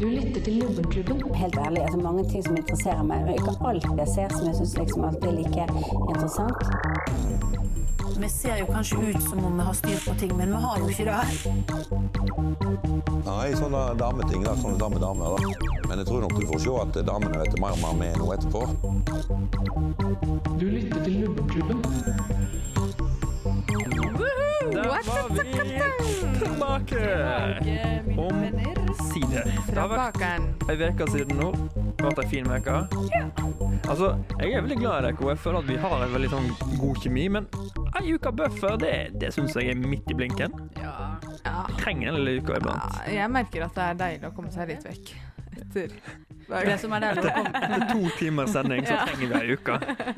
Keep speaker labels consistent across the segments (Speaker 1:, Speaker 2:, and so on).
Speaker 1: Du lytter til Lubbenklubben.
Speaker 2: Helt ærlig, altså mange ting som interesserer meg. men Ikke alt jeg ser som jeg syns liksom alltid er like interessant.
Speaker 3: Vi ser jo kanskje ut som om vi har styr på ting, men vi har jo ikke det.
Speaker 4: Nei, sånne dameting. da, Sånne damedamer. da. Men jeg tror nok du får se at damene vet mer om hva vi er nå etterpå.
Speaker 1: Du lytter til Lubbenklubben.
Speaker 5: Der var vi tilbake! Omsider. Det har vært ei uke siden nå. Det har vært ei fin uke. Altså, jeg er veldig glad i dere, og jeg føler at vi har en veldig sånn god kjemi, men ei uke buffer, det, det syns jeg er midt i blinken.
Speaker 6: Ja. ja.
Speaker 5: Trenger en lille uke iblant.
Speaker 6: Jeg merker at det er deilig å komme seg litt vekk etter
Speaker 7: Det som er deilig med å komme,
Speaker 5: Etter to timers sending så
Speaker 7: Ja.
Speaker 5: trenger vi ei uke.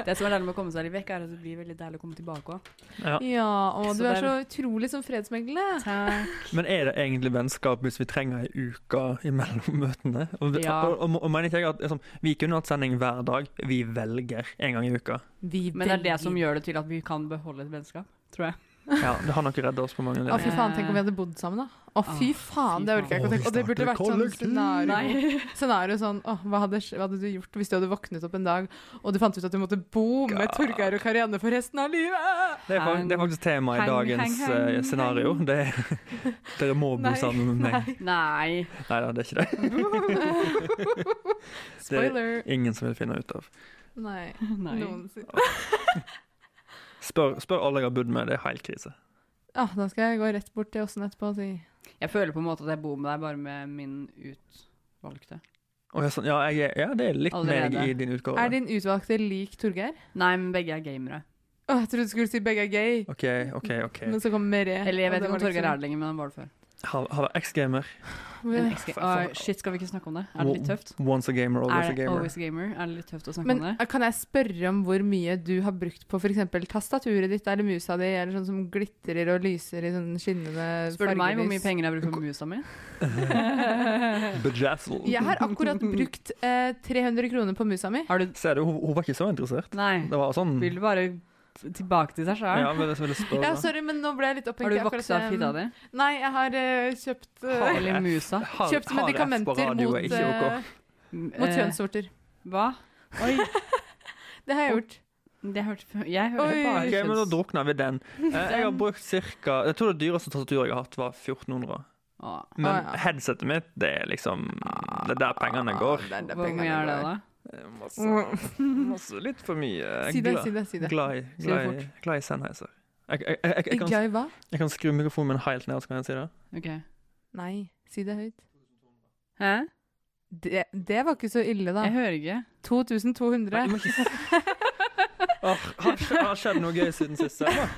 Speaker 7: det som er deilig med å komme seg litt vekk, er at det blir veldig deilig å komme tilbake òg.
Speaker 5: Ja.
Speaker 6: Ja, og
Speaker 7: Så
Speaker 6: du er
Speaker 7: det
Speaker 6: så
Speaker 7: er-
Speaker 6: utrolig sånn fredsmeglende.
Speaker 5: Men er det egentlig vennskap hvis vi trenger ei uke imellom møtene? Og,
Speaker 7: Ja.
Speaker 5: og, og, og mener ikke jeg at liksom, Vi kunne hatt sending hver dag. Vi velger en gang i uka.
Speaker 7: Men det er det som gjør det til at vi kan beholde et vennskap, tror jeg.
Speaker 5: Ja, Det har nok redda oss på mange
Speaker 6: Å,
Speaker 5: linjer.
Speaker 6: fy faen, tenk om vi hadde bodd sammen, da.
Speaker 7: Ah,
Speaker 6: Å, fy faen, det orker jeg ikke å tenke. Og det burde vært sånn scenario. Scenario sånn Å, hva hadde, hva hadde du gjort hvis du hadde våknet opp en dag, og du fant ut at du måtte bo med Torgeir og Karianne for resten av livet?
Speaker 5: Det er, fak- det er faktisk tema i
Speaker 7: Hang,
Speaker 5: dagens
Speaker 7: hang, hang,
Speaker 5: eh, scenario.
Speaker 7: hang.
Speaker 5: Det er, dere må bo
Speaker 6: Nei,
Speaker 5: sammen med meg.
Speaker 7: Nei.
Speaker 5: Nei da, det er ikke det.
Speaker 6: Spoiler.
Speaker 5: Ingen som vil finne ut av.
Speaker 6: Nei.
Speaker 7: Nei.
Speaker 6: Noensinne.
Speaker 5: Spør, spør alle jeg har bodd med, det er helt krise.
Speaker 6: Ja, Ah, da skal jeg gå rett bort til Åssen etterpå og si
Speaker 7: Jeg føler på en måte at jeg bor med deg bare med min utvalgte.
Speaker 5: Og jeg, er sånn, ja, jeg, er- ja, det er litt meg
Speaker 7: Allerede.
Speaker 5: i din utgave.
Speaker 6: Er din utvalgte lik Torgeir?
Speaker 7: Nei, men begge er gamere.
Speaker 6: Å, jeg trodde du skulle si begge er gay.
Speaker 5: OK, OK. ok.
Speaker 7: Mm.
Speaker 6: Men så kom Mere.
Speaker 7: Eller jeg
Speaker 6: og
Speaker 7: vet
Speaker 6: det
Speaker 7: ikke om
Speaker 6: var
Speaker 7: Torgeir er
Speaker 6: liksom-
Speaker 7: det lenger, men han var det før.
Speaker 5: Har har vært ex-gamer.
Speaker 7: Men,
Speaker 6: Men-
Speaker 7: jeg skal- Åh, shit, skal vi ikke snakke om det? Er det litt tøft?
Speaker 5: Once a gamer, always
Speaker 7: Er
Speaker 5: a
Speaker 7: det
Speaker 5: gamer.
Speaker 7: always a gamer? Er det litt tøft å snakke
Speaker 6: Men
Speaker 7: om det?
Speaker 6: eh, kan jeg spørre om hvor mye du har brukt på f.eks. tastaturet ditt eller musa di, eller sånn som glitrer og lyser i sånn skinnende
Speaker 7: Spør du meg hvor mye
Speaker 6: fargelys?
Speaker 7: penger jeg bruker på musa mi?
Speaker 5: Bejazzle.
Speaker 6: Jeg har akkurat brukt eh, 300 kroner på musa mi.
Speaker 7: Har du
Speaker 5: Ser du, hun, hun var ikke så interessert.
Speaker 7: Nei.
Speaker 5: Det var sånn
Speaker 7: Vil du bare f- tilbake til seg sjøl?
Speaker 5: Ja, men jeg ville spørre.
Speaker 6: Ja, sorry, men nå ble jeg litt opphengt.
Speaker 7: Har du
Speaker 6: i akkurat
Speaker 7: vokst av
Speaker 6: det.
Speaker 7: fitta di?
Speaker 6: Nei, jeg har eh, kjøpt, eh,
Speaker 5: Har-
Speaker 7: Eller musa?
Speaker 5: Har-
Speaker 6: kjøpt
Speaker 5: har jeg på
Speaker 6: medikamenter
Speaker 5: radio,
Speaker 6: mot,
Speaker 5: er ikke ok.
Speaker 6: eh, mot
Speaker 7: Eh,
Speaker 6: kjønnsvorter.
Speaker 7: Hva? Oi,
Speaker 6: Det har jeg gjort.
Speaker 7: det hørte f- Jeg
Speaker 6: Oi.
Speaker 7: hørte bare
Speaker 5: Ok, men Da
Speaker 7: kjønns...
Speaker 5: drukner vi den. Eh, Jeg har brukt cirka, Jeg tror det dyreste tastaturet jeg har hatt, var 1400.
Speaker 7: Åh,
Speaker 5: Men
Speaker 6: Å, ja.
Speaker 5: headsetet mitt, det er liksom Det er der pengene går.
Speaker 6: Det er der
Speaker 7: Hvor
Speaker 6: pengene
Speaker 7: mye er Ah. det,
Speaker 6: går.
Speaker 7: da?
Speaker 5: Eh, Masse, masse litt for mye. Jeg er
Speaker 6: Si det,
Speaker 5: glad-
Speaker 6: si det. si det.
Speaker 5: Glad i-
Speaker 7: Si det
Speaker 5: glad i- glad i Sennheiser. Jeg, jeg, jeg, jeg, jeg, kan,
Speaker 6: Glad i hva?
Speaker 5: jeg kan skru mikrofonen min helt ned, så kan jeg si det.
Speaker 7: Ok.
Speaker 6: Nei, si det høyt.
Speaker 7: Hæ?
Speaker 6: Det, det var ikke så ille, da.
Speaker 7: Jeg hører ikke.
Speaker 6: 2200.
Speaker 5: Åh, har, skj- har skjedd noe gøy siden sist? Selma?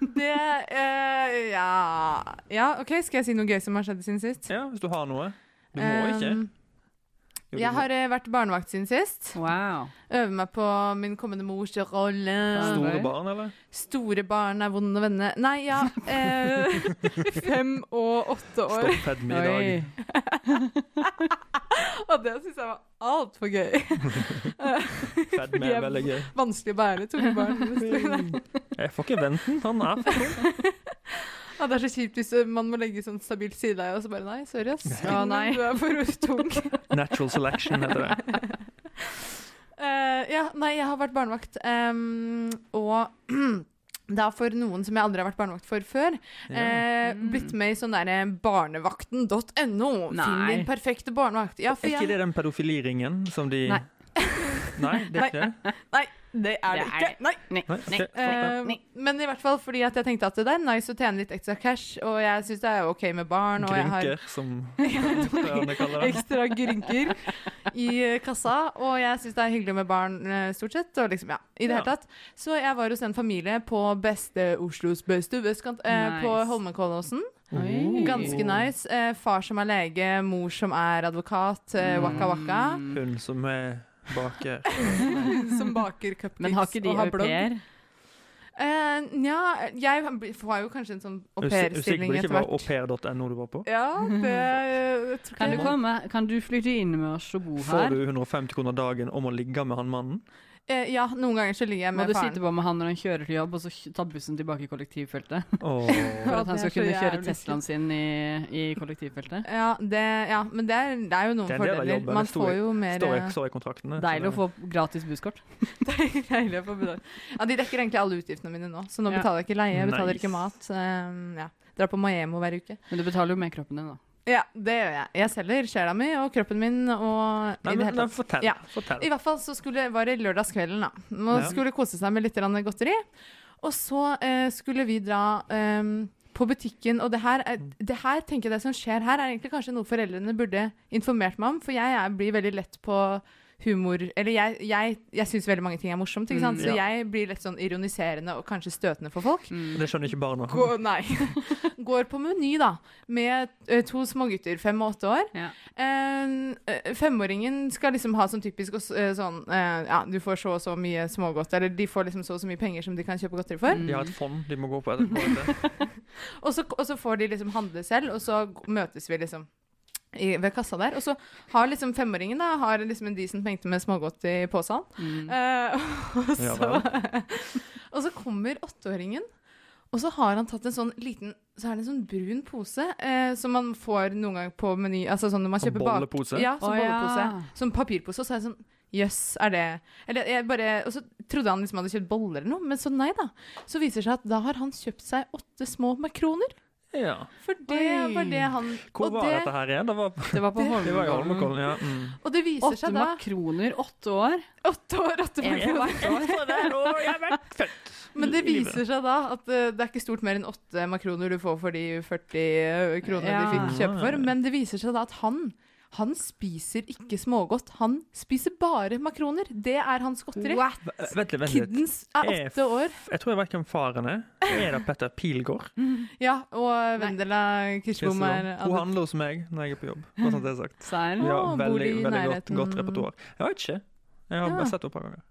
Speaker 6: Det eh, ja. ja, OK, skal jeg si noe gøy som har skjedd siden sist?
Speaker 5: Ja, hvis du har noe. Du må ikke.
Speaker 6: Um,
Speaker 5: Jo, du
Speaker 6: jeg
Speaker 5: må.
Speaker 6: har eh, vært barnevakt siden sist.
Speaker 7: Wow.
Speaker 6: Øver meg på min kommende mors rolle.
Speaker 5: Store barn, eller?
Speaker 6: Store barn er vonde å vende. Nei, ja eh, Fem og åtte år.
Speaker 5: Stopp fedme i dag.
Speaker 7: Oi.
Speaker 6: Og det syns jeg var altfor gøy.
Speaker 5: Fedme
Speaker 6: De er
Speaker 5: er veldig gøy.
Speaker 6: Vanskelig å bære tunge barn.
Speaker 5: Jeg får ikke vente den. Han er for tung.
Speaker 6: Ja, det er så kjipt hvis eh, man må legge sånn stabilt sideleie, og så bare nei, sorry, ass.
Speaker 7: Ja, nei.
Speaker 6: Du er for tung.
Speaker 5: Natural selection heter det.
Speaker 6: Eh, ja, nei, jeg har vært barnevakt, ehm, og det er for noen som jeg aldri har vært barnevakt for før.
Speaker 5: Ja.
Speaker 6: eh,
Speaker 7: Mm.
Speaker 6: Blitt med i sånn derre barnevakten.no. Finn
Speaker 7: Nei.
Speaker 6: din perfekte barnevakt. Ja, for
Speaker 5: Er ikke
Speaker 6: jeg,
Speaker 5: det den pedofiliringen som de
Speaker 7: Nei.
Speaker 5: Nei, det er ikke det?
Speaker 6: nei, det er det,
Speaker 7: Det er
Speaker 6: ikke.
Speaker 7: det.
Speaker 6: Nei.
Speaker 7: Nei,
Speaker 5: Nei,
Speaker 7: nei.
Speaker 5: ok.
Speaker 6: Eh,
Speaker 7: Nei.
Speaker 6: men i hvert fall fordi at jeg tenkte at det er nice å tjene litt ekstra cash, og jeg syns det er OK med barn, og jeg har
Speaker 5: Grunker, som doktorene kaller det.
Speaker 6: ekstra grynker i eh, kassa. Og jeg syns det er hyggelig med barn, eh, stort sett. Og liksom, ja, i det
Speaker 5: Ja.
Speaker 6: hele tatt. Så jeg var hos en familie på beste Oslos beste vestkant, eh, på
Speaker 7: Nice.
Speaker 6: Holmenkollåsen.
Speaker 7: Oi.
Speaker 6: Ganske nice. Eh, far som er lege, mor som er advokat, eh,
Speaker 7: Mm.
Speaker 6: waka waka.
Speaker 5: Hun som er baker.
Speaker 6: Som baker cupcakes
Speaker 7: Men har ikke de
Speaker 6: og har
Speaker 7: au
Speaker 6: blogg.
Speaker 7: pair?
Speaker 6: Eh, nja, jeg får jo kanskje en sånn au
Speaker 5: Er du sikker på
Speaker 6: pair-stilling
Speaker 5: det ikke
Speaker 6: etter
Speaker 5: var
Speaker 6: hvert.
Speaker 5: aupair.no du var på?
Speaker 6: Ja, det eh, tror
Speaker 7: Kan
Speaker 6: ikke
Speaker 7: du
Speaker 6: jeg. Oh,
Speaker 7: komme? Kan du flytte inn med oss og bo
Speaker 5: Får
Speaker 7: her?
Speaker 5: du 150 kroner dagen om å ligge med han mannen?
Speaker 6: Eh, ja, noen ganger så ligger jeg
Speaker 7: Må
Speaker 6: med
Speaker 7: du
Speaker 6: faren.
Speaker 7: sitte på med han når han kjører til jobb, og så kj- ta bussen tilbake i kollektivfeltet?
Speaker 5: Åh.
Speaker 7: For
Speaker 6: det
Speaker 7: at han
Speaker 6: er
Speaker 7: skal
Speaker 6: så
Speaker 7: kunne kjøre
Speaker 6: jævlig
Speaker 7: Teslaen sin i, i kollektivfeltet?
Speaker 6: Ja, det, ja, men det er, det er jo noen
Speaker 5: Det er en del av
Speaker 6: fordeler.
Speaker 5: jobben,
Speaker 6: Man
Speaker 5: det står-
Speaker 6: får jo mer
Speaker 5: Står
Speaker 6: eh,
Speaker 5: jeg, står jeg i kontraktene?
Speaker 7: Deilig å få gratis busskort.
Speaker 6: Deilig å få betalt. Ja, de dekker egentlig alle utgiftene mine nå, så nå
Speaker 7: Ja.
Speaker 6: betaler jeg ikke leie, jeg betaler
Speaker 5: Nice.
Speaker 6: ikke mat. ehm, ja. Drar på Maemo hver uke.
Speaker 7: Men du betaler jo med kroppen din, da.
Speaker 6: Ja, det gjør jeg. Jeg selger sjela mi og kroppen min og
Speaker 5: Nei,
Speaker 6: i det
Speaker 5: men,
Speaker 6: hele
Speaker 5: nei,
Speaker 6: tatt.
Speaker 5: fortell.
Speaker 6: Ja.
Speaker 5: fortell.
Speaker 6: I hvert fall så skulle, var det lørdagskvelden, da. Man
Speaker 5: Ja.
Speaker 6: skulle kose seg med litt grann godteri. Og så eh, skulle vi dra ehm, på butikken, og det her, er, det her tenker jeg det som skjer her, er egentlig kanskje noe foreldrene burde informert meg om, for jeg, er- blir veldig lett på humor Eller jeg, jeg, jeg syns veldig mange ting er morsomt, ikke sant?
Speaker 5: Mm,
Speaker 6: så
Speaker 5: ja.
Speaker 6: jeg blir litt sånn ironiserende og kanskje støtende for folk.
Speaker 7: Mm.
Speaker 5: Det skjønner ikke barna.
Speaker 6: Gå, nei. Går på Meny, da, med eh, to smågutter, fem og åtte år.
Speaker 7: Ja.
Speaker 6: Eh, eh, femåringen skal liksom ha som typisk også, eh, sånn eh, Ja, du får så og så mye smågodt. Eller de får liksom så og så mye penger som de kan kjøpe godteri for.
Speaker 5: De har et fond de må gå på. etterpå, vet du.
Speaker 6: Og, så, og så får de liksom handle selv, og så g- møtes vi liksom i, ved kassa der. Og så har liksom femåringen da, har liksom en decent mengde med smågodt i posen. Eh, og,
Speaker 5: Ja
Speaker 6: så, og så kommer åtteåringen, og så har han tatt en sånn liten så er det en sånn brun pose eh, som man får noen gang på meny. Altså sånn når man
Speaker 5: Sånn
Speaker 6: kjøper bak-
Speaker 5: bollepose?
Speaker 6: Ja, som
Speaker 7: Å, ja.
Speaker 6: bollepose. Som papirpose. Og så er det sånn Jøss, er det Eller jeg bare Og så trodde han liksom hadde kjøpt boller eller noe, men så nei da. Så viser det seg at da har han kjøpt seg åtte små makroner.
Speaker 5: Ja.
Speaker 6: For det
Speaker 7: Oi.
Speaker 6: var det han
Speaker 5: Hvor
Speaker 6: og
Speaker 5: var
Speaker 6: det,
Speaker 5: dette her igjen? Det var,
Speaker 7: Det var på
Speaker 5: det var i
Speaker 7: Holmenkollen.
Speaker 5: Holmenkollen, ja. Mm.
Speaker 6: Og det viser
Speaker 7: Åtte
Speaker 6: seg da
Speaker 7: makroner, åtte år.
Speaker 6: Åtte år, åtte
Speaker 7: En
Speaker 6: makroner.
Speaker 7: på hvert år.
Speaker 6: Men det
Speaker 5: i livet.
Speaker 6: viser seg da at eh, det er ikke stort mer enn åtte makroner du får for de 40 kronene
Speaker 7: Ja.
Speaker 6: de fikk kjøpe for, men det viser seg da at han han spiser ikke smågodt, han spiser bare makroner. Det er hans godteri.
Speaker 5: V- Vent litt, vent litt.
Speaker 6: Kiddens er
Speaker 5: Eh,
Speaker 6: åtte år.
Speaker 5: Jeg tror jeg vet hvem faren er. Er det Petter Pilgaard?
Speaker 6: Ja, og Vendela Kirsebom er
Speaker 5: Hun handler hos meg når jeg er på jobb. Bare sånn at det er sagt.
Speaker 7: Seier.
Speaker 5: Ja,
Speaker 6: Å, bor
Speaker 5: veldig
Speaker 6: de i
Speaker 5: veldig godt,
Speaker 6: nærheten?
Speaker 5: godt repertoar. Jeg vet ikke. Jeg har
Speaker 6: Ja.
Speaker 5: bare sett henne et par ganger.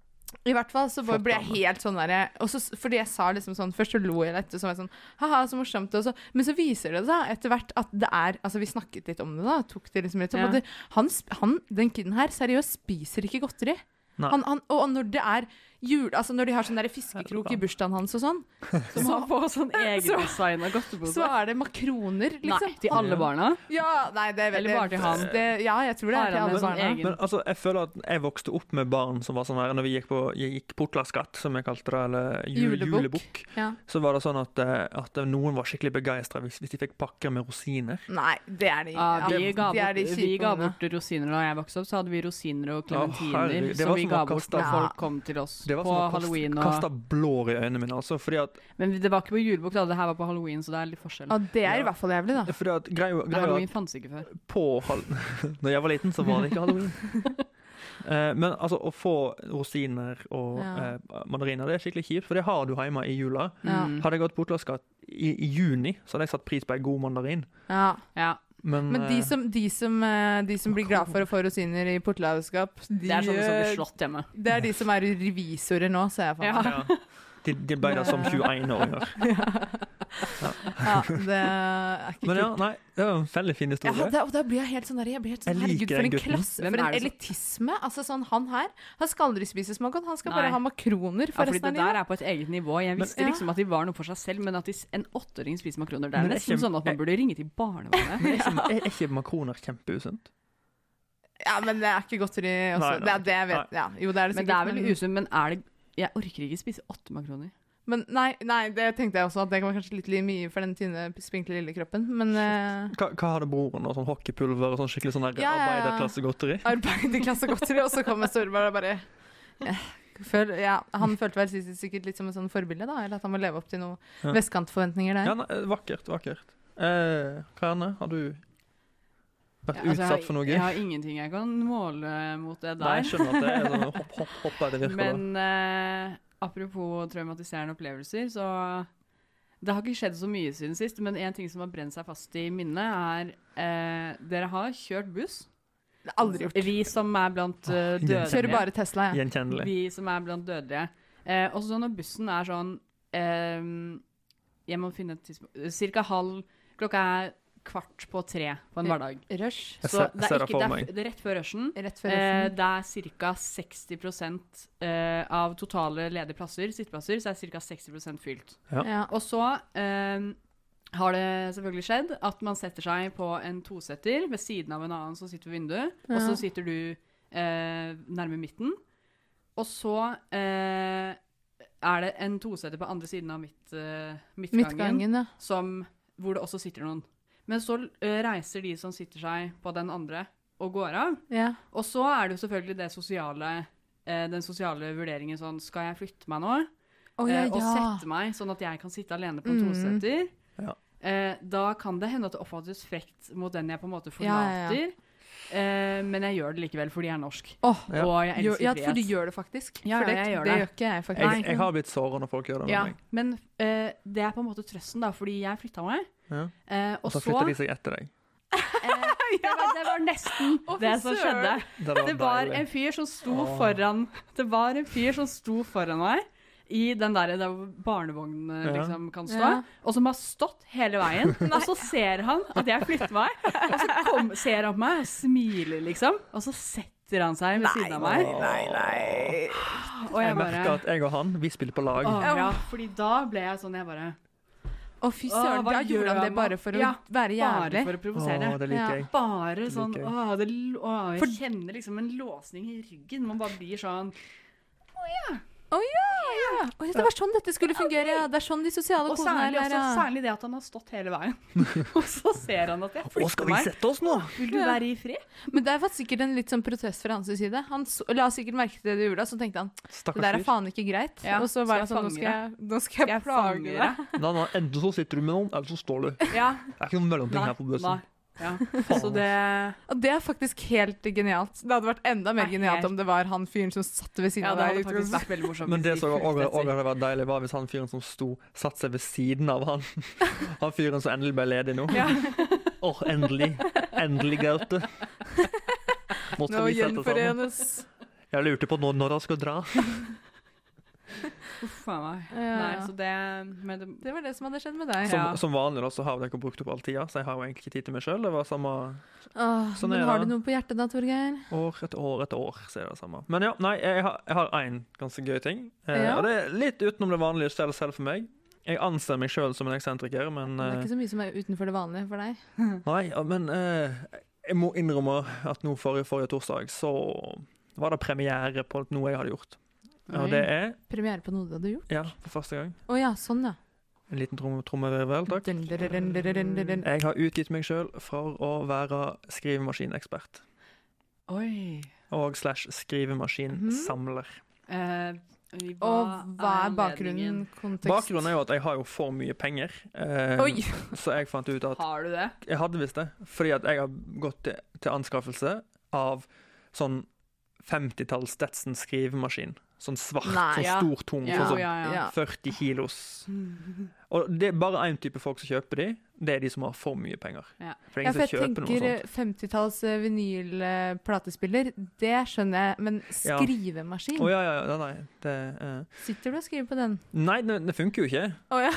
Speaker 6: I hvert fall så
Speaker 5: Flott
Speaker 6: ble jeg
Speaker 5: dame.
Speaker 6: helt sånn der og så, Fordi jeg sa liksom sånn Først så lo jeg litt, og så var jeg sånn Haha, så morsomt. Og så, men så viser det seg etter hvert at det er Altså, vi snakket litt om det, da. Tok det liksom litt opp.
Speaker 7: Ja.
Speaker 6: og Det, han, sp- han, den kiden her, seriøst, spiser ikke godteri.
Speaker 5: Nei.
Speaker 6: Han, han, og når det er jul Altså, når de har sånn der fiskekrok i bursdagen hans og sånn,
Speaker 7: Som har på sånn egendesigna
Speaker 6: så
Speaker 7: godtepose.
Speaker 6: er det makroner,
Speaker 7: Nei,
Speaker 6: liksom.
Speaker 7: til alle barna.
Speaker 6: Ja, nei, det er
Speaker 7: Eller bare til han.
Speaker 6: Det, ja, jeg tror det
Speaker 7: Har
Speaker 6: er til
Speaker 7: han
Speaker 6: alle
Speaker 7: en sånn
Speaker 6: barna.
Speaker 7: egen
Speaker 5: Men altså, jeg føler at jeg vokste opp med barn som var sånn her Når vi gikk på jeg gikk portlaskatt, som jeg kalte det, eller jul,
Speaker 6: Julebukk.
Speaker 5: julebukk,
Speaker 6: Ja.
Speaker 5: så var det sånn at, eh, at noen var skikkelig begeistra hvis, hvis de fikk pakker med rosiner.
Speaker 6: Nei, det er de.
Speaker 7: Ja,
Speaker 6: ja,
Speaker 7: vi, ga
Speaker 6: de er
Speaker 7: bort,
Speaker 6: de
Speaker 7: vi
Speaker 6: kjipe
Speaker 7: ga
Speaker 6: ungene.
Speaker 7: bort rosiner da jeg vokste opp, så hadde vi rosiner og
Speaker 5: herregud,
Speaker 7: clementiner
Speaker 5: det
Speaker 7: som
Speaker 5: var
Speaker 7: vi
Speaker 5: som å
Speaker 7: ga bort
Speaker 5: kaste-
Speaker 7: da
Speaker 6: Ja.
Speaker 7: folk kom til oss
Speaker 5: Det var
Speaker 7: på
Speaker 5: som å
Speaker 7: halloween.
Speaker 5: kaste, kaste
Speaker 7: Og,
Speaker 5: blår i øynene mine, altså. Fordi at,
Speaker 7: men det var ikke på julebukk, da. Det her var på halloween, så det er litt forskjell.
Speaker 6: Ja, det er i hvert fall jævlig, da.
Speaker 5: fordi at greia, greia
Speaker 7: Halloween fantes ikke før.
Speaker 5: på hal Når jeg var liten, så var det ikke halloween. Eh, men altså, å få rosiner og
Speaker 6: Ja.
Speaker 5: eh, mandariner det er skikkelig kjipt, for det har du hjemme i jula.
Speaker 6: Ja.
Speaker 7: Mm.
Speaker 5: Hadde jeg gått på Otlaskat i, i juni, så hadde jeg satt pris på en god mandarin.
Speaker 6: Ja.
Speaker 7: Ja.
Speaker 5: Men,
Speaker 6: Men de
Speaker 5: eh,
Speaker 6: som, de som, eh, de som blir glad for å få rosiner i portlaudskap, de,
Speaker 7: Det er sånn sånne som
Speaker 6: eh,
Speaker 7: blir slått hjemme.
Speaker 6: det er de som er revisorer nå, ser jeg for meg.
Speaker 5: ja, de, de ble da som 21-åringer.
Speaker 6: Ja, det er ikke
Speaker 5: Men ja,
Speaker 6: kult.
Speaker 5: nei, det var en veldig fin
Speaker 6: Ja,
Speaker 5: historie.
Speaker 6: da, og da blir jeg helt sånn, der, jeg blir helt sånn
Speaker 5: Jeg liker
Speaker 6: herregud, for
Speaker 5: den
Speaker 6: en
Speaker 5: gutten.
Speaker 6: klasse,
Speaker 7: Hvem
Speaker 6: for
Speaker 7: er
Speaker 6: en
Speaker 7: det som-
Speaker 6: elitisme. Altså sånn, Han her han skal aldri spise smågodt, han skal
Speaker 7: Nei.
Speaker 6: bare ha makroner
Speaker 7: Ja,
Speaker 6: for
Speaker 7: fordi
Speaker 6: resten
Speaker 7: det
Speaker 6: av
Speaker 7: der
Speaker 6: livet.
Speaker 7: er på et eget nivå. Jeg visste
Speaker 6: Men- Ja.
Speaker 7: liksom at de var noe for seg selv, men at de, s- en åtteåring spiser makroner, det er
Speaker 5: Men det er
Speaker 7: nesten
Speaker 5: kjem- eh.
Speaker 7: sånn at man burde ringe til barnevernet.
Speaker 5: Men er ikke, er ikke makroner kjempeusunt?
Speaker 6: Ja, men det er ikke godteri også.
Speaker 5: Nei, nei.
Speaker 6: Det, er- det jeg vet, ja. Jo, det er det
Speaker 7: Men
Speaker 6: sikkert.
Speaker 7: det er vel usunt, men er det Jeg orker ikke spise åtte makroner.
Speaker 6: men nei, nei, det tenkte jeg også, at det var kanskje litt mye for den tynne, spinkle lille kroppen. Men eh,
Speaker 5: Hva, hva hadde broren? da? Sånn hockeypulver og sånn skikkelig sånn der
Speaker 6: Ja, ja, ja.
Speaker 5: arbeiderklassegodteri?
Speaker 6: arbeiderklassegodteri, og så kommer Storberg og bare eh, føl, ja, Han følte vel sist sikkert litt som en sånn forbilde, da, eller at han må leve opp til noen
Speaker 5: Ja.
Speaker 6: vestkantforventninger der.
Speaker 5: Ja, nei, vakkert, vakkert. Eh, Karianne, har du vært
Speaker 7: Altså, jeg har-
Speaker 5: utsatt for noe?
Speaker 7: Jeg har ingenting jeg kan måle mot det der.
Speaker 5: Nei, jeg skjønner at det er sånn hopp, hopp, hopp er det virker da.
Speaker 7: Men eh, apropos traumatiserende opplevelser, så Det har ikke skjedd så mye siden sist, men en ting som har brent seg fast i minnet, er eh, Dere har kjørt buss.
Speaker 6: Det har Aldri gjort.
Speaker 7: Vi som er blant eh,
Speaker 5: igjen.
Speaker 7: dødelige.
Speaker 6: Kjører bare Tesla, jeg.
Speaker 5: Gjenkjennelig.
Speaker 7: Vi som er blant dødelige. Eh, også når bussen er sånn eh, Jeg må finne et tidspunkt Cirka halv Klokka er kvart på tre på en hverdag.
Speaker 6: Rush.
Speaker 5: Jeg
Speaker 7: Så
Speaker 5: ser-
Speaker 7: det
Speaker 5: ser
Speaker 7: er,
Speaker 5: det
Speaker 7: ikke, det,
Speaker 5: for
Speaker 7: er, f- det er rett før rushen.
Speaker 6: Rett før
Speaker 7: Eh,
Speaker 6: rushen.
Speaker 7: det er ca. 60 eh, av totale ledige plasser, sitteplasser, så er ca. 60 fylt.
Speaker 6: Ja.
Speaker 7: Og så eh, har det selvfølgelig skjedd at man setter seg på en tosetter ved siden av en annen som sitter ved vinduet, og
Speaker 6: Ja.
Speaker 7: så sitter du eh, nærme midten. Og så eh, er det en tosetter på andre siden av midt, eh, midtgangen,
Speaker 6: Midtgangen, ja.
Speaker 7: Som, hvor det også sitter noen. Men så eh, reiser de som sitter seg på den andre, og går av.
Speaker 6: ja.
Speaker 7: Og så er det jo selvfølgelig det sosiale, eh, den ssosiale vurderingen sånn Skal jeg flytte meg nå?
Speaker 6: Å ja,
Speaker 7: eh, og
Speaker 6: ja.
Speaker 7: sette meg, sånn at jeg kan sitte alene på
Speaker 6: Mm.
Speaker 7: en toseter?
Speaker 5: Ja.
Speaker 7: Eh, da kan det hende at det oppfattes frekt mot den jeg på en måte
Speaker 6: Ja, ja, ja.
Speaker 7: forlater. Eh, men jeg gjør det likevel fordi jeg er norsk.
Speaker 6: Åh,
Speaker 5: Ja.
Speaker 7: Og jeg
Speaker 6: gjør-
Speaker 7: elsker
Speaker 6: ja, for
Speaker 7: frihet.
Speaker 6: du gjør det faktisk.
Speaker 7: Ja,
Speaker 6: for det,
Speaker 7: ja, jeg gjør
Speaker 6: det
Speaker 7: det.
Speaker 6: gjør ikke jeg, faktisk.
Speaker 5: Jeg, jeg har blitt såret når folk gjør det med
Speaker 7: ja,
Speaker 5: meg.
Speaker 7: men eh, det er på en måte trøsten, da, fordi jeg flytta meg.
Speaker 5: Ja.
Speaker 7: Eh,
Speaker 5: Og
Speaker 7: og
Speaker 5: så
Speaker 7: så
Speaker 5: flytter de seg etter deg.
Speaker 7: eh, det, var, det var nesten
Speaker 6: Å, fy
Speaker 7: det som
Speaker 6: søren.
Speaker 7: skjedde.
Speaker 5: Det var,
Speaker 7: Det var
Speaker 5: deilig.
Speaker 7: en fyr som sto foran Det var en fyr som sto foran meg i den der, der hvor barnevognene
Speaker 5: Ja.
Speaker 7: liksom kan stå,
Speaker 6: Ja.
Speaker 7: og som har stått hele veien. og så ser han at jeg flytter meg, og så kom, ser han på meg og smiler, liksom. Og så setter han seg ved siden av meg. Og
Speaker 5: Jeg
Speaker 7: jeg bare
Speaker 5: merker at jeg og han, vi spiller på lag.
Speaker 7: Å, ja, fordi da ble jeg sånn, jeg bare
Speaker 6: Å, fy
Speaker 7: Åh,
Speaker 6: søren,
Speaker 7: hva
Speaker 6: da
Speaker 7: gjør
Speaker 6: gjorde han det
Speaker 7: han nå?
Speaker 6: bare for å
Speaker 7: Ja,
Speaker 6: være
Speaker 7: Bare
Speaker 6: jævlig.
Speaker 7: for å
Speaker 5: Å,
Speaker 7: provosere.
Speaker 5: det
Speaker 6: Ja.
Speaker 5: liker jeg.
Speaker 7: Bare
Speaker 5: Det
Speaker 7: sånn
Speaker 5: liker jeg.
Speaker 7: Å, det, l- å jeg
Speaker 6: For-
Speaker 7: kjenner liksom en låsning i ryggen. Man bare blir sånn
Speaker 6: Å ja, ja. Å, ja, det var sånn dette skulle fungere, ja. Det er sånn de sosiale
Speaker 7: Og
Speaker 6: kodene er.
Speaker 7: særlig, også,
Speaker 6: ja.
Speaker 7: særlig det at han har stått hele veien. og så ser han at jeg
Speaker 5: Å,
Speaker 7: flytter
Speaker 5: skal vi
Speaker 7: meg.
Speaker 5: sette oss nå?
Speaker 7: Vil du være i fred?
Speaker 6: Men det var sikkert en litt sånn protest fra hans side. Han så, la sikkert merke til det du gjorde, og så tenkte han det der
Speaker 5: Stakkars
Speaker 6: er
Speaker 5: fyr.
Speaker 6: faen ikke greit.
Speaker 7: Ja,
Speaker 6: Og så var han
Speaker 7: skal jeg
Speaker 6: sånn nå
Speaker 7: fange
Speaker 6: skal jeg, nå skal jeg, plage
Speaker 7: fange
Speaker 6: deg.
Speaker 5: Nei, nei, Enten så sitter du med noen, eller så står du.
Speaker 7: deg? Ja.
Speaker 5: Det er ikke noen mellomting her på bussen.
Speaker 7: Ja. Så det
Speaker 6: Og det er faktisk helt genialt. Det hadde vært enda mer
Speaker 7: Nei,
Speaker 6: genialt
Speaker 7: helt-
Speaker 6: om det var han fyren som satt ved siden
Speaker 7: Ja,
Speaker 6: av
Speaker 7: det
Speaker 6: deg. i
Speaker 7: hadde faktisk
Speaker 6: utgangspunktet.
Speaker 7: vært veldig morsomt.
Speaker 5: Men det
Speaker 7: hvis vi
Speaker 5: som også
Speaker 7: fulgte
Speaker 5: også
Speaker 7: etter.
Speaker 5: hadde vært deilig, var hvis han fyren som sto, satte seg ved siden av han. Han fyren som endelig ble ledig nå. Åh,
Speaker 7: Ja.
Speaker 5: endelig. Endelig, Gaute. Nå skal vi sette
Speaker 6: Nå
Speaker 5: oss sammen.
Speaker 6: gjenforenes.
Speaker 5: Jeg lurte på når, når han skulle dra.
Speaker 7: Uff faen meg.
Speaker 6: Ja.
Speaker 7: Nei, så det Men det
Speaker 6: Det var det som hadde skjedd med deg.
Speaker 5: Som,
Speaker 7: Ja.
Speaker 5: som vanlig da, så har dere brukt opp all tida, så jeg har jo egentlig ikke tid til meg sjøl. Det var samme
Speaker 6: Åh,
Speaker 5: Sånn er
Speaker 6: men har
Speaker 5: det.
Speaker 6: du noe på hjertet da, Torgeir?
Speaker 5: år etter år etter år. så er det det samme. Men ja, nei, jeg har- jeg har én ganske gøy ting. Eh,
Speaker 6: Ja.
Speaker 5: Og det er litt utenom det vanlige selv, selv for meg. Jeg anser meg sjøl som en eksentriker, men
Speaker 6: Det er
Speaker 5: eh,
Speaker 6: ikke så mye som er utenfor det vanlige for deg.
Speaker 5: Nei, ja, men eh, jeg må innrømme at nå forrige, forrige torsdag så var det premiere på noe jeg hadde gjort. Og det er
Speaker 6: Premiere på noe du hadde gjort?
Speaker 5: Ja, for første gang.
Speaker 6: Å ja, sånn ja.
Speaker 5: En liten trom- trommevirvel, takk.
Speaker 6: Dun, dun, dun, dun, dun, dun, dun.
Speaker 5: Jeg har utgitt meg sjøl for å være skrivemaskinekspert.
Speaker 7: Oi.
Speaker 5: Og slash skrivemaskinsamler.
Speaker 7: Eh, vi-
Speaker 6: Og hva er bakgrunnen?
Speaker 7: anledningen?
Speaker 6: Kontekst?
Speaker 5: Bakgrunnen er jo at jeg har jo for mye penger, eh,
Speaker 6: Oi!
Speaker 5: så jeg fant ut at
Speaker 7: Har du det?
Speaker 5: Jeg hadde visst det, fordi at jeg har gått til, til anskaffelse av sånn 50-talls Stetson skrivemaskin. Sånn svart,
Speaker 6: Nei,
Speaker 5: sånn
Speaker 7: ja.
Speaker 5: stor, tung,
Speaker 7: Ja,
Speaker 5: sånn som
Speaker 7: ja, ja.
Speaker 6: Ja.
Speaker 5: 40 kilos. Og det er bare én type folk som kjøper de, det er de som har for mye penger.
Speaker 7: Ja.
Speaker 5: For det
Speaker 6: Ja,
Speaker 5: er
Speaker 6: for
Speaker 5: ingen
Speaker 6: jeg
Speaker 5: som kjøper noe
Speaker 6: tenker
Speaker 5: sånt.
Speaker 6: 50-talls eh, vinylplatespiller, det skjønner jeg, men
Speaker 5: Ja.
Speaker 6: skrivemaskin?
Speaker 5: Å ja, ja, ja, nei, det, eh.
Speaker 6: Sitter du og skriver på den?
Speaker 5: nei, det, det funker jo ikke.
Speaker 6: Å ja.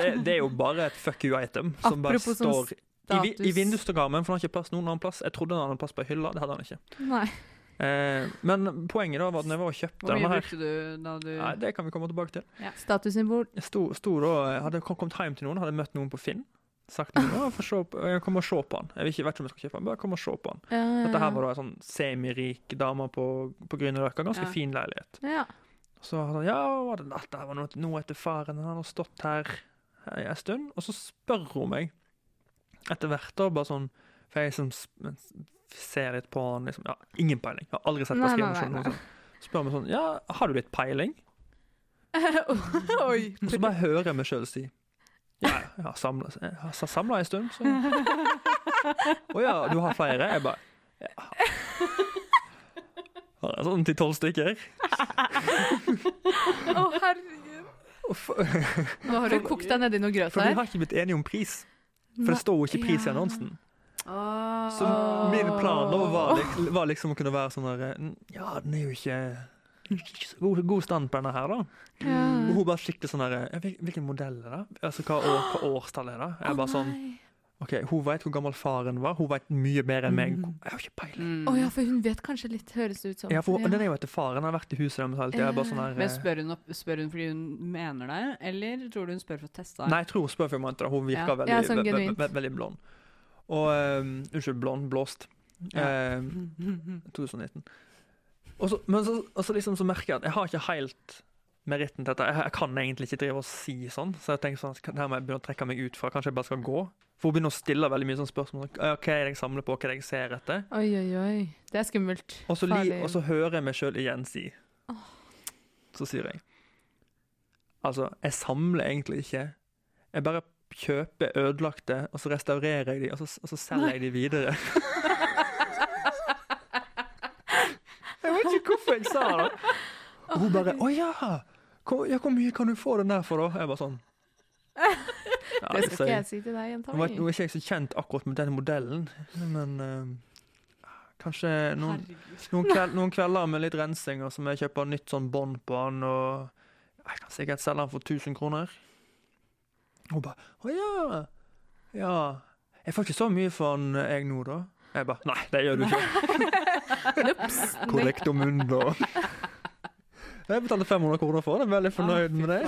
Speaker 5: Det, det er jo bare et fuck you-item som bare
Speaker 6: Apropos sånn
Speaker 5: står i, vi- i
Speaker 6: status.
Speaker 5: vindusdagarmen, for han har ikke plass noen annen plass. Jeg trodde han hadde plass på hylla, det hadde han ikke.
Speaker 6: Nei.
Speaker 5: Eh, men poenget da var at når jeg var og kjøpte
Speaker 7: Hvor mye
Speaker 5: denne her
Speaker 7: brukte du da du
Speaker 5: Nei, det kan vi komme tilbake til.
Speaker 6: Statussymbol.
Speaker 5: Jeg sto, sto da, jeg hadde kom- kommet hjem til noen, hadde møtt noen på Finn. Sagt noen, «Å, få se på- jeg kommer og se på han. Jeg vet ikke vet ikke om jeg skal kjøpe han, bare kom og se på han.
Speaker 6: Ja, ja,
Speaker 5: Dette her
Speaker 6: ja.
Speaker 5: var da en sånn semirik dame på, på Grünerløkka, ganske
Speaker 7: Ja.
Speaker 5: fin leilighet.
Speaker 6: Ja.
Speaker 5: Så hadde han, sånn, ja, var det dette her var noe, noe etter faren, han har stått her eh, en stund, og så spør hun meg etter hvert da, bare sånn, for jeg liksom sp- ser litt på han, liksom, ja, ingen peiling. Jeg har aldri sett på
Speaker 6: Nei, nei,
Speaker 5: skriven
Speaker 6: nei,
Speaker 5: sånn. Spør meg sånn, ja, har du litt peiling?
Speaker 6: Oi.
Speaker 5: Og så bare hører jeg meg sjøl si Ja, jeg har samla jeg har samlet en stund, så Å ja, du har flere? Jeg bare ja. Har jeg sånn til tolv stykker?
Speaker 6: Å, herregud.
Speaker 5: Og f-
Speaker 6: Nå har du kokt deg nedi noe grøt
Speaker 5: For vi
Speaker 6: her.
Speaker 5: har ikke blitt enige om pris. For det står jo ikke pris i
Speaker 6: Ja.
Speaker 5: annonsen.
Speaker 7: Åh.
Speaker 5: Så min plan da var, lik- var liksom å kunne være sånn der Ja, den er jo ikke ikke så God, god stand på denne her, da. eh, Og hun bare skikkelig sånn der «Ja, hvil- Hvilken modell er det? Altså, hva, år, hva årstall er det? Jeg bare sånn Ok, Hun vet hvor gammel faren var, hun vet mye bedre enn meg.
Speaker 2: Mhm.
Speaker 5: Jeg har ikke peiling.
Speaker 7: Mm.
Speaker 6: Å ja, for hun vet kanskje litt, høres det ut som.
Speaker 5: Ja, for Den er jo etter faren. Han har vært i huset deres hele tiden. Jeg er bare sånn her,
Speaker 7: Men
Speaker 5: eh,
Speaker 7: spør hun, opp, spør hun fordi hun mener det, eller tror du hun spør for å teste?
Speaker 5: Nei, jeg tror hun spør for meg, hun virker
Speaker 7: altså. Ja.
Speaker 5: veldig,
Speaker 6: Ja, sånn
Speaker 5: ve- ve-
Speaker 6: genuint.
Speaker 5: ve- veldig blond. Og eh, Unnskyld, blond. Blåst.
Speaker 7: Ja.
Speaker 5: Eh, 2019. Og så, men så, og så liksom så merker jeg at jeg har ikke helt meritten til dette. Jeg, jeg kan egentlig ikke drive og si sånn, så jeg tenker sånn, at det her må jeg begynne å trekke meg ut fra. Kanskje jeg bare skal gå? For hun begynner å stille veldig mye sånn spørsmål. Sånn, «Ja, hva er det jeg samler på, hva er det jeg ser etter?
Speaker 6: Oi, oi, oi. Det er skummelt.
Speaker 5: Og så, li,
Speaker 6: Farlig.
Speaker 5: og så hører jeg meg sjøl igjen si Så sier jeg Altså, jeg samler egentlig ikke. Jeg bare kjøper ødelagte, og så restaurerer jeg de, og så, og så selger jeg de videre. jeg vet ikke hvorfor jeg sa det. Og hun bare 'Å ja! Hvor, ja, hvor mye kan du få den der for, da?' Jeg bare sånn ja,
Speaker 6: Det skal
Speaker 5: så
Speaker 6: ikke
Speaker 5: jeg-
Speaker 6: jeg si til deg, jenta
Speaker 5: nå vet- nå
Speaker 6: mi.
Speaker 5: er ikke jeg så kjent akkurat med den modellen, men eh, kanskje noen, noen, kveld, noen kvelder med litt rensing, og så må jeg kjøpe nytt sånn bånd på den, og jeg kan sikkert selge den for 1000 kroner. Hun bare 'Å ja'. Ja. Jeg får ikke så mye for den eh, jeg nå, da. Jeg bare 'Nei, det gjør du ikke'. Korrekt om mundo. Jeg betalte 500 kroner for den, veldig fornøyd med det.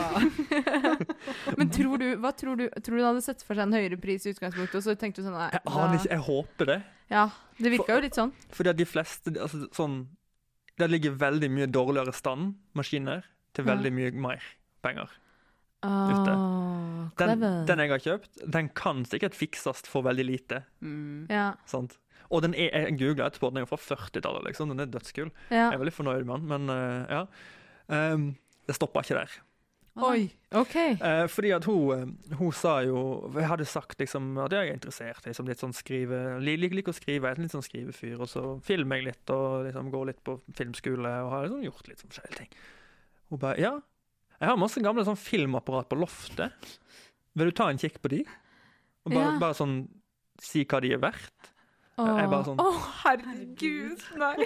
Speaker 6: Men tror du, hva tror du Tror du hun hadde sett for seg en høyere pris i utgangspunktet, og så tenkte du sånn nei,
Speaker 5: Jeg
Speaker 6: da-
Speaker 5: aner ikke, jeg håper det.
Speaker 6: Ja, det virka jo litt sånn.
Speaker 5: Fordi at de fleste altså, sånn, Det ligger veldig mye dårligere stand maskiner til
Speaker 6: Ja.
Speaker 5: veldig mye mer penger.
Speaker 6: Ah,
Speaker 5: Den,
Speaker 6: clever.
Speaker 5: den jeg har kjøpt, den kan sikkert fikses for veldig lite.
Speaker 7: Mm.
Speaker 6: Ja,
Speaker 5: Sant? Og den er, jeg googlet etterpå, den er jo fra 40-tallet, liksom. Den er dødskul.
Speaker 6: ja.
Speaker 5: Jeg er veldig fornøyd med den, men eh, ja. Ehm, det stoppa ikke der.
Speaker 6: Oi, OK.
Speaker 5: Eh, fordi at hun, eh, hun sa jo Jeg hadde sagt liksom, at jeg er interessert i liksom, litt sånn skrive li- Liker liker å skrive, jeg er en litt sånn skrivefyr, og så filmer jeg litt og liksom, går litt på filmskole og har liksom, gjort litt sånn forskjellige ting. Hun bare Ja, jeg har masse gamle sånn filmapparat på loftet. Vil du ta en kikk på de? Og bare,
Speaker 6: Ja.
Speaker 5: bare sånn si hva de er verdt.
Speaker 6: Å,
Speaker 5: Jeg er bare sånn-
Speaker 6: Å, herregud, nei.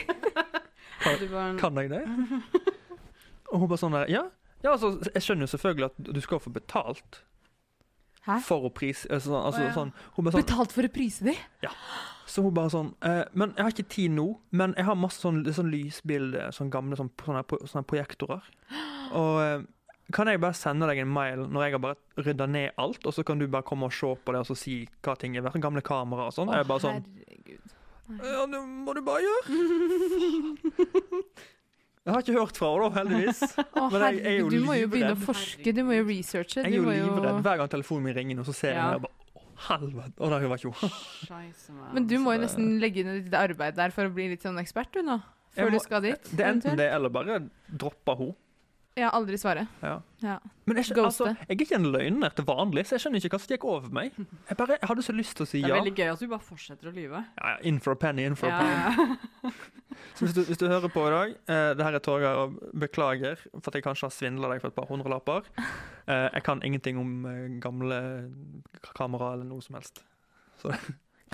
Speaker 7: Du bare,
Speaker 5: Kan jeg det? Og hun bare sånn der, ja. ja altså, jeg skjønner jo selvfølgelig at du skal få betalt.
Speaker 6: Hæ?
Speaker 5: For å pris... Altså, sånn- altså,
Speaker 7: Å, ja.
Speaker 5: sånn, hun bare sånn,
Speaker 6: Betalt for å prise de?
Speaker 5: så hun bare sånn eh, Men jeg har ikke tid nå, men jeg har masse sånn, sånn lysbilde, sånn gamle sånn, sånne, pro- sånne projektorer. Og eh, kan jeg bare sende deg en mail når jeg har bare rydda ned alt, og så kan du bare komme og se på det og så si hva ting er verdt? Gamle kameraer og sånn. jeg er bare sånn
Speaker 6: herregud.
Speaker 5: ja, det må du bare gjøre. Jeg har ikke hørt fra henne, da, heldigvis.
Speaker 6: Å,
Speaker 5: Men jeg er jo
Speaker 6: herregud, du må jo begynne å
Speaker 5: livredd.
Speaker 6: forske, du må jo researche.
Speaker 5: Jeg er
Speaker 6: du
Speaker 5: jo
Speaker 6: må jo-
Speaker 5: livredd hver gang telefonen min ringer, nå, så ser jeg
Speaker 7: Ja.
Speaker 5: den og jeg bare Å, helvete! Og der var ikke hun.
Speaker 7: Scheisse, man.
Speaker 6: Men du må jo
Speaker 5: det-
Speaker 6: nesten legge inn et lite arbeid der for å bli litt sånn ekspert, du nå.
Speaker 5: Jeg
Speaker 6: Før
Speaker 5: må-
Speaker 6: du skal dit.
Speaker 5: Det er enten
Speaker 6: eventuelt.
Speaker 5: det, eller bare droppe hun.
Speaker 6: Ja, aldri svare.
Speaker 5: Ja.
Speaker 6: Ja.
Speaker 5: Men jeg, skj- altså,
Speaker 6: Ghoste.
Speaker 5: jeg er ikke en løgner til vanlig, så jeg skjønner ikke hva som gikk over meg. Jeg bare jeg hadde så lyst til å si
Speaker 7: Det er
Speaker 5: ja.
Speaker 7: veldig gøy at du bare fortsetter å lyve.
Speaker 5: ja ja, in for a penny, in for a
Speaker 7: Ja,
Speaker 5: penny.
Speaker 7: ja.
Speaker 5: Så hvis du, hvis du hører på i dag, eh, det her er Torgeir, og beklager for at jeg kanskje har svindla deg for et par hundrelapper. Eh, jeg kan ingenting om eh, gamle k- kamera eller noe som helst.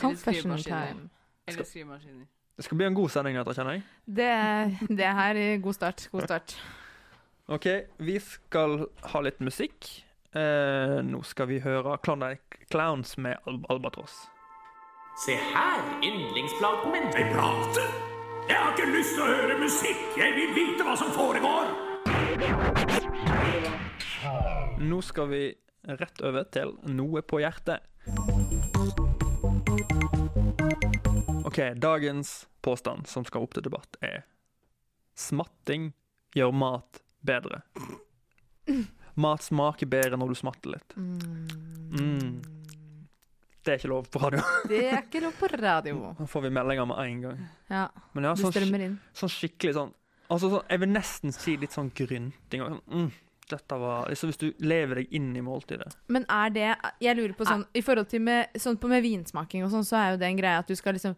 Speaker 6: Confessional
Speaker 7: skrivemaskiner.
Speaker 6: time.
Speaker 7: Eller skrivemaskiner.
Speaker 5: Det skal bli en god sending, dette, kjenner jeg.
Speaker 6: Det, det her er god start. God start.
Speaker 5: OK, vi skal ha litt musikk. Eh, nå skal vi høre Klondike Clowns med Al Albatross.
Speaker 8: Se her, yndlingsplaten min. Ei plate? Jeg har ikke lyst til å høre musikk. Jeg vil vite hva som foregår.
Speaker 5: Nå skal vi rett over til noe på hjertet. OK, dagens påstand som skal opp til debatt, er Smatting gjør mat bedre. Mat smaker bedre når du smatter litt. Mm. Det er ikke lov på radio.
Speaker 6: Det er ikke lov på radio.
Speaker 5: Nå får vi meldinger med en gang.
Speaker 6: Ja,
Speaker 5: Men ja,
Speaker 6: det
Speaker 5: sånn,
Speaker 6: strømmer inn.
Speaker 5: sånn skikkelig sånn Altså sånn, Jeg vil nesten si litt sånn grynting. og Sånn, mm, dette var liksom Hvis du lever deg inn i måltidet.
Speaker 6: Men er det Jeg lurer på
Speaker 5: Ah.
Speaker 6: sånn I forhold til med, sånn på med vinsmaking og sånn, så er jo det en greie at du skal liksom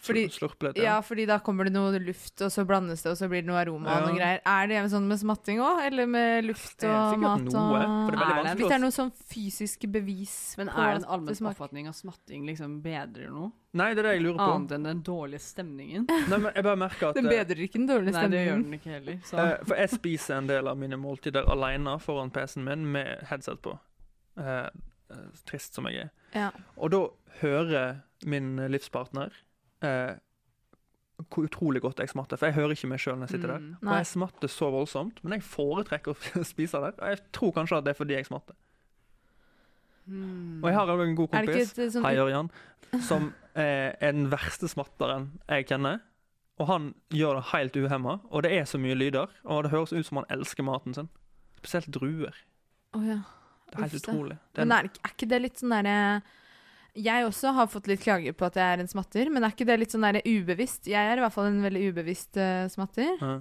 Speaker 6: Fordi
Speaker 5: Slur- slurpe litt.
Speaker 6: ja, fordi da kommer det noe luft, og så blandes det, og så blir det noe aroma og
Speaker 5: Ja.
Speaker 6: noe greier. Er det sånn med smatting òg? Eller med luft
Speaker 5: Det er
Speaker 6: og
Speaker 5: sikkert
Speaker 6: mat
Speaker 5: noe, for
Speaker 6: og
Speaker 5: det er veldig
Speaker 7: Er det-
Speaker 5: vanskelig
Speaker 6: Hvis
Speaker 5: å
Speaker 6: det er noe sånn fysisk bevis
Speaker 7: Men
Speaker 6: på
Speaker 7: er
Speaker 6: at
Speaker 7: det en allmenn
Speaker 6: smaker-
Speaker 7: oppfatning av smatting liksom bedrer noe?
Speaker 5: Nei, det er det jeg lurer
Speaker 6: Ah.
Speaker 5: på.
Speaker 7: Annet enn den dårlige stemningen?
Speaker 5: Nei, men jeg bare merker at
Speaker 6: Den
Speaker 5: eh,
Speaker 6: bedrer ikke den dårlige
Speaker 7: Nei, det gjør
Speaker 6: stemningen.
Speaker 7: den ikke heller. Så.
Speaker 6: sånn.
Speaker 5: eh, For jeg spiser en del av mine måltider alene foran PC-en min med headset på. Eh, eh, trist som jeg er.
Speaker 6: Ja.
Speaker 5: Og da hører min livspartner eh, hvor utrolig godt jeg smatter. For jeg hører ikke meg sjøl når jeg sitter der.
Speaker 7: Mm.
Speaker 5: Og
Speaker 6: Nei.
Speaker 5: jeg smatter så voldsomt, men jeg foretrekker å spise der. Og jeg tror kanskje at det er fordi jeg smatter. Og jeg har også en god
Speaker 6: Mm. Er det ikke
Speaker 5: kompis,
Speaker 6: et eh, sånn
Speaker 5: hei Ørjan, som eh, er den verste smatteren jeg kjenner. Og han gjør det helt uhemma, og det er så mye lyder. Og det høres ut som han elsker maten sin. Spesielt druer.
Speaker 6: Å, ja.
Speaker 5: Det er helt
Speaker 6: Uff, det.
Speaker 5: utrolig. Det er
Speaker 6: Men er, det ikke- er ikke det litt sånn derre Jeg også har fått litt klager på at jeg er en smatter, men er ikke det litt sånn derre ubevisst? Jeg er i hvert fall en veldig ubevisst eh, smatter.
Speaker 5: Ja.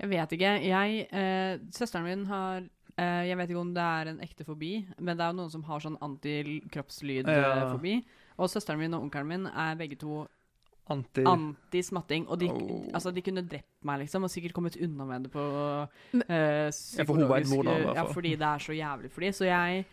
Speaker 7: Jeg vet ikke. Jeg, eh, søsteren min har eh, Jeg vet ikke om det er en ekte fobi, men det er jo noen som har sånn antikroppslyd-fobi. Og søsteren min og onkelen min er begge to
Speaker 5: Anti...
Speaker 7: anti-smatting. Og de,
Speaker 5: Oh.
Speaker 7: altså, de kunne drept meg, liksom, og sikkert kommet unna med det på
Speaker 6: Men-
Speaker 7: eh,
Speaker 5: Ja, for hun vet
Speaker 7: psykologisk,
Speaker 5: hvordan, i hvert
Speaker 7: Ja,
Speaker 5: fall.
Speaker 7: fordi det er så jævlig for de. Så jeg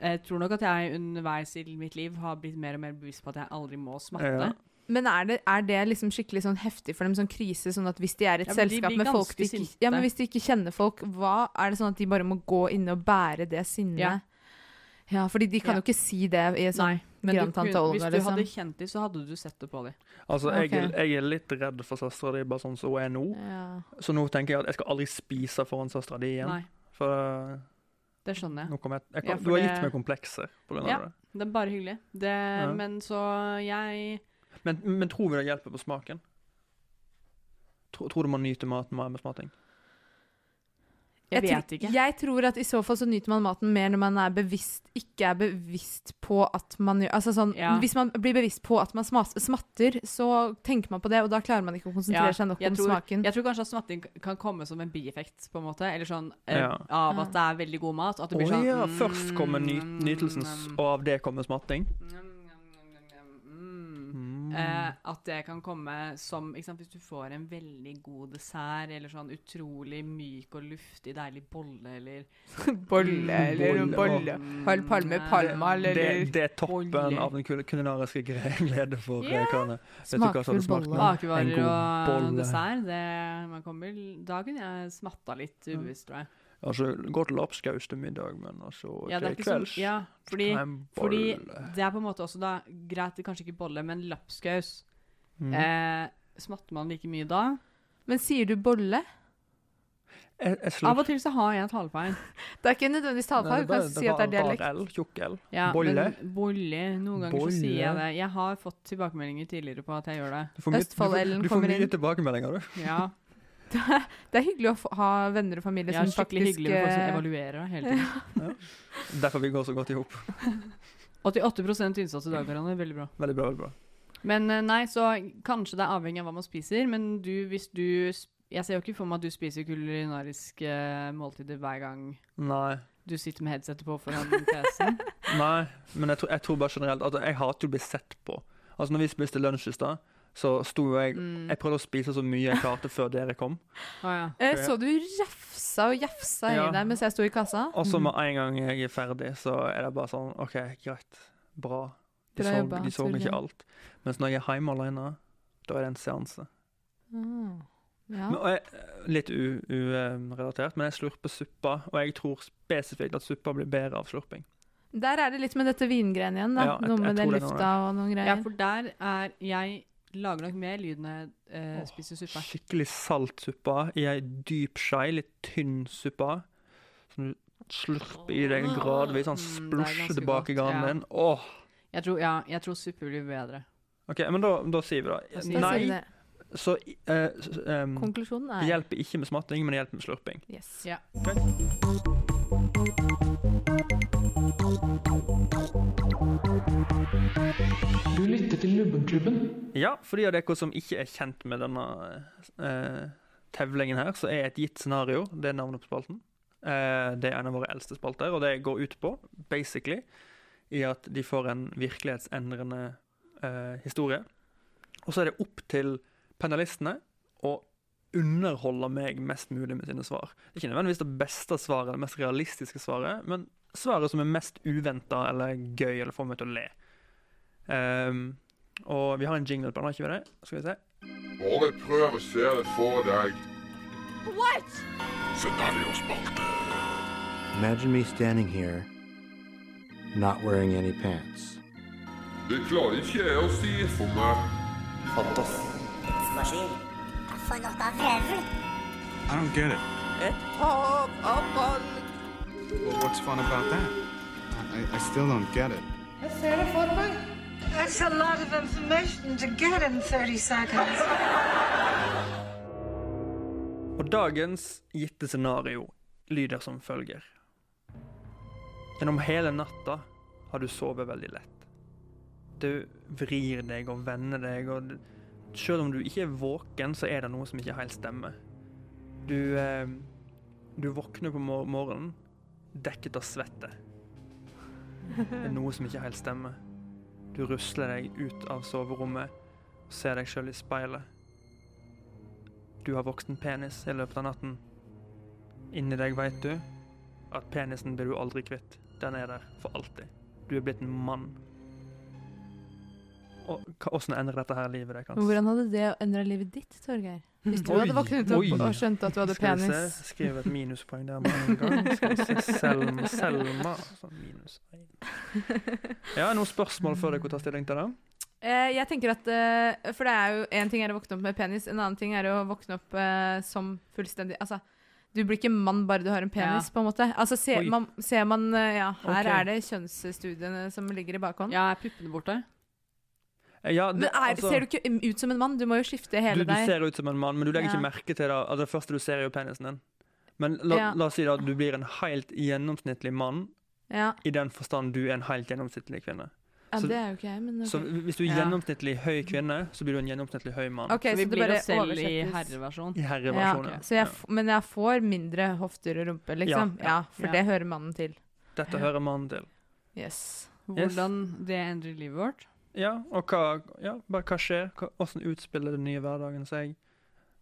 Speaker 7: eh, tror nok at jeg underveis i mitt liv har blitt mer og mer bevisst på at jeg aldri må smatte.
Speaker 5: Ja.
Speaker 6: Men er det, er det liksom skikkelig sånn heftig for dem, sånn krise, sånn at hvis de er i et
Speaker 7: Ja, men de
Speaker 6: selskap
Speaker 7: blir
Speaker 6: med folk de
Speaker 7: ganske
Speaker 6: ikke,
Speaker 7: sinte.
Speaker 6: ja, men hvis de ikke kjenner folk, hva er det sånn at de bare må gå inne og bære det sinnet? Ja.
Speaker 7: Ja.
Speaker 6: fordi de kan
Speaker 7: Ja.
Speaker 6: jo ikke si det i et sånn
Speaker 7: Nei, men du,
Speaker 6: grandtante
Speaker 7: kunne-
Speaker 6: Olga,
Speaker 7: hvis du
Speaker 6: liksom.
Speaker 7: hadde kjent dem, så hadde du sett det på dem.
Speaker 5: Altså, jeg, er-
Speaker 6: Ok.
Speaker 5: jeg er litt redd for søstera di, bare sånn som hun er nå.
Speaker 6: ja.
Speaker 5: Så nå tenker jeg at jeg skal aldri spise foran søstera di igjen.
Speaker 7: Nei,
Speaker 5: For eh,
Speaker 7: det skjønner jeg.
Speaker 5: nå kommer jeg, jeg
Speaker 7: Ja,
Speaker 5: kan,
Speaker 7: for
Speaker 5: Du har
Speaker 7: det-
Speaker 5: gitt meg komplekser på grunn av
Speaker 7: Ja.
Speaker 5: det.
Speaker 7: Det er bare hyggelig. Det, Men så jeg
Speaker 5: Men, men tror vi det hjelper på smaken? Tror, tror du man nyter maten mer med smating?
Speaker 7: Jeg,
Speaker 6: tror-
Speaker 7: vet ikke.
Speaker 6: Jeg tror at i så fall så nyter man maten mer når man er bevisst, ikke er bevisst på at man gjør Altså sånn,
Speaker 7: Ja.
Speaker 6: hvis man blir bevisst på at man smas, smatter, så tenker man på det, og da klarer man ikke å
Speaker 7: Ja,
Speaker 6: konsentrere seg nok
Speaker 7: jeg
Speaker 6: om
Speaker 7: tror-
Speaker 6: smaken.
Speaker 7: Jeg tror kanskje at smatting kan komme som en bieffekt, på en måte. Eller sånn eh,
Speaker 5: Ja.
Speaker 7: av at det er veldig god mat. At det
Speaker 5: Å
Speaker 7: blir sånn
Speaker 5: ja,
Speaker 7: mm,
Speaker 5: først kommer ny,
Speaker 7: mm,
Speaker 5: nytelsen, s- og av det kommer smatting?
Speaker 7: mm, mm, mm, mm, mm.
Speaker 5: Mm.
Speaker 7: Eh, at det kan komme som ikke sant, Hvis du får en veldig god dessert, eller sånn utrolig myk og luftig, deilig bolle, eller
Speaker 6: Bolle
Speaker 5: eller en bolle.
Speaker 6: Pal- palme, palma, eller-
Speaker 5: det, det er toppen
Speaker 7: Bolle.
Speaker 5: av den kul- kulinariske gre- glede for
Speaker 7: Ja.
Speaker 5: yeah. karene. Vet du hva som hadde
Speaker 6: Smakfull
Speaker 5: smakt
Speaker 6: bolle.
Speaker 5: nå? En
Speaker 7: Bakevarer
Speaker 5: god
Speaker 7: og
Speaker 5: bolle.
Speaker 7: dessert, det man kommer Da kunne jeg smatta litt
Speaker 5: Mm.
Speaker 7: ubevisst, tror jeg.
Speaker 5: Altså, gå til lapskaus til middag, men altså
Speaker 7: Ja, det er
Speaker 5: til
Speaker 7: ikke sånn
Speaker 5: kvelds
Speaker 7: Ja, fordi,
Speaker 5: ta en
Speaker 7: fordi
Speaker 5: bolle.
Speaker 7: det er på en måte også da Greit, det er kanskje ikke bolle, men lapskaus.
Speaker 5: Mm.
Speaker 7: Eh, smatter man like mye da?
Speaker 6: Men sier du bolle?
Speaker 5: Jeg, jeg slurper.
Speaker 7: Av og til så har jeg talefeil.
Speaker 6: Det er ikke nødvendigvis
Speaker 5: Nei,
Speaker 6: talefag,
Speaker 5: det
Speaker 6: du
Speaker 5: er
Speaker 6: kan
Speaker 5: bare-
Speaker 6: si at det er
Speaker 5: rar- rar
Speaker 6: dialekt.
Speaker 5: L, tjukk L.
Speaker 7: Ja,
Speaker 5: Bolle?
Speaker 7: men Bolle. Noen ganger
Speaker 5: Bolle.
Speaker 7: så sier jeg det. Jeg har fått tilbakemeldinger tidligere på at jeg gjør det.
Speaker 5: Du får mye-
Speaker 6: Østfold-L-en
Speaker 5: du får- Du
Speaker 6: kommer
Speaker 5: får mye
Speaker 6: inn.
Speaker 5: tilbakemeldinger, du.
Speaker 7: Ja,
Speaker 6: Det er hyggelig å få- ha venner og familie
Speaker 7: jeg er
Speaker 6: som
Speaker 7: skikkelig
Speaker 6: sånn faktisk
Speaker 7: hyggelig med folk som
Speaker 6: eh,
Speaker 7: evaluerer det hele tiden.
Speaker 5: Derfor vi går så godt i hop.
Speaker 7: 88 innsats i dag, Karanne. Veldig bra.
Speaker 5: Veldig bra. veldig bra.
Speaker 7: Men eh, nei, så kanskje det er avhengig av hva man spiser, men du, hvis du sp- Jeg ser jo ikke for meg at du spiser kulinariske eh, måltider hver gang
Speaker 5: Nei,
Speaker 7: du sitter med headsetet på foran PC-en.
Speaker 5: Nei. men jeg, tror- jeg tror bare generelt at jeg hater å bli sett på. Altså, når vi spiste lunsj i stad, så sto jo jeg
Speaker 6: Mm.
Speaker 5: Jeg prøvde å spise så mye jeg klarte før dere kom.
Speaker 7: Å ja.
Speaker 6: eh, Så du refsa og jafsa
Speaker 5: Ja.
Speaker 6: i deg mens jeg Mm. sto i kassa?
Speaker 5: Og så med en gang jeg er ferdig, så er det bare sånn OK, greit. Bra. De
Speaker 6: Bra
Speaker 5: så,
Speaker 6: jobba,
Speaker 5: de så
Speaker 6: Torgeir.
Speaker 5: ikke alt. Mens når jeg er hjemme alene, da er det en seanse.
Speaker 6: Mm. Ja.
Speaker 5: Men, og jeg, litt urelatert, men jeg slurper suppa, og jeg tror spesifikt at suppa blir bedre av slurping.
Speaker 6: Der er det litt med dette vingreiene igjen, da.
Speaker 5: Ja, jeg-
Speaker 6: noe
Speaker 5: jeg
Speaker 6: med den
Speaker 5: tror det er noe
Speaker 6: lufta og noen
Speaker 7: ja,
Speaker 6: greier.
Speaker 7: for der er Jeg lager nok mer lyd når jeg eh,
Speaker 5: Åh,
Speaker 7: spiser suppe.
Speaker 5: Skikkelig salt suppa i ei dyp skei, litt tynn suppa, som du slurper i deg gradvis, sånn
Speaker 7: Mm, det er ganske
Speaker 5: splusjer tilbake i ganen
Speaker 7: godt, ja.
Speaker 5: din. Åh!
Speaker 7: Jeg tror, ja, jeg tror suppe blir bedre.
Speaker 5: OK, men da, da sier vi
Speaker 7: Da
Speaker 5: det.
Speaker 7: sier
Speaker 6: Da
Speaker 7: vi
Speaker 5: Nei,
Speaker 6: sier vi det.
Speaker 5: så eh, s- em,
Speaker 6: Konklusjonen
Speaker 5: det
Speaker 6: er
Speaker 5: hjelper ikke med smatting, men det hjelper med slurping.
Speaker 6: yes.
Speaker 7: Ja.
Speaker 1: Du lytter til Lubbenklubben.
Speaker 5: Ja, for de av dere som ikke er kjent med denne eh, tevlingen her, så er et gitt scenario det er navnet på spalten. Eh, det er en av våre eldste spalter, og det går ut på, basically, i at de får en virkelighetsendrende eh, historie. Og så er det opp til panelistene å underholde meg mest mulig med sine svar. Det er ikke nødvendigvis det beste svaret, det mest realistiske svaret, men svaret som er mest uventa eller gøy, eller får meg til å le. Ehm, og vi har en jingle på den, har ikke vi det? Skal vi se.
Speaker 9: Bare prøv å se det for deg.
Speaker 10: Imagine me standing here, not wearing any pants.
Speaker 9: Det klarer ikke jeg å si for meg.
Speaker 10: That's a lot of information to get in 30 seconds.
Speaker 5: Og dagens gitte scenario lyder som følger. Gjennom hele natta har du sovet veldig lett. Du vrir deg og vender deg, og du- selv om du ikke er våken, så er det noe som ikke helt stemmer. Du, eh, du våkner på mor morgenen, dekket av svette. Det er noe som ikke helt stemmer. Du rusler deg ut av soverommet og ser deg selv i speilet. Du har voksen penis i løpet av natten. Inni deg vet du at penisen blir du aldri kvitt. Den er der for alltid. Du er blitt en mann. Og hva- Hvordan endrer dette her livet deg, Hans?
Speaker 6: Hvordan hadde det endra livet ditt, Torgeir? Hvis du
Speaker 5: Mm. Oi,
Speaker 6: hadde våknet opp
Speaker 5: oi.
Speaker 6: og skjønt at du hadde
Speaker 5: Skal vi se,
Speaker 6: penis?
Speaker 5: Skriv et minuspoeng der med en gang. Skal vi se, Selma, Selma. Så minus en. Ja, noen spørsmål før dere tar stilling til det?
Speaker 6: Eh, jeg tenker at, eh, for det er jo En ting er å våkne opp med penis, en annen ting er å våkne opp eh, som fullstendig Altså, du blir ikke mann bare du har en penis, på en måte. Altså, ser
Speaker 5: Oi.
Speaker 6: man, ser man eh, Ja, her
Speaker 5: Ok.
Speaker 6: er det kjønnsstudiene som ligger i bakhånd.
Speaker 7: Ja, er puppene borte?
Speaker 5: Eh, Ja,
Speaker 6: Men
Speaker 5: det,
Speaker 6: er,
Speaker 5: altså,
Speaker 6: ser du ikke ut som en mann? Du må jo skifte
Speaker 5: du,
Speaker 6: hele
Speaker 5: du
Speaker 6: deg.
Speaker 5: ser ut som en mann, men du legger
Speaker 6: Ja.
Speaker 5: ikke merke til det. Altså, det første du ser, er jo penisen din. Men la,
Speaker 6: Ja.
Speaker 5: la oss si da at du blir en helt gjennomsnittlig mann,
Speaker 6: Ja.
Speaker 5: i den forstand du er en helt gjennomsnittlig kvinne.
Speaker 6: ja,
Speaker 5: Så-
Speaker 6: det er jo ikke jeg, men
Speaker 5: Så
Speaker 6: OK.
Speaker 5: hvis du er
Speaker 7: Ja.
Speaker 5: gjennomsnittlig høy kvinne, så blir du en gjennomsnittlig høy mann.
Speaker 6: Ok,
Speaker 7: Så vi
Speaker 6: det
Speaker 7: blir
Speaker 6: bare
Speaker 7: oss selv i
Speaker 6: oversettes.
Speaker 7: herreversjon.
Speaker 5: I
Speaker 6: Ja,
Speaker 5: herreversjonen.
Speaker 6: så jeg, f- men jeg får mindre hofter og rumpe, liksom?
Speaker 5: Ja,
Speaker 6: Ja,
Speaker 5: ja.
Speaker 6: for
Speaker 7: Ja.
Speaker 6: det hører mannen til.
Speaker 5: Dette hører mannen til.
Speaker 6: Yes.
Speaker 5: Yes.
Speaker 7: Hvordan det endrer livet vårt.
Speaker 5: Ja, og hva, ja, bare hva skjer? Hva, hvordan utspiller den nye hverdagen seg?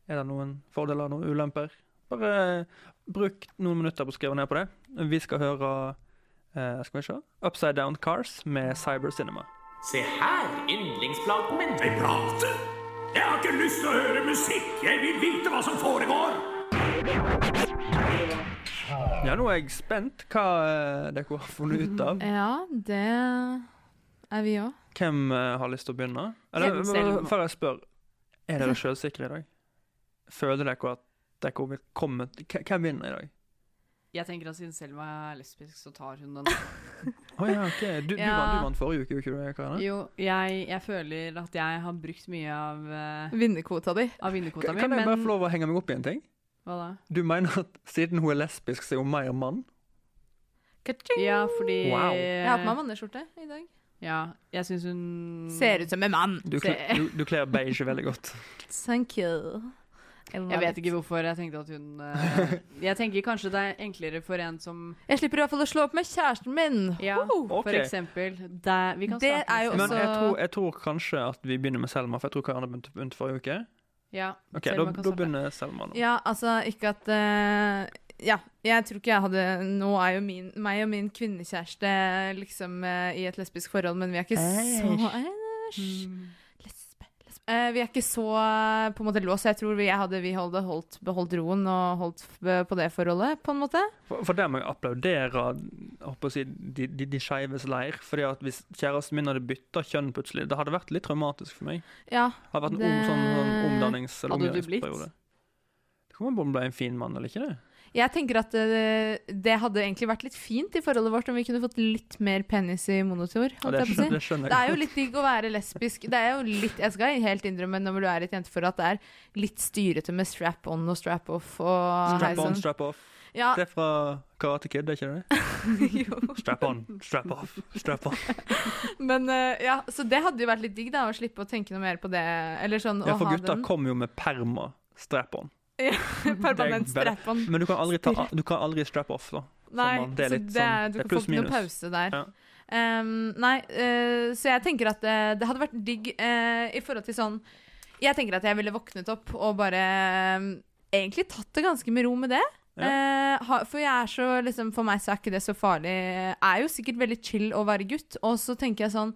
Speaker 5: Er det noen fordeler, noen ulemper? Bare eh, bruk noen minutter på å skrive ned på det. Vi skal høre eh, skal vi se? Upside Down Cars med Cyber Cinema.
Speaker 8: Se her, yndlingsplaten min. Jeg prater! Jeg har ikke lyst til å høre musikk. Jeg vil vite hva som foregår.
Speaker 5: Ja, nå er jeg spent hva eh, dere har funnet ut av.
Speaker 6: Ja, det er vi òg.
Speaker 5: Hvem eh, har lyst til å begynne? Eller, eh,
Speaker 7: Hvem selv?
Speaker 5: før jeg spør, er dere selvsikre i dag? Føler dere at dere vil komme til- Hva- Hvem vinner i dag?
Speaker 7: Jeg tenker at siden Selma er lesbisk, så tar hun den.
Speaker 5: Å ja, OK. Du, du,
Speaker 7: Ja.
Speaker 5: vant, du vant forrige uke, gjorde ikke du det, Karine?
Speaker 7: Jo, jeg, jeg føler at jeg har brukt mye av, eh,
Speaker 6: Vinnerkvota di.
Speaker 7: av vinnerkvota
Speaker 5: Kan
Speaker 7: mi,
Speaker 5: kan jeg bare
Speaker 7: men
Speaker 5: få lov å henge meg opp i en ting?
Speaker 7: Hva da?
Speaker 5: Du mener at siden hun er lesbisk, så er hun mer mann?
Speaker 6: Ka-ching!
Speaker 7: Ja, fordi eh,
Speaker 5: Wow.
Speaker 6: Jeg har på meg manneskjorte i dag.
Speaker 7: Ja, jeg syns hun
Speaker 6: Ser ut som en mann.
Speaker 5: Du, kle- du, du kler beige veldig godt.
Speaker 6: Thank you.
Speaker 7: Jeg vet ikke hvorfor jeg tenkte at hun eh, Jeg tenker kanskje det er enklere for en som
Speaker 6: Jeg slipper i hvert fall å slå opp med kjæresten min.
Speaker 7: Ja,
Speaker 5: Ok.
Speaker 7: for eksempel. Der, vi kan
Speaker 6: Det
Speaker 7: starte med
Speaker 6: er jo
Speaker 7: Selma.
Speaker 5: Men jeg
Speaker 6: også-
Speaker 5: tror, jeg tror kanskje at vi begynner med Selma, for jeg tror Karine begynte, begynte forrige uke.
Speaker 7: Ja,
Speaker 5: Ok,
Speaker 7: Selma
Speaker 5: Da,
Speaker 7: kan
Speaker 5: da
Speaker 7: starte.
Speaker 5: begynner Selma nå.
Speaker 6: Ja, altså, ikke at eh, Ja, jeg tror ikke jeg hadde Nå er jo min, meg og min kvinnekjæreste liksom eh, i et lesbisk forhold, men vi er ikke så Æsj.
Speaker 7: Mm.
Speaker 6: Lesbe, lesbe. Eh, vi er ikke så eh, på en måte låst. så Jeg tror vi, jeg hadde, vi hadde holdt, beholdt roen og holdt f- på det forholdet, på en måte.
Speaker 5: For, for der må jeg applaudere jeg holdt på å si, de, de, de skeives leir. fordi at hvis kjæresten min hadde bytta kjønn plutselig, det hadde vært litt traumatisk for meg.
Speaker 6: Ja,
Speaker 5: Det hadde vært en om,
Speaker 6: Det-
Speaker 5: sånn, sånn omdannings- eller
Speaker 7: Hadde du blitt?
Speaker 5: omgjøringsperiode. Det kommer an på om du er en fin mann eller ikke. det.
Speaker 6: Jeg tenker at eh, det hadde egentlig vært litt fint i forholdet vårt om vi kunne fått litt mer penis i monotor.
Speaker 5: Og
Speaker 6: holdt
Speaker 5: det,
Speaker 6: jeg på å si.
Speaker 5: skjønner, det skjønner
Speaker 6: Det er
Speaker 5: jeg.
Speaker 6: jo litt digg å være lesbisk. Det er jo litt, Jeg skal helt innrømme når du er i et jenteforhold at det er litt styrete med strap on og strap off. Og
Speaker 5: Strap on,
Speaker 6: heisann.
Speaker 5: strap off.
Speaker 6: Ja,
Speaker 5: Det er fra Karate Kid, er ikke det?
Speaker 6: jo.
Speaker 5: Strap on, strap off, strap on.
Speaker 6: Men eh, ja, Så det hadde jo vært litt digg, da, å slippe å tenke noe mer på det. Eller sånn
Speaker 5: Ja,
Speaker 6: å
Speaker 5: for
Speaker 6: ha
Speaker 5: gutta
Speaker 6: den
Speaker 5: kommer jo med perma strap on.
Speaker 6: permanent
Speaker 5: det er bare-
Speaker 6: strap on.
Speaker 5: Men du kan aldri, ta, du kan aldri strap off, da.
Speaker 6: Nei,
Speaker 5: man- det er
Speaker 6: så
Speaker 5: litt
Speaker 6: det,
Speaker 5: sånn-
Speaker 6: du
Speaker 5: det er
Speaker 6: kan
Speaker 5: pluss
Speaker 6: få ikke noen
Speaker 5: minus.
Speaker 6: pause der.
Speaker 5: Ja.
Speaker 6: Ehm, nei, eh, så jeg tenker at eh, det hadde vært digg eh, i forhold til sånn ehm, Jeg tenker at jeg ville våknet opp og bare eh, egentlig tatt det ganske med ro med det. Eh, ha- for jeg er så, liksom, for meg så er ikke det så farlig. Jeg er jo sikkert veldig chill å være gutt. Og så tenker jeg sånn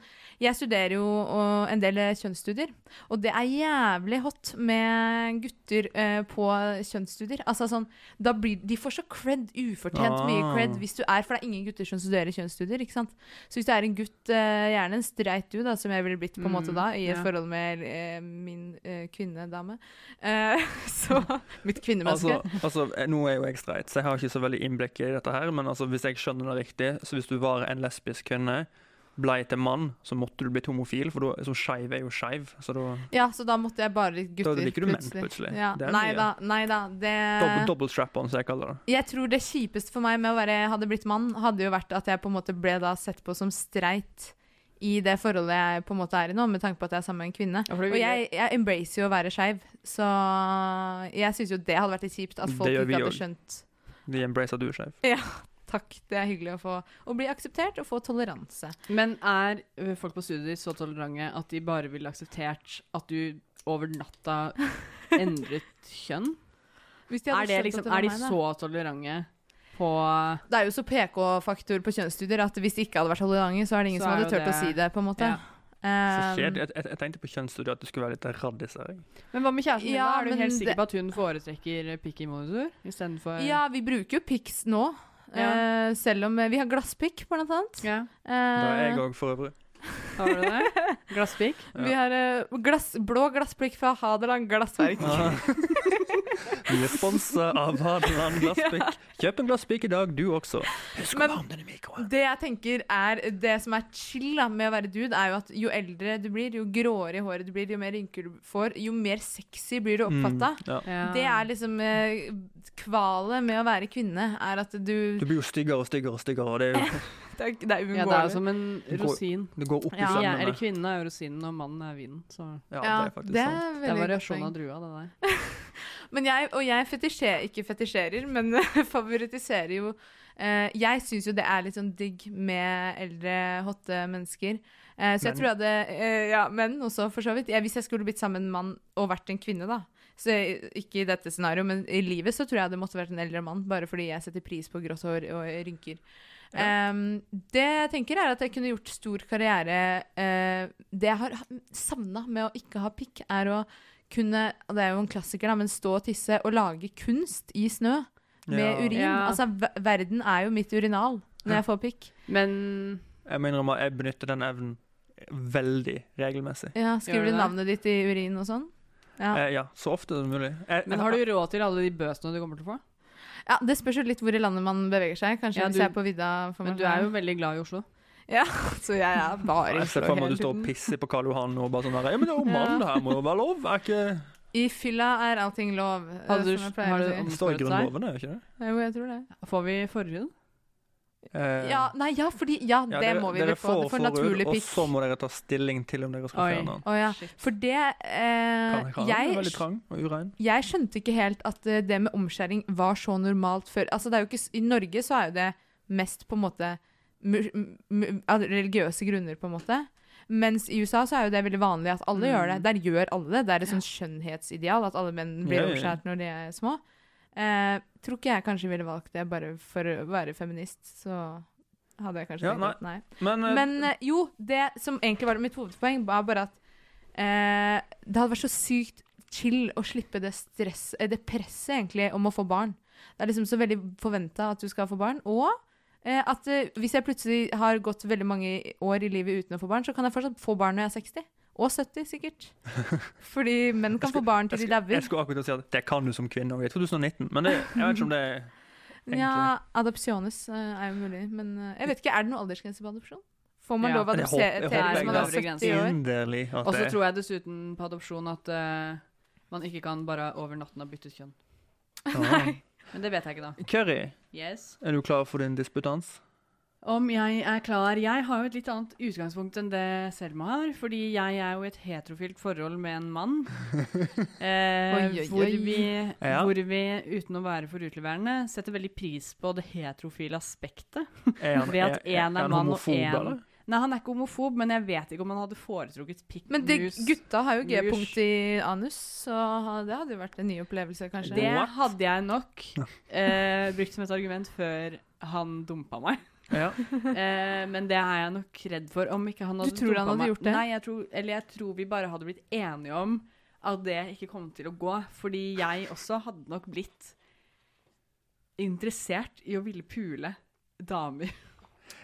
Speaker 6: Jeg studerer jo og, en del eh, kjønnsstudier. Og det er jævlig hot med gutter eh, på kjønnsstudier. Altså sånn da blir, De får så cred, ufortjent mye
Speaker 5: Ah.
Speaker 6: cred, hvis du er For det er ingen gutter som studerer kjønnsstudier, ikke sant. Så hvis du er en gutt, eh, gjerne en streit du, da, som jeg ville blitt på en måte da, i et
Speaker 7: ja.
Speaker 6: forhold med eh, min eh, kvinnedame, eh, så Mitt kvinnemenneske.
Speaker 5: Altså, altså, eh, nå er jo jeg streit, så jeg har ikke så veldig innblikk i dette her, men altså, hvis jeg skjønner det riktig, så hvis du var en lesbisk kvinne, blei til mann, så måtte du blitt homofil, for da, så skeiv er jo skeiv, så da
Speaker 6: Ja, så da måtte jeg bare litt gutter.
Speaker 5: Da liker du menn, plutselig.
Speaker 6: Ja.
Speaker 5: Det er
Speaker 6: Nei
Speaker 5: mye.
Speaker 6: da, nei da. Det
Speaker 5: Double, double strap-on, som jeg kaller det.
Speaker 6: Jeg tror det kjipeste for meg med å være, hadde blitt mann, hadde jo vært at jeg på en måte ble da sett på som streit i det forholdet jeg på en måte er i nå, med tanke på at jeg er sammen med en kvinne.
Speaker 7: for det
Speaker 6: Og
Speaker 7: vil
Speaker 6: jeg, jeg embracer jo å være skeiv, så jeg syns jo det hadde vært litt kjipt at
Speaker 5: Det
Speaker 6: folk
Speaker 5: gjør vi
Speaker 6: ikke hadde
Speaker 5: også.
Speaker 6: skjønt
Speaker 5: Vi embracer at du er skeiv.
Speaker 6: Takk, det er hyggelig å få å bli akseptert og få toleranse.
Speaker 7: Men er ø, folk på studier så tolerante at de bare ville akseptert at du over natta endret kjønn?
Speaker 6: Hvis
Speaker 7: Er,
Speaker 6: skjønt
Speaker 7: det
Speaker 6: at
Speaker 7: liksom,
Speaker 6: var
Speaker 7: er de
Speaker 6: meg, da.
Speaker 7: så tolerante på
Speaker 6: Det er jo så PK-faktor på kjønnsstudier at hvis det ikke hadde vært tolerante, så er det ingen
Speaker 7: Så
Speaker 6: som
Speaker 7: er
Speaker 6: hadde
Speaker 7: jo
Speaker 6: turt å
Speaker 7: det-
Speaker 6: si det, på en måte.
Speaker 7: Ja.
Speaker 5: Så
Speaker 6: Um,
Speaker 5: kjedelig. Jeg, jeg, jeg tenkte på kjønnsstudiet at du skulle være litt raddis her. jeg.
Speaker 7: Men hva med kjæresten din?
Speaker 6: Ja,
Speaker 7: da? er du
Speaker 6: men
Speaker 7: helt sikker
Speaker 6: det-
Speaker 7: på at hun foretrekker pikk i monitor istedenfor
Speaker 6: Ja, vi bruker jo pics nå.
Speaker 7: Ja.
Speaker 6: eh, selv om eh, vi har glasspikk, blant annet.
Speaker 7: ja.
Speaker 5: Da er jeg
Speaker 6: Eh,
Speaker 5: òg, for øvrig.
Speaker 7: Har du det? Glasspikk?
Speaker 5: ja.
Speaker 6: Vi har eh, glass, blå glasspikk fra Hadeland Glassverk.
Speaker 5: Ah. Vi er sponsa Ah. av Hadeland Glasspikk. Kjøp en glasspikk i dag, du også. Husk å
Speaker 6: Men-
Speaker 5: varme den i mikroen.
Speaker 6: Det jeg tenker er Det som er chill da, med å være dude, er jo at jo eldre du blir, jo gråere i håret du blir, jo mer rynker du får, jo mer sexy blir du oppfatta.
Speaker 5: Mm, Ja.
Speaker 7: Mm. Ja.
Speaker 6: Det er liksom eh, kvalet med å være kvinne, er at du
Speaker 5: Du blir jo styggere og styggere og styggere, og det, er jo,
Speaker 6: Det er, det er
Speaker 7: ja, det er jo som en
Speaker 5: Går-
Speaker 7: rosin.
Speaker 5: det går opp i
Speaker 6: Ja.
Speaker 7: Ja, eller
Speaker 5: sømmene.
Speaker 7: kvinnen er jo rosinen, og mannen er vinen. Så
Speaker 5: Ja, det
Speaker 6: Ja,
Speaker 5: er faktisk
Speaker 6: det
Speaker 5: sant.
Speaker 6: er
Speaker 7: det er
Speaker 6: veldig godt
Speaker 7: variasjon
Speaker 6: poeng.
Speaker 7: av drua, det der.
Speaker 6: Men jeg, og jeg fetisjer, ikke fetisjerer, men favoritiserer jo eh, Jeg syns jo det er litt sånn digg med eldre, hotte mennesker. Eh, så jeg
Speaker 5: Menn.
Speaker 6: tror jeg hadde eh, Ja, menn også, for så vidt. Jeg, hvis jeg skulle blitt sammen med en mann og vært en kvinne, da. Så jeg, ikke i dette scenarioet, men i livet så tror jeg det måtte vært en eldre mann, bare fordi jeg setter pris på grått hår og rynker. Ehm, det jeg tenker er at jeg kunne gjort stor karriere eh, Det jeg har savna med å ikke ha pikk, er å kunne og Det er jo en klassiker, da, men stå og tisse og lage kunst i snø med
Speaker 5: Ja.
Speaker 6: urin.
Speaker 7: Ja.
Speaker 6: Altså, ver- verden er jo mitt urinal når jeg får pikk.
Speaker 7: Men
Speaker 5: Jeg må innrømme at jeg benytter den evnen veldig regelmessig.
Speaker 6: Ja,
Speaker 7: Gjør
Speaker 6: Skriver
Speaker 7: du
Speaker 6: du
Speaker 7: det?
Speaker 6: navnet ditt i urin og sånn? Ja.
Speaker 5: Eh, ja, så ofte som mulig. Eh, Jeg,
Speaker 7: Men har du råd til alle de bøsene du kommer til å få?
Speaker 6: ja, Det spørs jo litt hvor i landet man beveger seg. Kanskje
Speaker 7: Ja,
Speaker 6: hvis
Speaker 7: du-
Speaker 6: jeg er på vidda. får
Speaker 7: Men
Speaker 6: man
Speaker 7: du er
Speaker 6: sånn-
Speaker 7: jo veldig glad i Oslo.
Speaker 6: Så jeg er bare i
Speaker 5: jeg ser
Speaker 6: Oslo
Speaker 5: for meg
Speaker 6: hele
Speaker 5: at du står og
Speaker 6: tiden.
Speaker 5: pisser på Karl Johan og bare sånn der, ja, men det er jo mann, det her må jo være lov. Er ikke
Speaker 6: I fylla er allting lov. eh,
Speaker 7: Hadde du-
Speaker 6: som jeg pleier
Speaker 7: har
Speaker 6: å
Speaker 7: du-
Speaker 6: si.
Speaker 5: Det står i Grunnloven, er det ikke det?
Speaker 6: Jo, jeg tror det.
Speaker 7: Får vi forhud?
Speaker 5: Eh,
Speaker 6: Ja, nei, ja, fordi Ja,
Speaker 5: ja,
Speaker 6: det må vi
Speaker 5: dere
Speaker 6: vel få.
Speaker 5: får
Speaker 6: Du får
Speaker 5: forhud,
Speaker 6: naturlig
Speaker 5: Og
Speaker 6: pikk.
Speaker 5: så må dere ta stilling til om dere skal
Speaker 7: Oi.
Speaker 5: fjerne den.
Speaker 6: Å ja.
Speaker 7: Shit.
Speaker 6: For det eh,
Speaker 5: Kan, kan, den er
Speaker 6: jeg,
Speaker 5: veldig trang og urein.
Speaker 6: jeg skjønte ikke helt at eh, det med omskjæring var så normalt før. Altså, det er jo ikke, s- I Norge så er jo det mest på en måte mu- mu- av religiøse grunner, på en måte. Mens i USA så er jo det veldig vanlig at alle gjør det. Der gjør alle det. Det er et sånt skjønnhetsideal at alle menn blir
Speaker 5: Mm. Ja, ja, ja.
Speaker 6: omskjært når de er små. Eh, tror ikke jeg kanskje ville valgt det bare for å være feminist, så hadde jeg kanskje
Speaker 5: Ja,
Speaker 6: tenkt at nei.
Speaker 5: Men, eh,
Speaker 6: Men eh, jo, det som egentlig var mitt hovedpoeng, var bare at eh, det hadde vært så sykt chill å slippe det stress, eh, det presset egentlig om å få barn. Det er liksom så veldig forventa at du skal få barn. Og eh, at eh, hvis jeg plutselig har gått veldig mange år i livet uten å få barn, så kan jeg fortsatt få barn når jeg er 60. Og 70, sikkert. Fordi menn kan få barn til de
Speaker 5: jeg
Speaker 6: dauer.
Speaker 5: skulle akkurat til å si at det kan du som kvinne også i 2019, men det, jeg vet ikke om det er egentlig.
Speaker 6: Ja, adopsjones eh, er jo mulig, men eh, jeg vet ikke, er det noen aldersgrense på adopsjon? Får man
Speaker 7: Ja,
Speaker 6: lov å
Speaker 5: det håper- jeg
Speaker 6: adoptere til
Speaker 7: håper
Speaker 6: hvis man
Speaker 7: jeg
Speaker 6: er
Speaker 7: da.
Speaker 6: 70 år?
Speaker 5: inderlig at
Speaker 7: Og så
Speaker 5: det
Speaker 7: tror jeg dessuten på adopsjon at eh, man ikke kan bare over natten ha byttet kjønn.
Speaker 5: Ja.
Speaker 7: Men det vet jeg ikke, da.
Speaker 5: Curry,
Speaker 7: Yes.
Speaker 5: er du klar for din disputans?
Speaker 7: Om jeg er klar Jeg har jo et litt annet utgangspunkt enn det Selma har. Fordi jeg er jo i et heterofilt forhold med en mann. Eh,
Speaker 6: Oi, oi,
Speaker 7: Hvor,
Speaker 6: oi.
Speaker 7: vi,
Speaker 5: Ja.
Speaker 7: hvor vi, uten å være for utleværende, setter veldig pris på det heterofile aspektet.
Speaker 5: Er
Speaker 7: Ved at én er,
Speaker 5: han
Speaker 7: mann og
Speaker 5: homofob,
Speaker 7: én
Speaker 5: eller?
Speaker 7: Nei, han er ikke homofob, men jeg vet ikke om han hadde foretrukket pikk,
Speaker 6: Men det,
Speaker 7: mus
Speaker 6: gutta har jo
Speaker 7: mus.
Speaker 6: G-punkt i anus, så ha- det hadde jo vært en ny opplevelse, kanskje.
Speaker 7: Det
Speaker 5: What?
Speaker 7: hadde jeg nok eh, brukt som et argument før han dumpa meg.
Speaker 5: Ja.
Speaker 7: Eh, men det er jeg nok redd for. Om ikke han hadde
Speaker 6: Du tror han
Speaker 7: dumpa
Speaker 6: hadde
Speaker 7: meg.
Speaker 6: gjort det?
Speaker 7: Nei, jeg tror, eller jeg tror vi bare hadde blitt enige om at det ikke kom til å gå. Fordi jeg også hadde nok blitt interessert i å ville pule damer.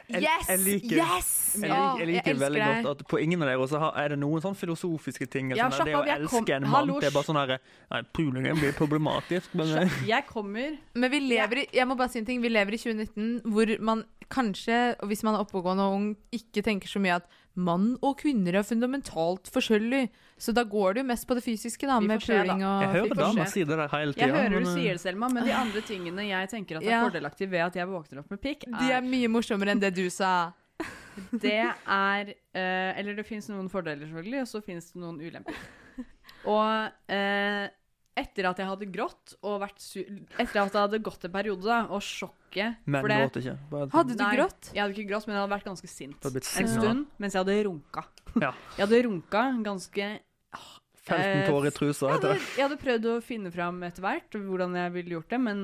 Speaker 5: Jeg,
Speaker 6: Yes!
Speaker 5: jeg liker,
Speaker 6: yes!
Speaker 5: Jeg,
Speaker 6: Ja,
Speaker 5: liker, jeg liker
Speaker 6: elsker
Speaker 5: veldig
Speaker 6: deg.
Speaker 5: godt at på ingen av dere også har, er det noen sånn filosofiske ting. eller
Speaker 7: Ja,
Speaker 5: sånn der,
Speaker 7: slapp av,
Speaker 5: det å
Speaker 7: jeg kom-
Speaker 5: elske en mann
Speaker 7: Hallo,
Speaker 5: det er bare sånn her Nei, pulingen blir problematisk, men
Speaker 7: Så jeg kommer
Speaker 6: Men vi lever i, jeg må bare si en ting, vi lever i 2019 hvor man kanskje, og hvis man er oppegående og ung, ikke tenker så mye at mann og kvinner er fundamentalt forskjellig. Så da går det jo mest på det fysiske, da,
Speaker 7: Vi
Speaker 6: med
Speaker 7: får se, da.
Speaker 6: puling og
Speaker 5: jeg hører
Speaker 7: får
Speaker 5: damer
Speaker 7: se.
Speaker 5: si det der hele tida.
Speaker 7: Jeg hører du
Speaker 5: men, eh,
Speaker 7: sier det, Selma, men de andre tingene jeg tenker at er
Speaker 6: Ja.
Speaker 7: fordelaktig ved at jeg våkner opp med pikk,
Speaker 6: De er mye morsommere enn det du sa.
Speaker 7: Det er eh, Eller det fins noen fordeler, selvfølgelig, og så fins det noen ulemper. Og eh, etter at jeg hadde grått, og vært su etter at det hadde gått en periode, da, og sjokket
Speaker 5: Menn
Speaker 7: for det,
Speaker 5: gråter ikke. Bare,
Speaker 6: Hadde du
Speaker 7: Nei.
Speaker 6: grått?
Speaker 7: Jeg hadde ikke grått, men jeg hadde vært ganske sint
Speaker 5: hadde blitt
Speaker 7: en
Speaker 5: sint, ja.
Speaker 7: stund mens jeg hadde runka.
Speaker 5: Ja.
Speaker 7: Jeg hadde runka ganske
Speaker 5: 15
Speaker 7: eh,
Speaker 5: tårer i trusa.
Speaker 7: jeg
Speaker 5: heter
Speaker 7: hadde,
Speaker 5: det.
Speaker 7: jeg hadde prøvd å finne fram etter hvert hvordan jeg ville gjort det, men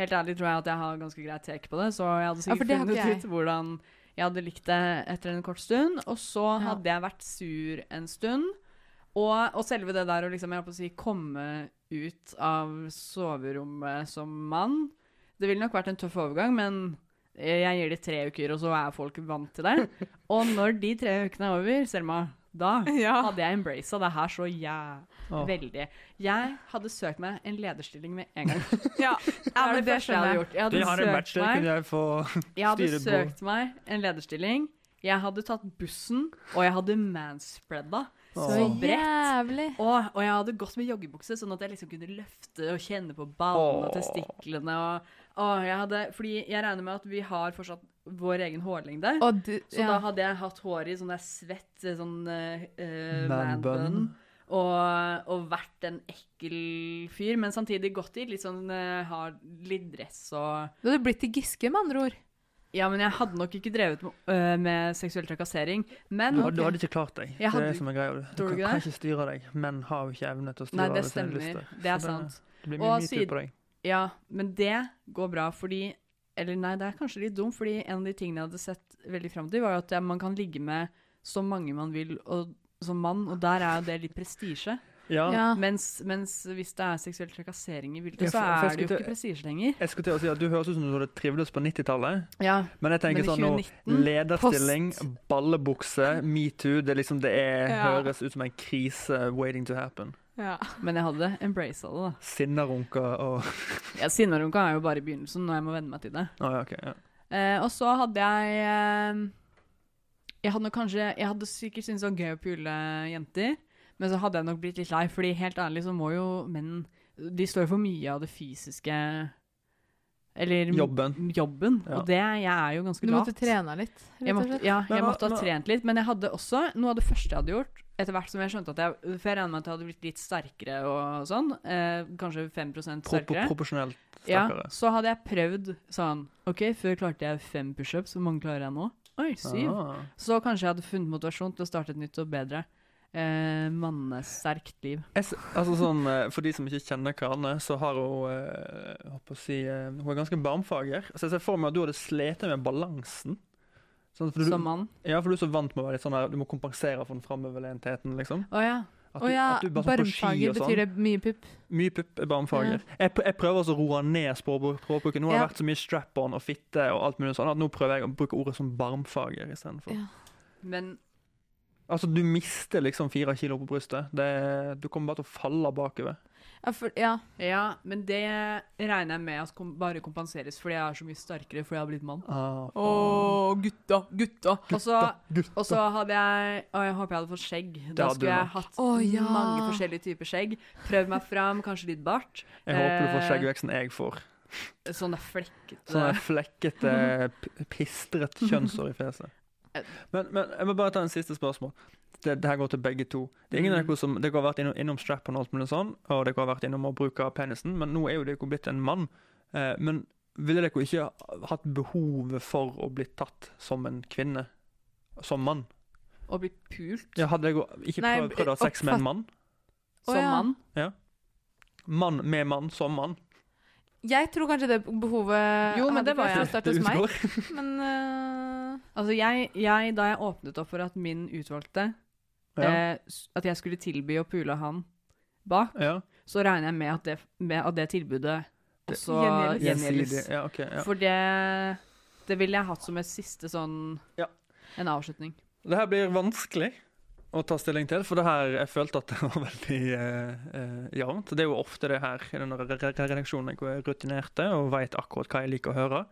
Speaker 7: helt ærlig tror jeg at jeg har ganske greit tek på det, så jeg hadde
Speaker 6: Ja, for
Speaker 7: sikkert
Speaker 6: det har
Speaker 7: funnet
Speaker 6: ikke jeg.
Speaker 7: ut hvordan jeg hadde likt det etter en kort stund. Og så
Speaker 6: Ja.
Speaker 7: hadde jeg vært sur en stund. Og, og selve det der å liksom, jeg holdt på å si, komme ut av soverommet som mann Det ville nok vært en tøff overgang, men jeg gir det tre uker, og så er folk vant til det. Og når de tre ukene er over, Selma, da hadde jeg embracet det her så jævlig.
Speaker 5: Åh.
Speaker 7: Veldig. Jeg hadde søkt meg en lederstilling med en gang.
Speaker 6: Ja,
Speaker 7: Det er
Speaker 6: men
Speaker 7: det
Speaker 6: det
Speaker 7: første jeg hadde
Speaker 6: skjønner jeg.
Speaker 7: gjort. Jeg
Speaker 5: Vi har en
Speaker 7: hadde,
Speaker 5: match
Speaker 7: søkt
Speaker 5: der,
Speaker 7: meg,
Speaker 5: kunne jeg få
Speaker 7: jeg hadde
Speaker 5: styre på.
Speaker 7: søkt meg en lederstilling. Jeg hadde tatt bussen, og jeg hadde manspreada.
Speaker 5: Åh.
Speaker 7: Så bredt.
Speaker 6: Jævlig.
Speaker 7: Og, og jeg hadde gått med joggebukse, sånn at jeg liksom kunne løfte og kjenne på ballene og
Speaker 5: Åh.
Speaker 7: testiklene. Og, og jeg hadde, fordi jeg regner med at vi har fortsatt vår egen hårlengde.
Speaker 6: Og du,
Speaker 7: Så da
Speaker 6: ja.
Speaker 7: hadde jeg hatt håret i sånn der svett sånn eh, eh,
Speaker 5: Man
Speaker 7: man
Speaker 5: bun.
Speaker 7: bun. Og, og vært en ekkel fyr, men samtidig gått i litt sånn eh, har litt dress og
Speaker 6: Du hadde blitt til Giske, med andre ord.
Speaker 7: Ja, men jeg hadde nok ikke drevet med, eh, med seksuell trakassering. Men
Speaker 5: Du hadde, du hadde ikke klart deg. Det
Speaker 7: Jeg
Speaker 5: er
Speaker 7: hadde-
Speaker 5: det som er greia. Du,
Speaker 7: Tror du
Speaker 5: kan,
Speaker 7: ikke
Speaker 5: kan
Speaker 7: det?
Speaker 5: ikke styre deg. Menn har jo ikke evne til å styre
Speaker 7: Nei, det
Speaker 5: over sine
Speaker 7: stemmer.
Speaker 5: lyster.
Speaker 7: Det er
Speaker 5: Så
Speaker 7: sant.
Speaker 5: Det blir
Speaker 7: Og
Speaker 5: mye metoo
Speaker 7: siden-
Speaker 5: på deg.
Speaker 7: Ja, men det går bra fordi Eller nei, det er kanskje litt dumt, fordi en av de tingene jeg hadde sett veldig fram til, var jo at eh, man kan ligge med så mange man vil og, som mann, og der er jo det litt prestisje.
Speaker 5: Ja.
Speaker 6: Ja.
Speaker 7: Mens, mens hvis det er seksuell trakassering i
Speaker 5: Ja,
Speaker 7: bildet,
Speaker 5: for-
Speaker 7: så
Speaker 5: for jeg
Speaker 7: er det
Speaker 5: skulle
Speaker 7: jo ikke
Speaker 5: til-
Speaker 7: prestisje lenger.
Speaker 5: Jeg skulle til å si at Du høres ut som du hadde trivdes på 90-tallet,
Speaker 7: Ja,
Speaker 5: men jeg tenker
Speaker 7: Men i
Speaker 5: sånn nå
Speaker 7: 2019,
Speaker 5: Lederstilling, ballebukse, metoo. Det er liksom det er,
Speaker 6: Ja.
Speaker 5: høres ut som en krise waiting to happen.
Speaker 6: Ja.
Speaker 7: Men jeg hadde embracet det, da.
Speaker 5: Sinnarunker og
Speaker 7: Ja, Sinnarunka er jo bare i begynnelsen, og jeg må venne meg til det.
Speaker 5: Å ja, OK. Ja.
Speaker 7: Eh, og så hadde jeg eh, Jeg hadde nok kanskje Jeg hadde sikkert syntes det var gøy å pule jenter, men så hadde jeg nok blitt litt lei, fordi helt ærlig så må jo menn De står for mye av det fysiske Eller m-
Speaker 5: Jobben.
Speaker 7: jobben
Speaker 5: Ja.
Speaker 7: Og det Jeg er jo ganske
Speaker 6: Du måtte
Speaker 7: lat.
Speaker 6: trene litt, rett
Speaker 7: Jeg
Speaker 6: og
Speaker 7: måtte,
Speaker 6: slett.
Speaker 7: ja,
Speaker 5: Men
Speaker 7: jeg
Speaker 5: hva-
Speaker 7: måtte ha
Speaker 5: hva-
Speaker 7: trent litt, men jeg hadde også noe av det første jeg hadde gjort, etter hvert som jeg skjønte at jeg For jeg regner med at jeg hadde blitt litt sterkere og sånn, eh, kanskje 5
Speaker 5: Pro
Speaker 7: sterkere.
Speaker 5: pro- Proporsjonelt
Speaker 7: ja,
Speaker 5: sterkere.
Speaker 7: så hadde jeg prøvd sånn OK, før klarte jeg fem pushups, hvor mange klarer jeg nå? Oi, syv.
Speaker 5: Ah.
Speaker 7: Så kanskje jeg hadde funnet motivasjon til å starte et nytt og bedre eh, mannesterkt liv.
Speaker 5: Jeg, s- altså sånn, eh, for de som ikke kjenner Karne, så har hun eh, jeg holdt på å si, eh, Hun er ganske barmfager. Så jeg ser for meg at du hadde slitt med balansen. Sånn, for du,
Speaker 7: Som mann.
Speaker 5: Ja, for du er så vant med å være litt sånn her, du må kompensere for den framoverlentheten. Liksom.
Speaker 7: Å ja.
Speaker 5: At du,
Speaker 6: Å ja,
Speaker 5: at du bare sånn på ski
Speaker 6: barmfager
Speaker 5: og
Speaker 6: betyr
Speaker 5: sånn.
Speaker 6: det mye pupp.
Speaker 5: Mye pupp er barmfager. Jeg, pr- jeg prøver også å roe ned språkbru- språkbruken. Nå har det
Speaker 6: Ja.
Speaker 5: vært så mye strap-on og fitte og alt mulig sånn at nå prøver jeg å bruke ordet som barmfager istedenfor.
Speaker 6: Ja.
Speaker 7: Men
Speaker 5: Altså, du mister liksom fire kilo på brystet. Det, du kommer bare til å falle bakover.
Speaker 6: Ja, for, ja.
Speaker 7: ja, men det regner jeg med at kom, bare kompenseres fordi jeg er så mye sterkere fordi jeg har blitt mann.
Speaker 5: Ah,
Speaker 6: Å, gutta, gutta.
Speaker 7: Og så
Speaker 5: gutta.
Speaker 7: Og så hadde jeg Å, jeg håper jeg hadde fått skjegg. Da
Speaker 5: hadde du
Speaker 7: skulle jeg
Speaker 5: nok.
Speaker 7: hatt
Speaker 6: Å, ja.
Speaker 7: mange forskjellige typer skjegg. Prøvd meg fram, kanskje litt bart.
Speaker 5: Jeg håper du får
Speaker 7: Eh,
Speaker 5: skjeggveksten jeg får.
Speaker 7: Sånn der flekkete
Speaker 5: Sånn der flekkete, p- pistret kjønnshår i fjeset. Men, men jeg må bare ta en siste spørsmål. Det, det her går til begge to. Det er ingen av
Speaker 6: Mm.
Speaker 5: dere som, Dere har vært innom, innom strap-on og alt mulig sånn, og dere har vært innom å bruke penisen, men nå er jo dere blitt en mann. Eh, men ville dere ikke ha- hatt behovet for å bli tatt som en kvinne? Som mann.
Speaker 7: Å bli pult
Speaker 5: Ja, hadde jeg go- ikke
Speaker 6: Nei,
Speaker 5: prøvd, prøvd å ha sex med en mann?
Speaker 7: som
Speaker 6: Å, ja.
Speaker 7: mann.
Speaker 5: Mann med mann som mann.
Speaker 6: Jeg tror kanskje det behovet
Speaker 7: Jo, men
Speaker 6: hadde
Speaker 7: det
Speaker 6: ikke
Speaker 7: var
Speaker 6: vært
Speaker 7: jeg.
Speaker 6: så sterkt hos meg.
Speaker 5: utgår.
Speaker 6: Men øh,
Speaker 7: Altså jeg, jeg, da jeg åpnet opp for at min utvalgte
Speaker 5: Ja,
Speaker 7: eh, s- At jeg skulle tilby å pule han bak,
Speaker 5: ja.
Speaker 7: så regner jeg med at det, med at det tilbudet også
Speaker 6: Gjengjeldes.
Speaker 7: gjengjeldes.
Speaker 5: Gjensidig. Ja, ok, ja.
Speaker 7: For det, det ville jeg hatt som et siste sånn
Speaker 5: Ja.
Speaker 7: En avslutning.
Speaker 5: Det her blir vanskelig å ta stilling til, for det her, jeg følte at det var veldig eh, eh, jevnt. Det er jo ofte det her i denne re- re- redaksjonen hvor jeg er rutinerte og veit akkurat hva jeg liker å høre.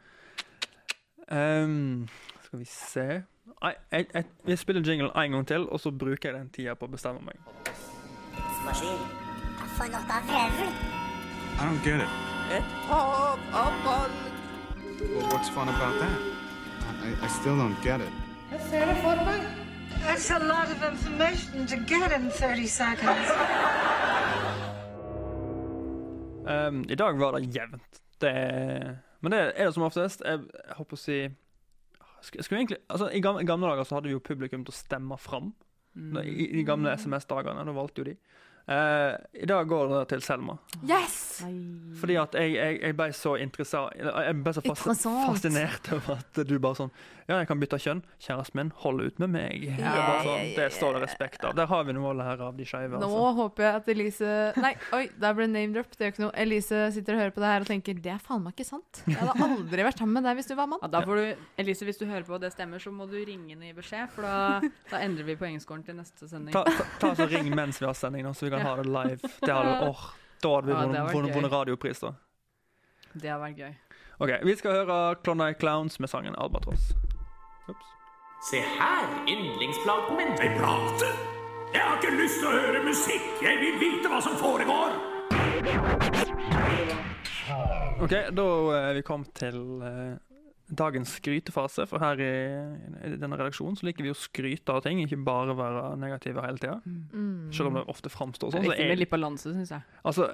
Speaker 5: Ehm, skal vi se Nei, jeg, jeg, jeg spiller jinglen en gang til, og så bruker jeg den tida på å bestemme meg.
Speaker 10: That's a lot of information to get in 30 seconds.
Speaker 5: Ehm, I dag var det jevnt. Det, men det er det som oftest. Jeg, jeg håper å si sk- skulle egentlig, altså, i, gamle, I gamle dager så hadde vi jo publikum til å stemme fram. Da- I, I de gamle SMS-dagene. Da valgte jo de. Eh, I dag går det til Selma.
Speaker 6: Yes!
Speaker 5: Fordi at jeg, jeg, jeg ble så interessert Jeg ble så fas,
Speaker 6: Interessant.
Speaker 5: fascinert over at du bare sånn Ja, jeg kan bytte kjønn. Kjæresten min, hold ut med meg. Det, er bare sånn, det står det respekt av. Der har vi noe å lære av de skeive.
Speaker 6: Nå
Speaker 5: Altså.
Speaker 6: håper jeg at Elise Nei, oi, der ble name drop. Det gjør ikke noe. Elise sitter og hører på det her og tenker det er faen meg ikke sant. Jeg hadde aldri vært sammen med deg hvis du var mann.
Speaker 7: Ja, da får du, Elise, hvis du hører på og det stemmer, så må du ringe inn i beskjed, for da, da endrer vi poengskåren til neste sending.
Speaker 5: Ta, ta, ta så Ring mens vi har sending, da, så vi kan ha det live. Det hadde, åh, da hadde vi vunnet-
Speaker 7: Ja, det hadde vært
Speaker 5: vunnet-
Speaker 7: gøy.
Speaker 5: vunnet radiopris, da.
Speaker 7: Det har vært gøy.
Speaker 5: Ok, Vi skal høre Klondike Clowns med sangen 'Albatross'. Ups.
Speaker 8: Se her, yndlingsplaten min. Vil prate? Jeg har ikke lyst til å høre musikk. Jeg vil vite hva som foregår.
Speaker 5: Ok, da er vi kommet til eh, dagens skrytefase, for her i, i denne redaksjonen så liker vi å skryte av ting, ikke bare være negative hele tida. Selv om det ofte framstår
Speaker 7: Mm. Det er
Speaker 5: sånn. Så
Speaker 7: viktig med
Speaker 5: er,
Speaker 7: litt balanse, syns jeg.
Speaker 5: altså,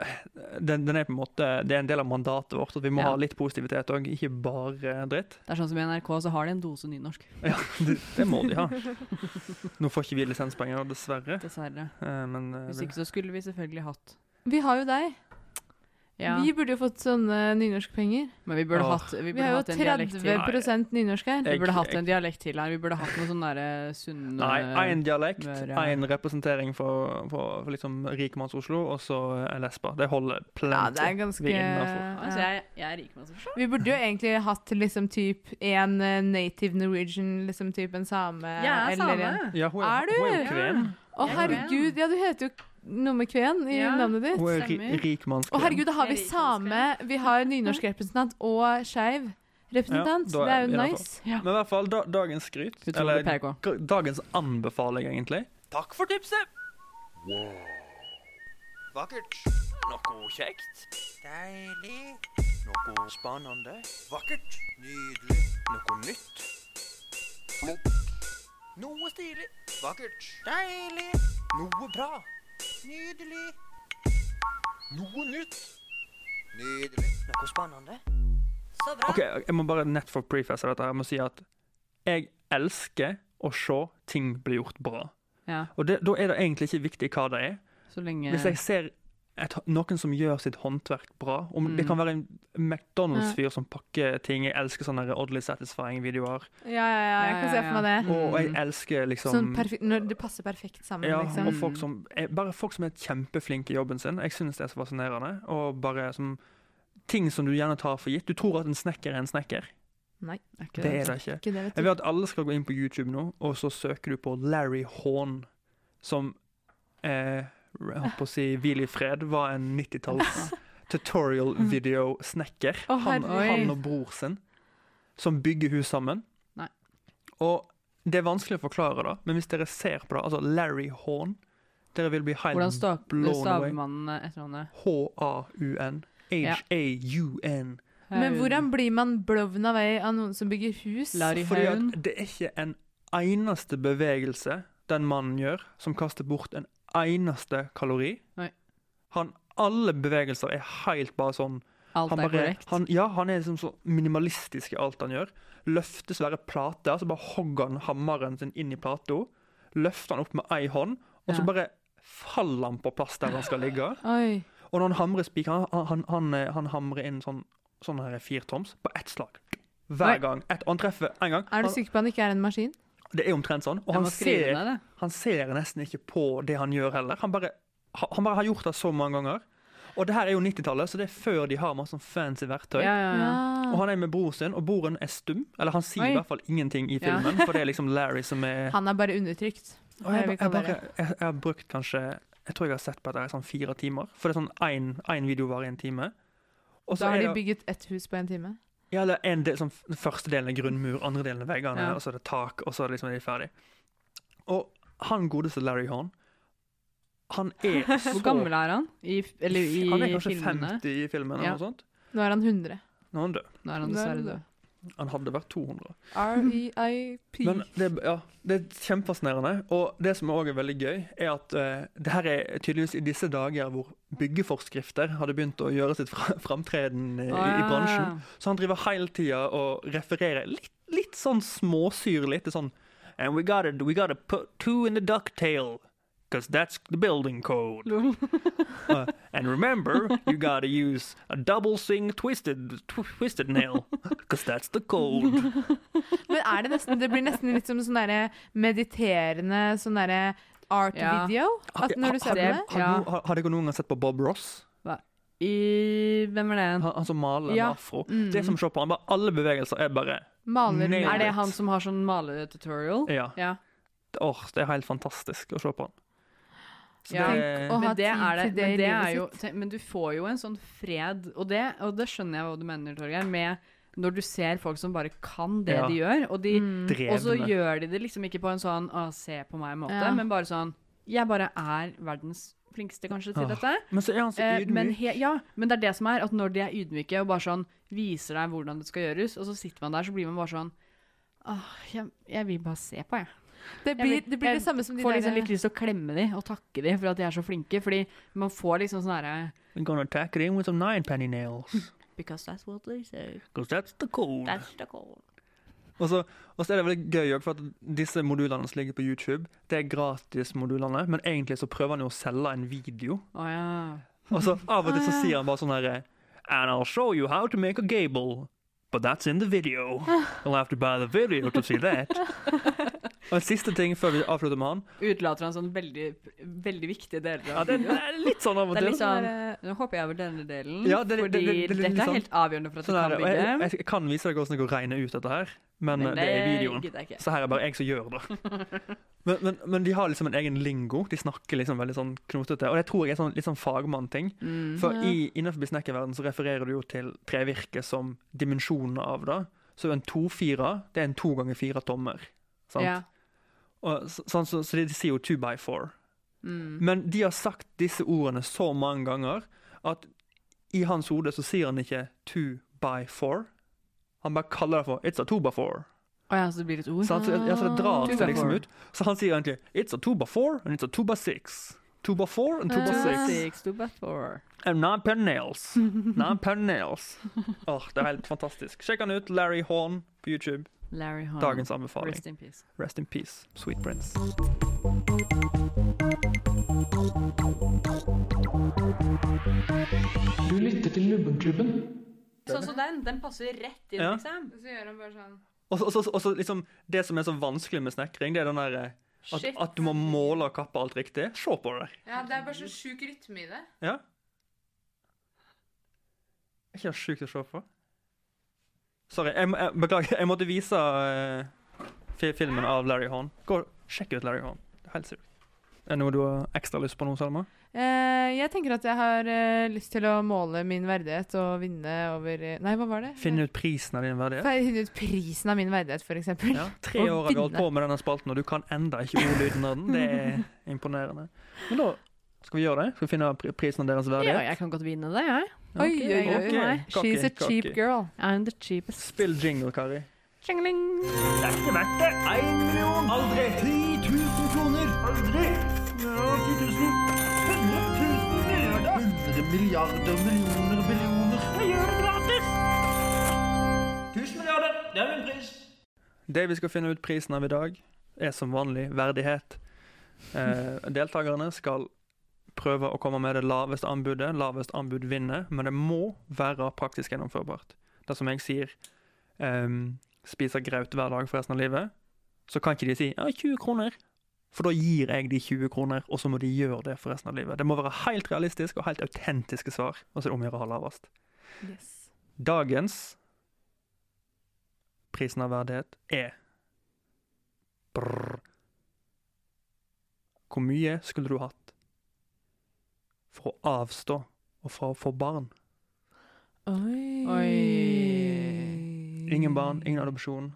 Speaker 5: den, den er på en måte, det er en del av mandatet vårt at vi må
Speaker 7: Ja.
Speaker 5: ha litt positivitet òg, ikke bare dritt.
Speaker 7: Det er sånn som i NRK, så har de en dose nynorsk.
Speaker 5: Ja, det, det må de ha. Nå får ikke vi lisenspenger, dessverre.
Speaker 7: Dessverre.
Speaker 5: eh, Men eh,
Speaker 7: sånn Hvis
Speaker 5: vi-
Speaker 7: ikke så skulle vi selvfølgelig hatt
Speaker 6: Vi har jo deg.
Speaker 7: ja,
Speaker 6: Vi burde jo fått sånne nynorskpenger.
Speaker 7: Men vi burde
Speaker 5: Åh.
Speaker 7: hatt Vi
Speaker 6: Vi
Speaker 7: burde
Speaker 6: har jo
Speaker 7: hatt en dialekt til.
Speaker 6: 30 nynorsk her.
Speaker 7: Vi
Speaker 5: Jeg-
Speaker 7: burde hatt
Speaker 5: jeg-
Speaker 7: en dialekt til her. Vi burde hatt noe sånn derre eh, sunne
Speaker 5: Nei,
Speaker 6: eh,
Speaker 5: én dialekt,
Speaker 7: Møre.
Speaker 5: én representering for, for, for liksom rikmanns-Oslo, og så en lesbe. Det holder
Speaker 6: Ja, det
Speaker 5: plenty.
Speaker 6: er ganske
Speaker 5: Vi er innenfor.
Speaker 7: Altså,
Speaker 6: ja.
Speaker 7: jeg, jeg er rik, men altså.
Speaker 6: Vi burde jo egentlig hatt liksom typ en eh, native Norwegian, liksom typ en same.
Speaker 7: Jeg er
Speaker 6: eller
Speaker 7: same.
Speaker 6: en-
Speaker 5: Ja, hun
Speaker 6: Er du?
Speaker 5: Hun er jo kven.
Speaker 6: Å,
Speaker 7: Jeg er
Speaker 6: herregud. Ja, du heter jo noe med kven i
Speaker 7: Ja.
Speaker 6: navnet ditt.
Speaker 5: Hun er ri
Speaker 7: Stemmer.
Speaker 5: rikmannskven.
Speaker 6: Å, herregud, da har vi
Speaker 7: Jeg liker
Speaker 6: same, vi har nynorsk representant og skeiv representant.
Speaker 5: Ja, da er
Speaker 6: det er jo
Speaker 5: vi innenfor.
Speaker 6: nice.
Speaker 5: Men i hvert fall, da, dagens skryt,
Speaker 7: Utrolig
Speaker 5: eller
Speaker 7: PK.
Speaker 5: g- dagens anbefaling, egentlig. Takk for tipset! Vakkert. Noe kjekt. Deilig. Noe spennende. Vakkert. Nydelig. Noe nytt. Flott. Noe stilig. Vakkert. Deilig. Noe bra. Nydelig. Noe nytt. Nydelig. Noe spennende. Så bra. Ok, Jeg må bare nett for preface dette. her. Jeg må si at jeg elsker å se ting bli gjort bra.
Speaker 7: Ja,
Speaker 5: Og det, Da er det egentlig ikke viktig hva det er.
Speaker 7: så lenge
Speaker 5: Hvis jeg ser et, noen som gjør sitt håndverk bra om,
Speaker 6: Mm.
Speaker 5: Det kan være en McDonald's-fyr som pakker ting. Jeg elsker sånne her oddly satisfying-videoer.
Speaker 6: Ja, ja, ja, jeg kan
Speaker 7: Ja,
Speaker 6: se
Speaker 7: ja,
Speaker 6: for meg det.
Speaker 5: Og jeg elsker liksom
Speaker 6: Mm. Sånn perfe- når det passer perfekt sammen,
Speaker 5: ja,
Speaker 6: liksom.
Speaker 5: og folk som, er, bare folk som er kjempeflinke i jobben sin. Jeg synes det er så fascinerende. Og bare som, ting som du gjerne tar for gitt. Du tror at en snekker er en snekker.
Speaker 6: Nei,
Speaker 7: er ikke
Speaker 5: Det er det ikke.
Speaker 6: ikke det, vet
Speaker 5: Jeg
Speaker 6: du.
Speaker 5: vil at alle skal gå inn på YouTube nå, og så søker du på Larry Horn, som eh, jeg holdt på å si hvil i fred, var en 90-talls
Speaker 7: Mm.
Speaker 5: tutorial-video-snekker.
Speaker 6: Å,
Speaker 5: han,
Speaker 6: herregud.
Speaker 5: han og bror sin, som bygger hus sammen.
Speaker 7: Nei.
Speaker 5: Og det er vanskelig å forklare, da, men hvis dere ser på det, altså Larry Horn Dere vil bli
Speaker 7: Hvordan
Speaker 5: helt
Speaker 7: sta-
Speaker 5: blown
Speaker 7: staver
Speaker 5: away.
Speaker 7: man etternavnet?
Speaker 5: H-A-U-N.
Speaker 7: Ja.
Speaker 5: H-A-U-N.
Speaker 6: Men hvordan blir man blown away av noen som bygger hus?
Speaker 7: Larry
Speaker 5: Fordi at
Speaker 7: Haun.
Speaker 5: det er ikke en eneste bevegelse den mannen gjør, som kaster bort en eneste kalori.
Speaker 7: Nei.
Speaker 5: Han, alle bevegelser er helt bare sånn
Speaker 7: Alt
Speaker 5: han
Speaker 7: er
Speaker 5: bare,
Speaker 7: korrekt.
Speaker 5: han, ja, han er liksom så minimalistisk i alt han gjør. Løfter svære plater, så bare hogger han hammeren sin inn i plata. Løfter han opp med ei hånd, og så
Speaker 7: Ja.
Speaker 5: bare faller han på plass der han skal ligge.
Speaker 6: Oi.
Speaker 5: Og når han hamrer spik, han, han, han, han hamrer inn sånn, sånn her firtoms på ett slag.
Speaker 6: Nei.
Speaker 5: Hver gang. Et, og han treffer én gang.
Speaker 6: Er du
Speaker 5: Han-
Speaker 6: sikker på at han ikke er en maskin?
Speaker 5: det er omtrent sånn. Og
Speaker 7: Jeg
Speaker 5: han
Speaker 7: må skrive
Speaker 5: ser,
Speaker 7: ned det.
Speaker 5: han ser nesten ikke på det han gjør heller. Han bare, ha- han bare har gjort det så mange ganger. Og det her er jo 90-tallet, så det er før de har masse sånn fancy verktøy.
Speaker 7: Ja, ja, ja.
Speaker 5: Og han er med bror sin, og broren er stum. Eller han sier
Speaker 7: Oi.
Speaker 5: i hvert fall ingenting i
Speaker 7: Ja.
Speaker 5: filmen, for det er liksom Larry som er
Speaker 6: Han er bare undertrykt.
Speaker 5: og jeg,
Speaker 6: vi
Speaker 5: jeg,
Speaker 6: kaller
Speaker 5: bare, jeg, jeg har brukt kanskje Jeg tror jeg har sett på dette i sånn fire timer. For det er sånn én video varer en time. Og så
Speaker 6: Da har
Speaker 5: er
Speaker 6: de
Speaker 5: det-
Speaker 6: bygget ett hus på en time.
Speaker 5: Ja, eller en del, sånn, f- første delen er grunnmur, andre delen er veggene,
Speaker 7: Ja.
Speaker 5: og så er det tak, og så er det liksom er de ferdig. Og han godeste Larry Horn, han er så
Speaker 7: Hvor gammel er han? I, f- eller i
Speaker 5: Han er kanskje
Speaker 7: filmene?
Speaker 5: 50 i filmen, eller
Speaker 7: Ja.
Speaker 5: noe sånt.
Speaker 6: Nå er han 100.
Speaker 5: Nå er han død.
Speaker 7: Nå er han
Speaker 6: Nå er
Speaker 7: dessverre
Speaker 6: han
Speaker 7: død.
Speaker 5: Han hadde vært 200.
Speaker 7: E
Speaker 6: R-E-I-P.
Speaker 5: Men det, er- ja, det er kjempefascinerende. Og det som òg er veldig gøy, er at eh, det her er tydeligvis i disse dager hvor byggeforskrifter hadde begynt å gjøre sitt fra- framtreden i, i
Speaker 7: Å, ja.
Speaker 5: bransjen. Så han driver hele tida og refererer litt, litt sånn småsyrlig til sånn And we gotta, we gotta put two in the ducktail, because that's the building code. Uh, and remember, you gotta use a double sing twisted, tw twisted nail, because that's the code.
Speaker 6: Men er det nesten Det blir nesten litt som sånn derre mediterende sånn derre art
Speaker 7: Ja.
Speaker 6: video. At
Speaker 7: Altså,
Speaker 6: når
Speaker 5: Har-
Speaker 6: du ser på det
Speaker 5: har-
Speaker 7: Ja.
Speaker 5: har- Har dere noen gang sett på Bob Ross?
Speaker 7: I Hvem er det igjen?
Speaker 5: Han, han som maler
Speaker 7: Ja. Mm.
Speaker 5: med afro. Det som shopper han, bare alle bevegelser er bare
Speaker 6: Maler
Speaker 5: Nailed
Speaker 7: Er
Speaker 6: med
Speaker 7: det han som har sånn maletutorial?
Speaker 5: Ja.
Speaker 7: ja.
Speaker 5: Åh, det er helt fantastisk å se på han. Så
Speaker 7: Ja.
Speaker 5: det-
Speaker 6: Å ha
Speaker 7: Eh, Men det
Speaker 6: tid
Speaker 7: er det.
Speaker 6: til det i
Speaker 7: Men, det
Speaker 6: livet
Speaker 7: er jo,
Speaker 6: sitt.
Speaker 7: tenk- men du får jo en sånn fred, og det, og det skjønner jeg hva du mener, Torgeir, med når du ser folk som bare kan det
Speaker 5: Ja.
Speaker 7: de gjør, og, de,
Speaker 6: Mm.
Speaker 5: Drevne.
Speaker 7: og så gjør de det liksom ikke på en sånn å, se på meg-måte,
Speaker 6: Ja.
Speaker 7: men bare sånn Jeg bare er verdens flinkeste, kanskje, til
Speaker 5: Åh.
Speaker 7: dette.
Speaker 5: Men så er han så
Speaker 7: Eh,
Speaker 5: ydmyk.
Speaker 7: men, he, ja, men det er det som er, at når de er ydmyke og bare sånn viser deg hvordan det skal gjøres, og så sitter man der, så blir man bare sånn Åh, jeg, jeg vil bare se på, jeg.
Speaker 6: Det
Speaker 7: Jeg
Speaker 6: blir
Speaker 7: vil-
Speaker 6: det, blir
Speaker 7: jeg
Speaker 6: det samme som de
Speaker 7: får liksom
Speaker 6: der eh,
Speaker 7: litt lyst til å klemme de og takke de for at de er så flinke. Fordi man får liksom sånn herre
Speaker 5: We're gonna attack it in with some nine penny nails.
Speaker 7: Because that's what they say.
Speaker 5: Because that's the code.
Speaker 7: That's the call.
Speaker 5: Og så, og så er det veldig gøy også, for at disse modulene som ligger på YouTube, det er gratis-modulene, men egentlig så prøver han jo å selge en video.
Speaker 7: Å ja.
Speaker 5: Og så av og til så sier han bare sånn herre And I'll show you how to make a gable. But that's in the video. You'll have to buy the video to see that. Og en siste ting før vi avslutter med han.
Speaker 7: Utelater han sånn veldig, veldig viktige deler
Speaker 5: Ja,
Speaker 7: av
Speaker 5: det er litt sånn av og
Speaker 7: Det er
Speaker 5: til.
Speaker 7: litt sånn Nå hopper jeg over denne delen,
Speaker 5: Ja, det- det-
Speaker 7: fordi
Speaker 5: det- det- det er litt
Speaker 7: dette
Speaker 5: sånn-
Speaker 7: er helt avgjørende for at du
Speaker 5: Sånn her,
Speaker 7: kan
Speaker 5: og jeg,
Speaker 7: bygge.
Speaker 5: jeg kan vise deg hvordan det går å regne ut dette her, men, eh, det er i videoen.
Speaker 7: gidder jeg ikke.
Speaker 5: Så her er bare jeg som gjør det. Men, men, men de har liksom en egen lingo. De snakker liksom veldig sånn knotete. Og det tror jeg er sånn, litt sånn fagmann-ting.
Speaker 7: Mm.
Speaker 5: For i, innenfor snekkerverden så refererer du jo til trevirke som dimensjonen av det. Så en 2-4, det er en to ganger fire tommer. Sant?
Speaker 7: Ja.
Speaker 5: Og, så, sånn, så, så de sier jo 2 by 4.
Speaker 7: Mm.
Speaker 5: Men de har sagt disse ordene så mange ganger at i hans hode så sier han ikke 2 by 4. Han bare kaller det for 'it's a 2 by 4'.
Speaker 7: Å ja, så det sånn. Ah. blir et ord?
Speaker 5: Så, han, så- ja, så det drar
Speaker 7: Two by
Speaker 5: seg liksom
Speaker 7: four.
Speaker 5: ut. Så han sier egentlig 'it's a 2 by 4 and it's a 2 by 6'. 2 by 4 and 2 by 6.
Speaker 7: Six to but four.
Speaker 5: And nine pen nails. Nine pen nails. Åh, det er helt fantastisk. Sjekk han ut. Larry Horn på YouTube.
Speaker 7: Larry Hahn.
Speaker 5: Dagens anbefaling.
Speaker 7: Ah, Rest in peace.
Speaker 5: Rest in peace, sweet prince.
Speaker 1: Du lytter til Lubbenklubben.
Speaker 7: Sånn som den. Den passer rett inn,
Speaker 5: Ja.
Speaker 7: liksom.
Speaker 6: Så gjør han bare sånn
Speaker 5: Og så- og så og så liksom, det som er så vanskelig med snekring, det er den derre at,
Speaker 7: Shit.
Speaker 5: at du må måle og kappe alt riktig. Se på det.
Speaker 6: Ja, det er bare så sjuk rytme i det.
Speaker 5: Ja. Er ikke det sjukt å se på? Sorry, jeg, må- jeg, beklager. Jeg måtte vise eh, fi- filmen av Larry Horn. Gå, sjekk ut Larry Horn. Det er helt sykt. Er det noe du har ekstra lyst på nå, Selma?
Speaker 6: Eh, jeg tenker at jeg har eh, lyst til å måle min verdighet og vinne over eh, Nei, hva var det?
Speaker 5: Finne ut prisen av din verdighet?
Speaker 6: Finne ut prisen av min verdighet, for eksempel.
Speaker 5: Ja, tre
Speaker 6: Å
Speaker 5: år har vi holdt
Speaker 6: vinne.
Speaker 5: på med denne spalten, og du kan enda ikke ordlyden av den. Det er imponerende. Men da skal vi gjøre det. Skal vi finne pri- prisen av deres
Speaker 7: Ja,
Speaker 5: verdighet?
Speaker 7: jeg kan godt vinne det, jeg.
Speaker 6: Oi,
Speaker 7: Ok,
Speaker 6: oi, oi.
Speaker 5: ok.
Speaker 6: Nei,
Speaker 5: Cocky,
Speaker 6: She's a cheap
Speaker 5: cocky.
Speaker 6: girl.
Speaker 7: I'm the cheapest.
Speaker 5: Spill jingle, Kari.
Speaker 7: Tjingling.
Speaker 5: Det er ikke verdt det. Én million. Aldri. 10 000 kroner. Aldri. Ja, 10 000. 100 000 milliarder. 100 milliarder millioner millioner. Jeg gjør
Speaker 11: det er min pris.
Speaker 5: Det vi skal finne ut prisen av i dag, er som vanlig verdighet. Eh, deltakerne skal prøve å komme med det laveste anbudet. Lavest anbud vinner, men det må være praktisk gjennomførbart. Dersom jeg sier ehm, 'spiser graut hver dag for resten av livet', så kan ikke de si ja, 20 kroner. For da gir jeg de 20 kroner, og så må de gjøre det for resten av livet. Det må være helt realistisk og helt autentiske svar. Og så er det om å gjøre å ha lavest.
Speaker 6: Yes.
Speaker 5: Dagens prisen av verdighet er Brrr. Hvor mye skulle du hatt for å avstå og for å få barn?
Speaker 6: Oi.
Speaker 5: Ingen
Speaker 7: Mm.
Speaker 5: barn, ingen adopsjon,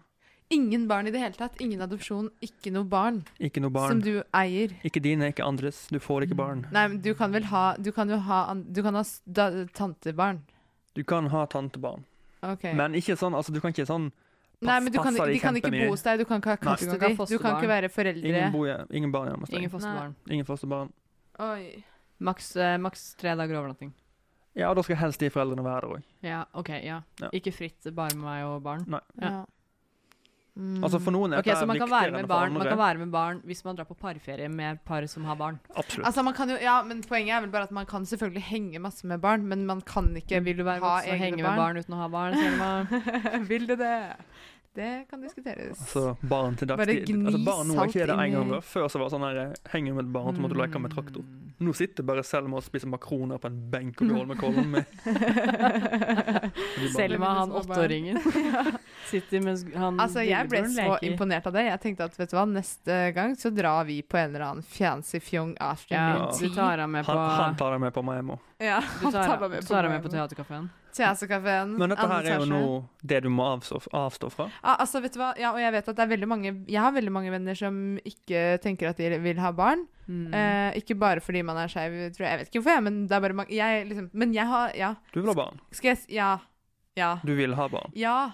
Speaker 6: Ingen barn i det hele tatt. Ingen adopsjon, ikke noe barn.
Speaker 5: ikke noe barn.
Speaker 6: Som du eier.
Speaker 5: Ikke dine, ikke andres. Du får ikke
Speaker 7: Mm.
Speaker 5: barn.
Speaker 6: Nei, men du kan vel ha Du kan jo ha, an- du kan ha s- da, tantebarn.
Speaker 5: Du kan ha tantebarn,
Speaker 6: Ok.
Speaker 5: men ikke sånn altså, Du kan ikke sånn pass,
Speaker 6: Nei, men du kan,
Speaker 5: passer
Speaker 6: de kan ikke
Speaker 5: kjempemye.
Speaker 6: bo hos deg, du kan ikke ha
Speaker 5: Nei.
Speaker 6: custody, du, kan ikke være foreldre.
Speaker 5: Ingen, bo, ingen barn hjemme hos deg.
Speaker 7: Ingen fosterbarn.
Speaker 5: Ingen fosterbarn.
Speaker 6: Oi.
Speaker 7: Maks, eh, maks tre dager overnatting.
Speaker 5: Ja, og da skal helst de foreldrene være der òg.
Speaker 7: Ja, OK. Ja.
Speaker 5: Ja.
Speaker 7: Ikke fritt, bare med meg og barn.
Speaker 5: Nei.
Speaker 7: Ja.
Speaker 6: Mm.
Speaker 5: Altså, for noen er
Speaker 7: Mm. Ok,
Speaker 5: dette
Speaker 7: så man kan,
Speaker 5: viktigere
Speaker 7: være
Speaker 5: enn
Speaker 7: med
Speaker 5: for
Speaker 7: barn, man
Speaker 5: andre.
Speaker 7: kan være med barn hvis man drar på parferie med par som har barn.
Speaker 5: Absolutt.
Speaker 6: Altså, man kan jo, ja, men Poenget er vel bare at man kan selvfølgelig henge masse med barn, men man kan ikke
Speaker 7: Vil du være
Speaker 6: ha
Speaker 7: voksen og
Speaker 6: egne
Speaker 7: henge med barn uten å ha barn? Selma?
Speaker 6: Vil du det? Det kan diskuteres.
Speaker 5: Altså, barn til
Speaker 6: Bare
Speaker 5: dagtid.
Speaker 6: gni
Speaker 5: Altså, barn nå er ikke det
Speaker 6: salt
Speaker 5: en gang
Speaker 6: inn i-
Speaker 5: før. Før så var det sånn her eh, Henger med et barn, så måtte du leke med traktor.
Speaker 7: Mm.
Speaker 5: Nå sitter bare Selma og spiser makroner på en benk og holder med kollen med.
Speaker 7: Selma, han
Speaker 6: Med de som har
Speaker 7: åtteåringen. Sitter mens han
Speaker 6: Altså, Jeg ble
Speaker 7: lillebroren
Speaker 6: så
Speaker 7: leker.
Speaker 6: imponert av det. Jeg tenkte at vet du hva, neste gang så drar vi på en eller annen fancy fjong
Speaker 7: Ja,
Speaker 6: afternoon
Speaker 7: du tar ham med
Speaker 5: Han,
Speaker 7: på
Speaker 5: han tar deg med på Maemo.
Speaker 6: Ja,
Speaker 7: Du
Speaker 6: han
Speaker 7: tar,
Speaker 6: tar meg med
Speaker 7: du tar ham med
Speaker 6: på
Speaker 7: på teaterkafeen.
Speaker 6: Tjæsekafeen.
Speaker 5: Men dette her er jo
Speaker 6: andre
Speaker 5: nå
Speaker 6: etasje.
Speaker 5: det du må avstå, avstå fra.
Speaker 6: Ja, altså, vet du hva? Ja, og jeg vet at det er veldig mange Jeg har veldig mange venner som ikke tenker at de vil ha barn.
Speaker 5: Mm.
Speaker 6: Eh, ikke bare fordi man er skeiv, tror jeg. Jeg vet ikke hvorfor, jeg, men det er bare mange jeg, liksom, Men jeg har Ja.
Speaker 5: Du vil ha barn.
Speaker 6: Skal jeg s- Ja. Ja.
Speaker 5: Du vil ha barn.
Speaker 6: Ja. Ja.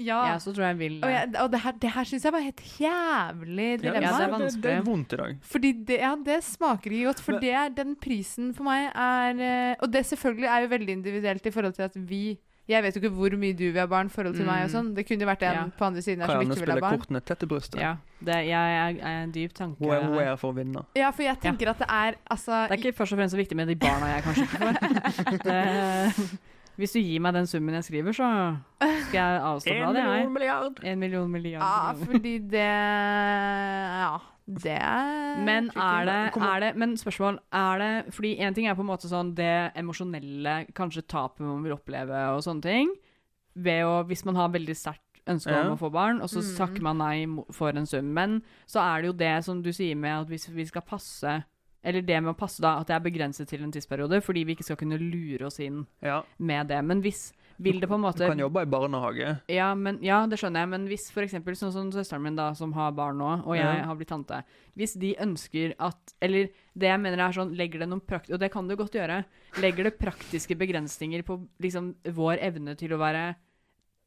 Speaker 7: Ah. Ja, så tror jeg jeg vil
Speaker 6: Og,
Speaker 7: det.
Speaker 6: jeg, og det her, det her syns jeg var helt jævlig
Speaker 5: Ja,
Speaker 6: dilemma.
Speaker 7: det er
Speaker 5: det, det er
Speaker 7: vanskelig.
Speaker 5: vondt i dag.
Speaker 6: Fordi det, ja, det smaker ikke godt. For
Speaker 5: Men-
Speaker 6: det er den prisen for meg er eh, Og det selvfølgelig er jo veldig individuelt i forhold til at vi Jeg vet jo ikke hvor mye du vil ha barn i forhold til meg og sånn. Det kunne jo vært en
Speaker 7: Ja.
Speaker 6: på andre siden her
Speaker 5: Mm. Kan
Speaker 6: som
Speaker 5: gjerne
Speaker 6: ikke vil ha
Speaker 5: spille
Speaker 6: barn.
Speaker 5: kortene tett til brystet.
Speaker 7: Ja, det, jeg er, er en dyp tanke.
Speaker 5: Where,
Speaker 7: her.
Speaker 5: where for å vinne.
Speaker 6: Ja, for jeg tenker at det er altså
Speaker 7: Det er ikke først og fremst så viktig med de barna jeg kanskje ikke får. Det, hvis du gir meg den summen jeg skriver, så skal jeg avstå fra det. Jeg.
Speaker 5: milliard!
Speaker 7: En million milliarder.
Speaker 6: Ja, fordi det Ja, det er
Speaker 7: Men er det,
Speaker 6: tricky.
Speaker 7: er det Men spørsmål er det Fordi en ting er på en måte sånn det emosjonelle, kanskje tapet man vil oppleve og sånne ting. Ved å, hvis man har veldig sterkt ønske om
Speaker 5: Ja.
Speaker 7: å få barn, og så takker man nei mo- for en sum. Men så er det jo det som du sier med at hvis vi skal passe Eller det med å passe da, at det er begrenset til en tidsperiode, fordi vi ikke skal kunne lure oss inn
Speaker 5: Ja.
Speaker 7: med det. Men hvis vil det på en
Speaker 5: Du
Speaker 7: måte
Speaker 5: kan jobbe i barnehage.
Speaker 7: ja, men, ja, det skjønner jeg, men hvis for eksempel sånn som søsteren min da, som har barn nå, og jeg
Speaker 5: Ja.
Speaker 7: har blitt tante, hvis de ønsker at, eller det jeg mener er sånn, legger det noen prakt, og det kan du godt gjøre, legger det praktiske begrensninger på liksom vår evne til å være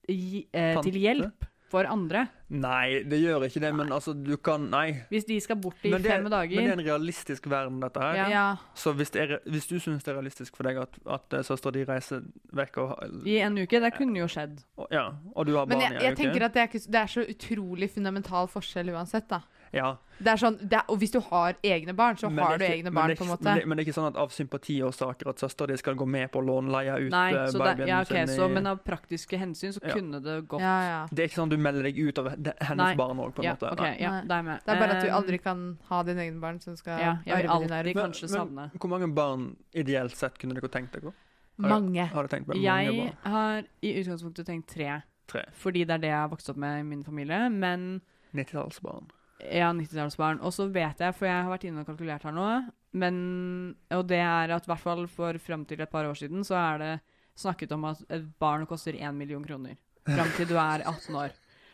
Speaker 7: gi, eh,
Speaker 5: Tante?
Speaker 7: til hjelp for andre.
Speaker 5: Nei, det gjør ikke det, men altså, du kan Nei.
Speaker 7: Hvis de skal bort i
Speaker 5: Men det,
Speaker 7: fem dager.
Speaker 5: men det er en realistisk verden, dette her.
Speaker 7: Ja.
Speaker 6: Ja.
Speaker 5: Så hvis, det er, hvis du syns det er realistisk for deg at, at søstera di reiser vekk og, ha-
Speaker 7: I en uke, det kunne jo skjedd.
Speaker 5: og, ja, og du har
Speaker 6: Men
Speaker 5: barn
Speaker 6: jeg,
Speaker 5: i
Speaker 6: jeg tenker at det er, ikke, s- det er så utrolig fundamental forskjell uansett, da.
Speaker 5: ja,
Speaker 6: Det er sånn, det er, og hvis du har egne barn, så
Speaker 5: men
Speaker 6: har du
Speaker 5: det er ikke- men
Speaker 6: egne barn,
Speaker 5: det er
Speaker 6: på en
Speaker 5: ikke-
Speaker 6: måte.
Speaker 5: Men det, men det er ikke sånn at av sympatiårsaker at søstera di skal gå med på å låne leie ut
Speaker 7: Nei,
Speaker 5: eh,
Speaker 7: så
Speaker 5: babyen
Speaker 7: det, ja, ok,
Speaker 5: sin i-
Speaker 7: så, men av praktiske hensyn så
Speaker 5: Ja.
Speaker 7: kunne det gått.
Speaker 6: Ja, ja.
Speaker 5: Det er ikke sånn at du melder deg ut av det, hennes
Speaker 7: Nei.
Speaker 5: barn òg, på en
Speaker 7: Ja,
Speaker 5: måte.
Speaker 7: ok,
Speaker 5: Nei.
Speaker 7: ja,
Speaker 6: Nei.
Speaker 7: da er jeg med.
Speaker 6: Det er bare at du
Speaker 7: Eh,
Speaker 6: aldri kan ha dine egne barn som skal
Speaker 7: ja, jeg vil
Speaker 6: arve din
Speaker 7: alltid
Speaker 6: arv.
Speaker 5: Men-
Speaker 7: kanskje
Speaker 5: men
Speaker 7: savne.
Speaker 5: Hvor mange barn ideelt sett kunne dere tenkt dere?
Speaker 6: Mange.
Speaker 5: Har dere tenkt på det? mange
Speaker 7: Jeg
Speaker 5: barn?
Speaker 7: har i utgangspunktet tenkt tre,
Speaker 5: Tre.
Speaker 7: fordi det er det jeg har vokst opp med i min familie. Men
Speaker 5: 90-tallsbarn.
Speaker 7: jeg har 90-tallsbarn. Og så vet jeg, for jeg har vært inne og kalkulert her nå, men, og det er at i hvert fall for fram til et par år siden, så er det snakket om at et barn koster én million kroner. Fram til du er 18 år.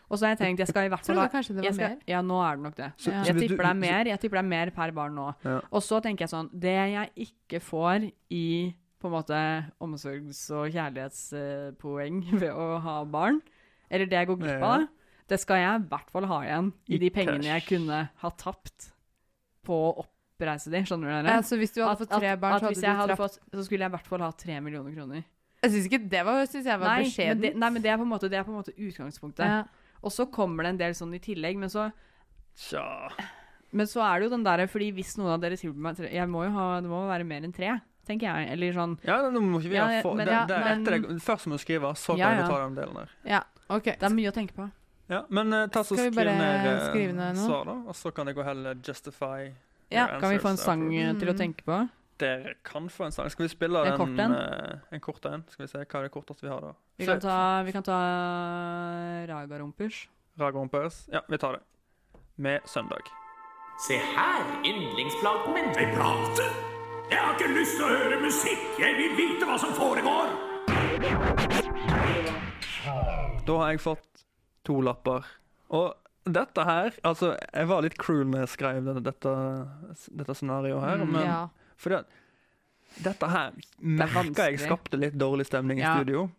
Speaker 7: Og så har jeg tenkt jeg skal i hvert fall
Speaker 6: Trodde
Speaker 7: ha-
Speaker 6: kanskje det var
Speaker 7: jeg skal,
Speaker 6: mer.
Speaker 7: Ja, nå er det nok det.
Speaker 5: Så- så
Speaker 7: Jeg
Speaker 5: hvis du-
Speaker 7: tipper det er
Speaker 5: så-
Speaker 7: mer, jeg tipper det er mer per barn nå.
Speaker 5: Ja.
Speaker 7: Og så tenker jeg sånn Det jeg ikke får i på en måte omsorgs- og kjærlighetspoeng ved å ha barn, eller det jeg går glipp av,
Speaker 5: Ja.
Speaker 7: da, det skal jeg i hvert fall ha igjen i,
Speaker 5: I
Speaker 7: de pengene jeg
Speaker 5: cash.
Speaker 7: kunne ha tapt på å oppreise de, skjønner dere?
Speaker 6: Ja, så Altså, hvis du hadde fått tre barn, så
Speaker 7: at
Speaker 6: hadde
Speaker 7: hvis
Speaker 6: du
Speaker 7: jeg hadde
Speaker 6: trapp...
Speaker 7: fått, så skulle jeg i hvert fall ha tre millioner kroner.
Speaker 6: Jeg syns ikke det var, synes jeg var
Speaker 7: Nei, men det,
Speaker 6: beskjeden.
Speaker 7: nei, men det er på en måte, det er på en måte utgangspunktet.
Speaker 6: Ja.
Speaker 7: Og så kommer det en del sånn i tillegg, men så,
Speaker 5: Tja
Speaker 7: men så er det jo den derre Fordi hvis noen av dere tilbyr meg tre Jeg må jo ha Det må være mer enn tre, tenker jeg. Eller sånn
Speaker 5: Ja, nå må ikke vi
Speaker 7: Ja,
Speaker 5: ha få
Speaker 7: men-
Speaker 5: det,
Speaker 7: ja,
Speaker 5: det, er
Speaker 7: men-
Speaker 5: etter det, Først må du skrive, så kan
Speaker 7: Ja,
Speaker 5: du
Speaker 7: ja.
Speaker 5: ta den delen der.
Speaker 6: Ja, ok.
Speaker 7: Det er mye å tenke på.
Speaker 5: Ja, men eh, ta så
Speaker 6: Skal
Speaker 5: skriv
Speaker 6: vi bare
Speaker 5: ned, eh,
Speaker 6: skrive ned noe?
Speaker 5: svar, da. Og så kan jeg gå heller justify your
Speaker 7: Ja, kan vi få en
Speaker 5: answers
Speaker 7: sang
Speaker 5: afterwards.
Speaker 7: eh, til å tenke på?
Speaker 5: Dere kan få en sang. Skal vi spille
Speaker 7: En
Speaker 5: den,
Speaker 7: kort en?
Speaker 5: eh, en kort en? Skal vi se hva er det korteste vi har, da?
Speaker 7: Vi kan ta, vi kan ta eh, Raga Rumpers.
Speaker 5: Ragerumpers. Ja, vi tar det. Med søndag.
Speaker 8: Se her, yndlingsplaten min. Vil prate? Jeg har ikke lyst til å høre musikk. Jeg vil vite hva som foregår.
Speaker 5: Da har jeg fått to lapper. Og dette her Altså, jeg var litt cruel når jeg skrev dette, dette, dette scenarioet her,
Speaker 7: Mm,
Speaker 5: men
Speaker 6: ja.
Speaker 5: fordi at dette her merka
Speaker 7: vanskelig.
Speaker 5: jeg skapte litt dårlig stemning i
Speaker 7: Ja.
Speaker 5: studio.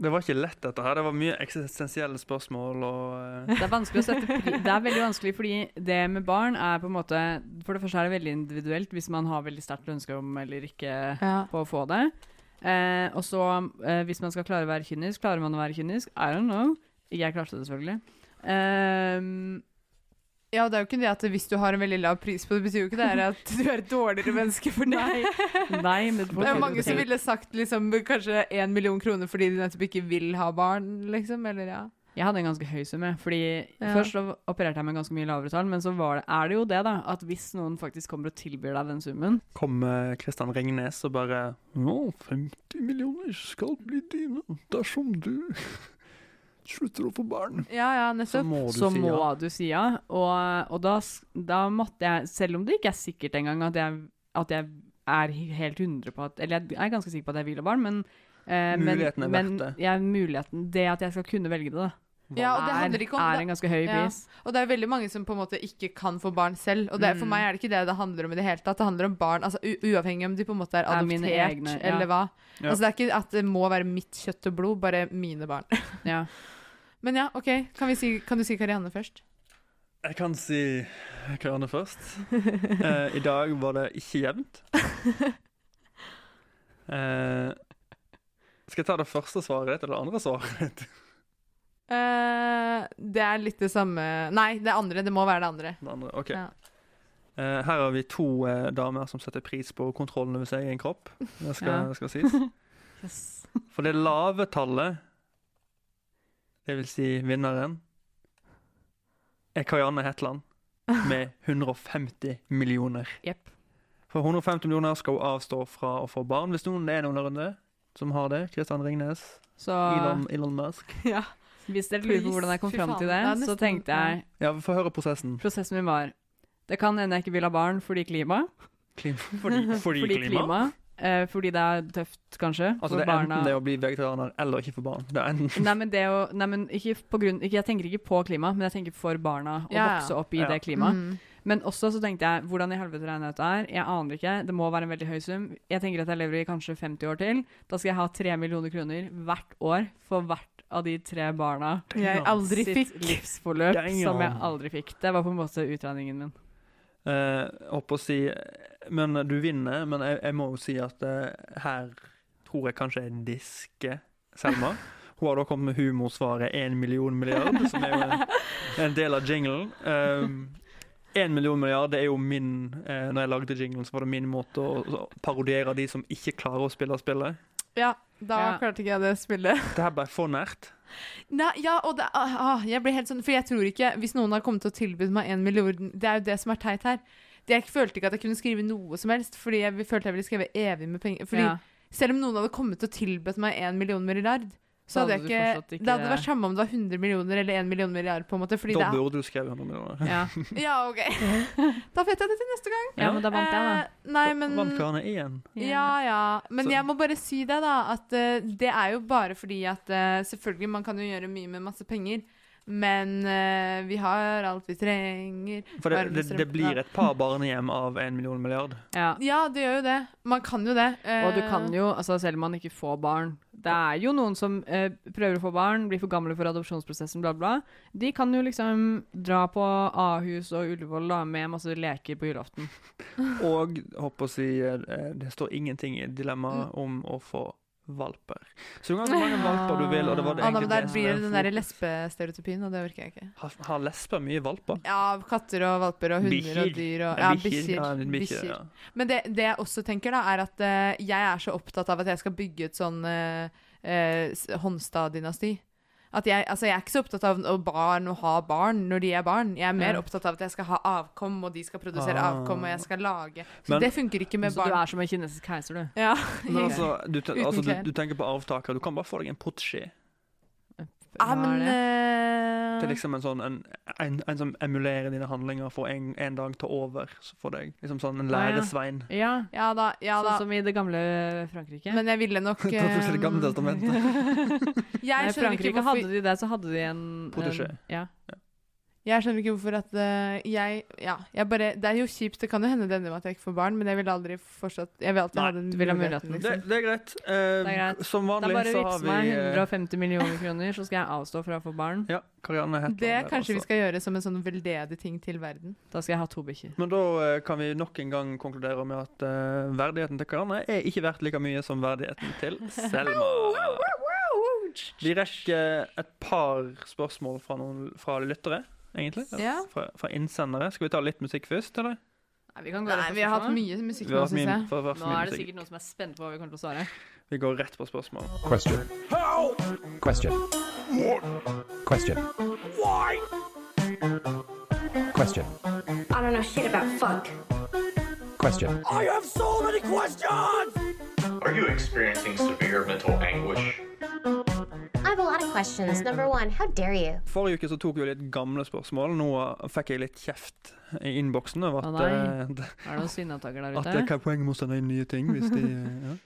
Speaker 5: Det var ikke lett, dette her. Det var mye eksistensielle spørsmål og eh,
Speaker 7: Det er vanskelig å sette pri- Det er veldig vanskelig fordi det med barn er på en måte For det første er det veldig individuelt hvis man har veldig sterkt ønske om eller ikke
Speaker 6: Ja.
Speaker 7: på å få det. Eh, og så, eh, hvis man skal klare å være kynisk, klarer man å være kynisk? I don't know. Jeg klarte det selvfølgelig. Ehm,
Speaker 6: ja, det er jo ikke det at hvis du har en veldig lav pris på det, betyr jo ikke det her at du er et dårligere menneske for det.
Speaker 7: nei, nei, men
Speaker 6: Det er jo mange som ville sagt liksom, kanskje én million kroner fordi de nettopp ikke vil ha barn, liksom. Eller ja.
Speaker 7: Jeg hadde en ganske høy sum, jeg. Fordi
Speaker 6: Ja.
Speaker 7: først så opererte jeg med ganske mye lavere tall, men så var det, er det jo det, da, at hvis noen faktisk kommer og tilbyr deg den summen
Speaker 5: Kom eh, Kristian Ringnes og bare Nå, 50 millioner skal bli dine dersom du slutter å få barn.
Speaker 6: Ja, ja,
Speaker 5: Så
Speaker 6: nettopp.
Speaker 5: må du
Speaker 7: så
Speaker 5: si
Speaker 7: må
Speaker 5: ja.
Speaker 7: du si ja. Og, og da, s- da måtte jeg, selv om det ikke er sikkert engang at jeg, at jeg er he- helt 100 på at Eller jeg er ganske sikker på at jeg vil ha barn, men eh,
Speaker 5: Muligheten er
Speaker 7: men, men,
Speaker 5: verdt det.
Speaker 7: Ja, muligheten. Det at jeg skal kunne velge det, da,
Speaker 6: Ja, og det handler
Speaker 7: er,
Speaker 6: ikke om
Speaker 7: er
Speaker 6: det.
Speaker 7: en ganske høy
Speaker 6: Ja.
Speaker 7: pris.
Speaker 6: Og det er veldig mange som på en måte ikke kan få barn selv. Og det,
Speaker 7: Mm.
Speaker 6: for meg er det ikke det det handler om i det hele tatt. Det handler om barn, altså u uavhengig om de på en måte er
Speaker 7: Er mine
Speaker 6: adoptert
Speaker 7: egne, ja.
Speaker 6: eller hva.
Speaker 5: Ja.
Speaker 6: Altså det er ikke at det må være mitt kjøtt og blod, bare mine barn.
Speaker 7: Ja.
Speaker 6: Men ja, OK. Kan, vi si, kan du si Karianne først?
Speaker 5: Jeg kan si Karianne først. Eh, I dag var det ikke jevnt. Eh, skal jeg ta det første svaret ditt eller det andre svaret?
Speaker 6: Eh, det er litt det samme Nei, det andre. Det må være det andre.
Speaker 5: Det andre? ok.
Speaker 6: Ja.
Speaker 5: Eh, her har vi to eh, damer som setter pris på kontrollen over sin egen kropp. Det skal,
Speaker 7: Ja.
Speaker 5: det skal sies. For det lave tallet, det vil si vinneren, er Karianne Hetland med 150 millioner.
Speaker 7: Jepp.
Speaker 5: For 150 millioner skal hun avstå fra å få barn. Hvis noen det er noen der runde som har det, Kristian Ringnes,
Speaker 7: Så
Speaker 5: Elon, Elon Musk
Speaker 7: hvis dere lurer på hvordan jeg kom
Speaker 6: Fy
Speaker 7: fram til det,
Speaker 6: faen, det er
Speaker 7: så
Speaker 6: nesten-
Speaker 7: tenkte jeg
Speaker 5: Ja, vi får høre prosessen.
Speaker 7: Prosessen min var Det kan hende jeg ikke vil ha barn fordi klima.
Speaker 5: Klima. Fordi, fordi,
Speaker 7: Fordi
Speaker 5: klima.
Speaker 7: klima. eh, fordi det er tøft, kanskje.
Speaker 5: Altså,
Speaker 7: for
Speaker 5: det er
Speaker 7: barna.
Speaker 5: enten det å bli vegetarianer eller ikke få barn. Det er enten
Speaker 7: Nei, men det å Nei, men ikke på grunn ikke, Jeg tenker ikke på klima, men jeg tenker for barna. Å
Speaker 6: Ja, Mm. ja.
Speaker 7: vokse opp i
Speaker 5: Ja.
Speaker 7: det klimaet. Men også så tenkte jeg Hvordan i helvete regner jeg ut det her? Jeg aner ikke. Det må være en veldig høy sum. Jeg tenker at jeg lever i kanskje 50 år til. Da skal jeg ha 3 millioner kroner hvert år for hvert av de tre barna
Speaker 6: Jeg aldri fikk.
Speaker 7: sitt livsforløp
Speaker 5: Damn.
Speaker 7: som jeg aldri fikk. Det var på en måte utregningen min.
Speaker 5: Eh, opp og si Men du vinner, men jeg, jeg må jo si at eh, her tror jeg kanskje jeg disker Selma. Hun har da kommet med humorsvaret 1 million milliard, som er jo en, en del av jinglen. Um, 1 million milliard det er jo min eh, Når jeg lagde jinglen, så var det min måte å å parodiere de som ikke klarer å spille spillet.
Speaker 6: Ja, da
Speaker 7: Ja.
Speaker 6: klarte ikke jeg det spillet.
Speaker 5: Det her ble for nært.
Speaker 6: Nei, ja, og det, ah, ah, jeg blir helt sånn For jeg tror ikke Hvis noen har kommet til å tilby meg en million Det er jo det som er teit her. Det jeg følte ikke at jeg kunne skrive noe som helst, fordi jeg følte jeg ville skrevet evig med penger. Fordi
Speaker 7: Ja.
Speaker 6: Selv om noen hadde kommet til å tilbudt meg en million milliard, så
Speaker 7: Da
Speaker 6: hadde
Speaker 7: hadde
Speaker 6: jeg
Speaker 7: du
Speaker 6: ikke,
Speaker 7: fortsatt ikke-
Speaker 6: Det hadde vært samme om det var 100 millioner eller 1 million milliard, på en måte. Fordi
Speaker 5: Da
Speaker 6: det
Speaker 5: burde du skrevet 100 millioner.
Speaker 7: Ja.
Speaker 6: er Ja, OK. da vet jeg det til neste gang.
Speaker 7: ja, men da vant jeg, da.
Speaker 6: Eh, nei, men
Speaker 5: Vant Karene igjen?
Speaker 6: ja, ja. Men
Speaker 5: Så-
Speaker 6: jeg må bare si det, da. At eh, det er jo bare fordi at eh, Selvfølgelig, man kan jo gjøre mye med masse penger. Men eh, vi har alt vi trenger.
Speaker 5: For det,
Speaker 6: Varme
Speaker 5: det, det
Speaker 6: strømpe,
Speaker 5: blir
Speaker 6: da.
Speaker 5: et par barnehjem av 1 million milliard.
Speaker 7: Ja.
Speaker 6: Ja, det gjør jo det. Man kan jo det. eh,
Speaker 7: Og du kan jo, altså selv om man ikke får barn Det er jo noen som eh, prøver å få barn, blir for gamle for adopsjonsprosessen, bla, bla. De kan jo liksom dra på Ahus og Ullevål da, med masse leker på julaften.
Speaker 5: Og håper å si eh, det står ingenting i dilemmaet om å få valper. Så du kan ha så mange valper du vil, og det var det
Speaker 6: Ah, nei, men
Speaker 5: egentlig
Speaker 6: der
Speaker 5: det som
Speaker 6: blir
Speaker 5: er
Speaker 6: det den der
Speaker 5: fokus.
Speaker 6: lesbestereotypien, og det orker jeg ikke.
Speaker 5: Har, har lesber mye valper?
Speaker 6: Ja, katter og valper og hunder og
Speaker 5: Bikkjer.
Speaker 6: dyr og
Speaker 5: Ja,
Speaker 6: Ja,
Speaker 5: bikkjer.
Speaker 6: bikkjer.
Speaker 5: Ja, bikkjer,
Speaker 6: bikkjer.
Speaker 5: ja.
Speaker 6: Men det, det jeg også tenker, da, er at eh, jeg er så opptatt av at jeg skal bygge et sånn eh, eh, s- Honstad-dynasti. At jeg, altså jeg er ikke så opptatt av å barn og ha barn når de er barn. Jeg er mer
Speaker 7: Ja.
Speaker 6: opptatt av at jeg skal ha avkom, og de skal produsere
Speaker 5: Ah.
Speaker 6: avkom, og jeg skal lage Så
Speaker 5: Men-
Speaker 6: det funker ikke med
Speaker 7: Så du
Speaker 6: barn.
Speaker 7: er som en kinesisk keiser, du.
Speaker 6: Ja.
Speaker 5: Men altså, du, ten-
Speaker 6: Uten
Speaker 5: altså, du,
Speaker 6: klær.
Speaker 5: du tenker på arvtaker. Du kan bare få deg en potskje.
Speaker 6: Ja,
Speaker 7: Hva er
Speaker 6: men
Speaker 7: det?
Speaker 5: Det er
Speaker 6: eh,
Speaker 5: liksom en sånn en, en, en som emulerer dine handlinger for en, en dag ta over så for deg. Liksom sånn en
Speaker 7: Ah, ja.
Speaker 5: læresvein.
Speaker 7: Ja,
Speaker 6: Ja da. eh, Ja da.
Speaker 7: sånn som i det gamle Frankrike.
Speaker 6: Men jeg ville nok
Speaker 5: Jeg trodde det
Speaker 6: eh,
Speaker 5: gamle testamentet.
Speaker 7: Nei,
Speaker 6: Jeg skjønner ikke
Speaker 7: Frankrike
Speaker 6: hvorfor
Speaker 7: hadde de det, så hadde de en
Speaker 5: Protégé.
Speaker 7: en- Ja.
Speaker 6: Jeg skjønner ikke hvorfor at eh, jeg Ja, jeg bare Det er jo kjipt. Det kan jo hende det ender med at jeg ikke får barn, men jeg ville aldri fortsatt Jeg vil alltid
Speaker 5: Nei,
Speaker 6: ha den liksom.
Speaker 7: du vil ha muligheten.
Speaker 5: Det, det er greit. Eh,
Speaker 7: Det er greit.
Speaker 5: Som
Speaker 7: Da
Speaker 5: vanlig
Speaker 7: bare
Speaker 5: så har
Speaker 7: vips
Speaker 5: vi
Speaker 7: meg
Speaker 5: eh,
Speaker 7: 150 millioner kroner, så skal jeg avstå fra å få barn.
Speaker 5: Ja, Karianne Hetland.
Speaker 6: Det
Speaker 5: der
Speaker 6: kanskje vi
Speaker 5: også.
Speaker 6: skal gjøre som en sånn veldedig ting til verden.
Speaker 7: Da skal jeg ha to bikkjer.
Speaker 5: Men da eh, kan vi nok en gang konkludere med at eh, verdigheten til Karianne er ikke verdt like mye som verdigheten til Selma. Vi rekker et par spørsmål fra, noen, fra lyttere, egentlig.
Speaker 6: Ja.
Speaker 5: Fra, fra innsendere. Skal vi ta litt musikk først, eller?
Speaker 7: Nei, vi kan gå
Speaker 6: Nei,
Speaker 7: rett på
Speaker 6: vi har hatt
Speaker 7: spørsmål.
Speaker 6: mye musikk
Speaker 5: Vi
Speaker 6: nå,
Speaker 5: har hatt
Speaker 6: syns
Speaker 5: mye-
Speaker 6: jeg.
Speaker 5: for- for- for
Speaker 7: Nå
Speaker 5: mye
Speaker 7: er det
Speaker 5: musikk.
Speaker 7: sikkert noen som er spent på hva vi kommer til å svare.
Speaker 5: Vi går rett på spørsmål.
Speaker 11: Question. Question. Question. Question.
Speaker 10: I don't know shit about fuck.
Speaker 11: Question.
Speaker 8: Are you experiencing severe mental anguish?
Speaker 12: I have a lot of questions. Number one, how dare you?
Speaker 5: Forrige uke så tok vi jo litt gamle spørsmål. Nå fikk jeg litt kjeft i innboksen over
Speaker 7: Å
Speaker 5: at,
Speaker 7: nei.
Speaker 5: eh,
Speaker 7: Er det noen syndataker der
Speaker 5: at det
Speaker 7: ute?
Speaker 5: hva er poenget med å sende inn nye ting. Hvis de, eh, ja.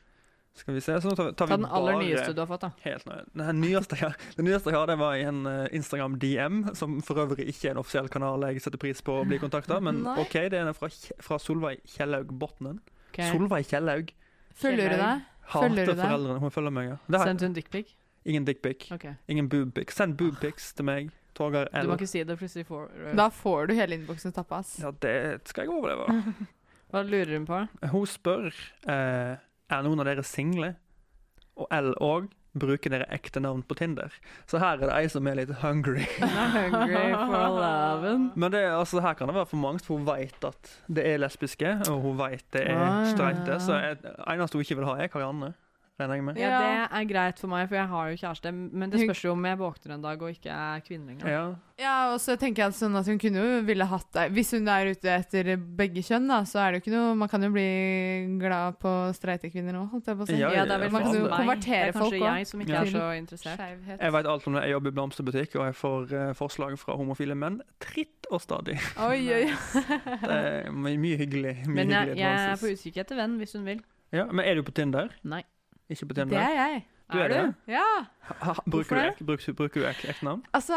Speaker 5: Skal vi se, så nå tar vi, tar vi
Speaker 7: Ta den aller
Speaker 5: bare
Speaker 7: nyeste du har fått, da.
Speaker 5: Helt nøye. Den nyeste, jeg- det nyeste jeg har, det var i en eh, Instagram DM, som for øvrig ikke er en offisiell kanal jeg setter pris på å bli kontakta, men
Speaker 6: Nei.
Speaker 5: OK, det er en fra, Kje- fra Solveig Kjellaug Botnen.
Speaker 7: Ok.
Speaker 5: Solveig Kjellaug
Speaker 6: Følger du deg? Følger
Speaker 5: hater
Speaker 6: du deg?
Speaker 5: foreldrene. Hun følger meg, ja. Det har jeg.
Speaker 7: Sendte hun dickpic?
Speaker 5: Ingen dickpic.
Speaker 7: Ok.
Speaker 5: Ingen boobpics. Send boobpics til meg. Torgeir
Speaker 7: Du eh, må
Speaker 5: L.
Speaker 7: ikke si det, plutselig får
Speaker 6: Da får du hele innboksen tappa, ass.
Speaker 5: Ja, det skal jeg overleve.
Speaker 7: Hva lurer hun på?
Speaker 5: Hun spør eh, Er noen av dere single? Og L òg. Bruker dere ekte navn på Tinder? Så her er det ei som er litt hungry.
Speaker 7: Hungry for loven.
Speaker 5: Men det, er- altså, her kan det være for mangt, for hun veit at det er lesbiske, og hun veit det
Speaker 7: Ah.
Speaker 5: er streite, så jeg, eneste hun ikke vil ha, er Karianne, regner jeg med.
Speaker 7: Ja,
Speaker 6: Ja.
Speaker 7: det er greit for meg, for jeg har jo kjæreste, men det
Speaker 6: Hun-
Speaker 7: spørs jo om jeg våkner en dag og ikke er kvinne lenger.
Speaker 5: Ja.
Speaker 6: Ja, og så tenker jeg sånn at hun kunne jo ville hatt deg Hvis hun er ute etter begge kjønn, da, så er det jo ikke noe Man kan jo bli glad på streite kvinner òg, holdt jeg på å si.
Speaker 5: Ja,
Speaker 7: Ja, det er vel sånn
Speaker 5: Man
Speaker 6: kan jo
Speaker 7: meg.
Speaker 6: konvertere
Speaker 7: Det er kanskje
Speaker 6: folk også.
Speaker 7: jeg som ikke
Speaker 6: Ja.
Speaker 7: er så interessert.
Speaker 6: Skeivhet.
Speaker 5: Jeg veit alt om det. Jeg jobber i blomsterbutikk, og jeg får eh, forslag fra homofile menn tritt og stadig.
Speaker 6: Oi, oi, oi.
Speaker 5: Det er my- mye hyggelig. Mye
Speaker 7: Men jeg,
Speaker 5: hyggelig
Speaker 7: jeg er på
Speaker 5: advances.
Speaker 7: utkikk etter venn, hvis hun vil.
Speaker 5: ja, men er du på Tinder?
Speaker 7: Nei.
Speaker 5: Ikke på
Speaker 6: Det
Speaker 5: Tinder?
Speaker 6: er jeg.
Speaker 5: Du er det?
Speaker 6: Ja.
Speaker 5: Ha, ha, bruker, du
Speaker 7: Hvorfor det?
Speaker 5: ek, bruker, bruker du ek, ekte navn?
Speaker 6: Altså,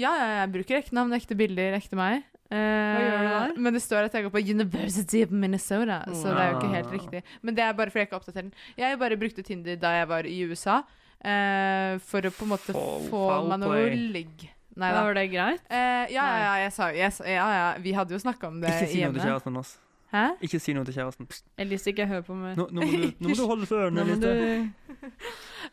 Speaker 6: ja, ja, jeg bruker ekte navn, ekte bilder, ekte meg. Eh,
Speaker 7: gjør du der?
Speaker 6: Men det står at jeg går på University of Minnesota, så det er jo ikke helt riktig. Men det er bare fordi jeg ikke oppdaterer den. Jeg bare brukte Tinder da jeg var i USA, eh, for å på en måte
Speaker 5: Foul-
Speaker 6: få
Speaker 5: foul
Speaker 6: meg noe
Speaker 5: play.
Speaker 6: ligg. Nei da.
Speaker 7: Var det greit?
Speaker 6: Eh, ja, ja, ja, jeg sa, jeg, sa- ja, ja, vi hadde jo snakka om det
Speaker 5: Ikke si noe til
Speaker 6: hjemme.
Speaker 5: kjæresten. Ass.
Speaker 6: Hæ?
Speaker 5: Ikke si noe til kjæresten. Psst.
Speaker 7: Elise, ikke hør på meg.
Speaker 5: Nå, nå, må, du, nå må du holde for
Speaker 7: Nå
Speaker 5: ørene.
Speaker 7: må du...
Speaker 5: Elise.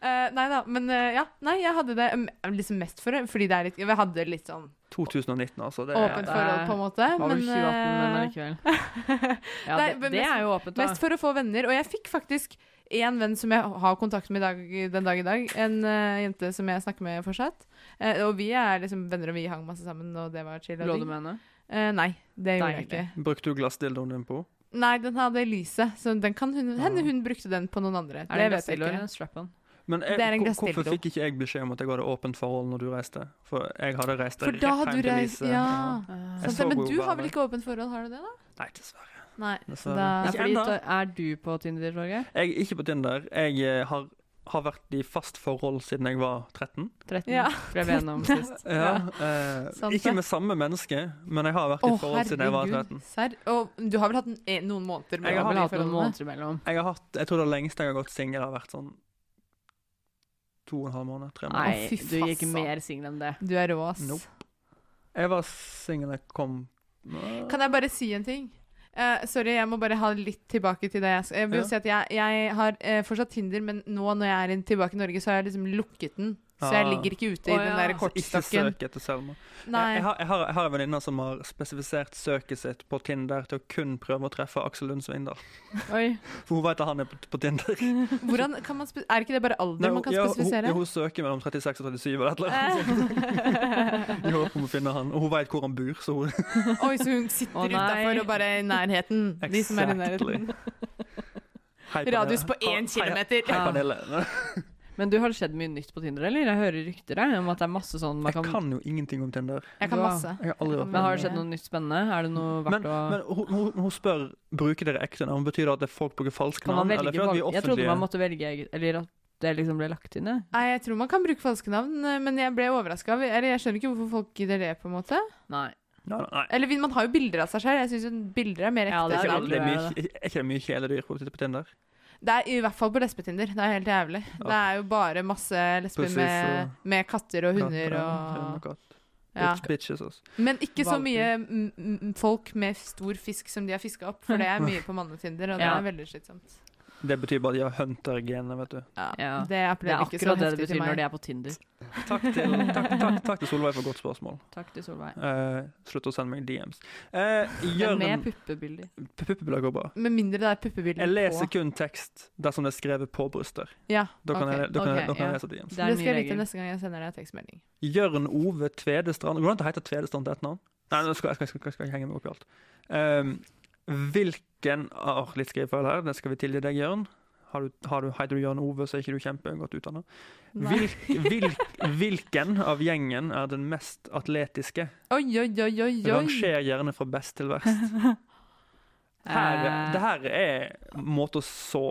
Speaker 6: Eh, nei da, men eh, ja. Nei, jeg hadde det mm, liksom mest for det, fordi det er litt Jeg hadde litt sånn
Speaker 5: 2019, altså. Det
Speaker 6: åpent
Speaker 5: er,
Speaker 6: forhold, på en måte.
Speaker 7: Var vel 2018, men
Speaker 6: eh,
Speaker 7: allikevel. Ja,
Speaker 6: Nei,
Speaker 7: det,
Speaker 6: men
Speaker 7: det
Speaker 6: mest-
Speaker 7: er jo åpent, da.
Speaker 6: Mest for å få venner. Og jeg fikk faktisk én venn som jeg har kontakt med i dag, den dag i dag. En eh, jente som jeg snakker med fortsatt. Eh, og vi er liksom venner, og vi hang masse sammen, og det var chill. og
Speaker 7: Lå
Speaker 6: digg.
Speaker 7: du med henne?
Speaker 6: Eh, nei, det gjorde jeg
Speaker 7: Deilig.
Speaker 6: ikke.
Speaker 5: brukte du glassdildoen din på?
Speaker 6: Nei, den hadde lyse, så den kan hun, henne hun brukte den på noen andre.
Speaker 7: Ah.
Speaker 6: vet
Speaker 7: Er det
Speaker 6: jeg
Speaker 7: glassdildo
Speaker 6: ikke.
Speaker 7: eller en strap-on?
Speaker 5: Men jeg,
Speaker 6: Det er en
Speaker 5: hvor-
Speaker 6: glassdildo.
Speaker 5: hvorfor fikk ikke jeg beskjed om at jeg hadde åpent forhold når du reiste? For jeg hadde reist
Speaker 6: For da
Speaker 5: rett
Speaker 6: hadde
Speaker 5: hjem
Speaker 6: du
Speaker 5: til
Speaker 6: reist
Speaker 5: Lise.
Speaker 6: Ja.
Speaker 5: Jeg
Speaker 6: Sant,
Speaker 5: så
Speaker 6: men
Speaker 5: hvor
Speaker 6: du
Speaker 5: hun
Speaker 6: har
Speaker 5: var.
Speaker 6: vel ikke åpent forhold, har du det? da?
Speaker 5: Nei, dessverre.
Speaker 6: Nei.
Speaker 5: Dessverre.
Speaker 6: Da,
Speaker 7: Nei,
Speaker 5: Ikke
Speaker 7: fordi,
Speaker 5: ennå.
Speaker 7: da- er du på Tinder, Torgeir?
Speaker 5: Jeg er ikke på Tinder. Jeg eh, har, har vært i fast forhold siden jeg var 13.
Speaker 7: 13
Speaker 6: Ja.
Speaker 7: ble vi enige om sist.
Speaker 5: Ja, eh,
Speaker 6: sant
Speaker 5: ikke
Speaker 6: det.
Speaker 5: med samme menneske, men jeg har vært i
Speaker 6: Å,
Speaker 5: forhold siden jeg var 13.
Speaker 6: herregud. Serr? Og du har vel hatt en, en- noen måneder
Speaker 5: Jeg har
Speaker 7: Jeg har
Speaker 6: mellom
Speaker 7: vel
Speaker 6: de
Speaker 7: hatt noen
Speaker 6: forholdene?
Speaker 7: måneder imellom.
Speaker 5: Jeg, har hatt, jeg tror det lengste jeg har gått singel, har vært sånn to og en halv måned. Tre måneder.
Speaker 7: Nei,
Speaker 6: fy
Speaker 7: du gikk
Speaker 6: faen.
Speaker 7: mer singel enn det.
Speaker 6: Du er rå, ass.
Speaker 5: Nope. Jeg var singel da jeg kom eh, altså
Speaker 6: Kan jeg bare si en ting? Eh, sorry, jeg må bare ha litt tilbake til det. Jeg, skal- jeg vil
Speaker 5: Ja.
Speaker 6: jo si at jeg, jeg har eh, fortsatt Tinder, men nå når jeg er inn- tilbake i Norge, så har jeg liksom lukket den. Så jeg
Speaker 5: Ah.
Speaker 6: ligger ikke ute i
Speaker 7: Å,
Speaker 6: den
Speaker 7: ja.
Speaker 6: der
Speaker 5: Så Ikke
Speaker 6: kortstokken.
Speaker 5: søk etter Selma.
Speaker 6: Nei.
Speaker 5: Jeg, jeg, har, jeg, har, jeg har en venninne som har spesifisert søket sitt på Tinder til å kun prøve å treffe Aksel Lund Svindal.
Speaker 6: Oi.
Speaker 5: For hun vet at han er på, på Tinder.
Speaker 6: Hvordan kan man spe- Er ikke det bare alder
Speaker 5: Nei, hun-
Speaker 6: man kan
Speaker 5: ja,
Speaker 6: spesifisere?
Speaker 5: Hun, ja, hun søker mellom 36 og 37 eller et eller annet.
Speaker 7: Eh.
Speaker 5: sånt. I håp om å finne han. Og hun vet hvor han bor, så hun
Speaker 6: Oi, så hun sitter
Speaker 7: Å, nei.
Speaker 6: utafor og bare i nærheten. De som er i nærheten.
Speaker 5: Hei, Pernille.
Speaker 6: Radius på
Speaker 5: Hei,
Speaker 6: én kilometer.
Speaker 5: Hei,
Speaker 7: Ja.
Speaker 5: Pernille.
Speaker 7: Men du har det skjedd mye nytt på Tinder, eller? Jeg hører rykter jeg, om at det er masse sånn man
Speaker 5: Jeg kan jo ingenting om Tinder.
Speaker 6: Jeg kan
Speaker 7: Du har-
Speaker 6: masse.
Speaker 5: Jeg har aldri vært
Speaker 7: Men har det skjedd noe nytt spennende? Er det noe
Speaker 5: Men,
Speaker 7: verdt å
Speaker 5: men hun, hun, hun spør bruker dere ekte navn. Betyr det at det er folk bruker falske
Speaker 7: Kan man
Speaker 5: navn? Eller
Speaker 7: velge
Speaker 5: fordi at vi er
Speaker 7: valg- Jeg trodde
Speaker 5: offentlige?
Speaker 7: man måtte velge eget Eller at det liksom ble lagt inn, jeg.
Speaker 6: Nei, jeg tror man kan bruke falske navn, men jeg ble overraska. Eller jeg skjønner ikke hvorfor folk gidder det, på en måte.
Speaker 7: Nei.
Speaker 5: Nei, nei.
Speaker 6: Eller vi- man har jo bilder av seg selv. Jeg syns jo bilder er mer ekte.
Speaker 7: Ja,
Speaker 5: Det er ikke
Speaker 7: det
Speaker 6: enn
Speaker 5: alle-
Speaker 6: navn.
Speaker 5: det er mye,
Speaker 7: tror
Speaker 5: er ikke det mye kjæledyr på på Tinder?
Speaker 6: Det er i hvert fall på lesbetinder. Det er helt jævlig. Det er jo bare masse lesber
Speaker 5: Pussies
Speaker 6: med, med katter og hunder
Speaker 5: Katter,
Speaker 6: og
Speaker 5: katt.
Speaker 6: ja.
Speaker 5: Bitch, bitches altså. også.
Speaker 6: Men ikke så
Speaker 7: Valper.
Speaker 6: mye mm, mm, folk med f- stor fisk som de har fiska opp, for det er mye på mannetinder, og det
Speaker 7: Ja.
Speaker 6: er veldig slitsomt.
Speaker 5: Det betyr bare at de har hunter-genet, vet du.
Speaker 6: Ja,
Speaker 7: Ja.
Speaker 6: Det
Speaker 7: Det er
Speaker 6: appellerer ikke så
Speaker 7: akkurat det det
Speaker 6: heftig
Speaker 7: betyr
Speaker 6: til
Speaker 7: når
Speaker 6: meg.
Speaker 7: de er på Tinder.
Speaker 5: Takk til, takk, takk, takk til Solveig for godt spørsmål.
Speaker 7: Takk til Solveig.
Speaker 5: Eh, slutt å sende meg DMs. Eh, gjør
Speaker 7: Men med
Speaker 5: en
Speaker 7: puppebilder.
Speaker 5: Puppebilder går bra.
Speaker 6: Med mindre det er
Speaker 5: Jeg
Speaker 6: puppebilder
Speaker 5: leser kun tekst dersom det er skrevet på bryster.
Speaker 6: Ja,
Speaker 5: Da kan
Speaker 6: ok,
Speaker 5: jeg, da kan jeg,
Speaker 6: ok,
Speaker 5: da kan jeg
Speaker 6: ja.
Speaker 5: lese DMs.
Speaker 7: Det er
Speaker 6: det
Speaker 7: en ny
Speaker 6: skal jeg vite
Speaker 7: regel.
Speaker 6: neste gang jeg sender deg tekstmelding.
Speaker 5: Jørn Ove Tvedestrand Hvordan heter Tvedestrand til et navn? Nei, nå skal jeg skal, skal, skal jeg henge meg opp i alt. Ehm, hvilken ah, Litt skrivefeil her, det skal vi tilgi deg, Jørn. Har du, har du, heter du Jørn Ove, så er ikke du kjempegodt utdanna. Hvil, hvil, hvilken av gjengen er den mest atletiske?
Speaker 6: Oi, oi, oi, oi, oi.
Speaker 5: Ranger gjerne fra best til verst. Her,
Speaker 7: Eh.
Speaker 5: det her er måte å så.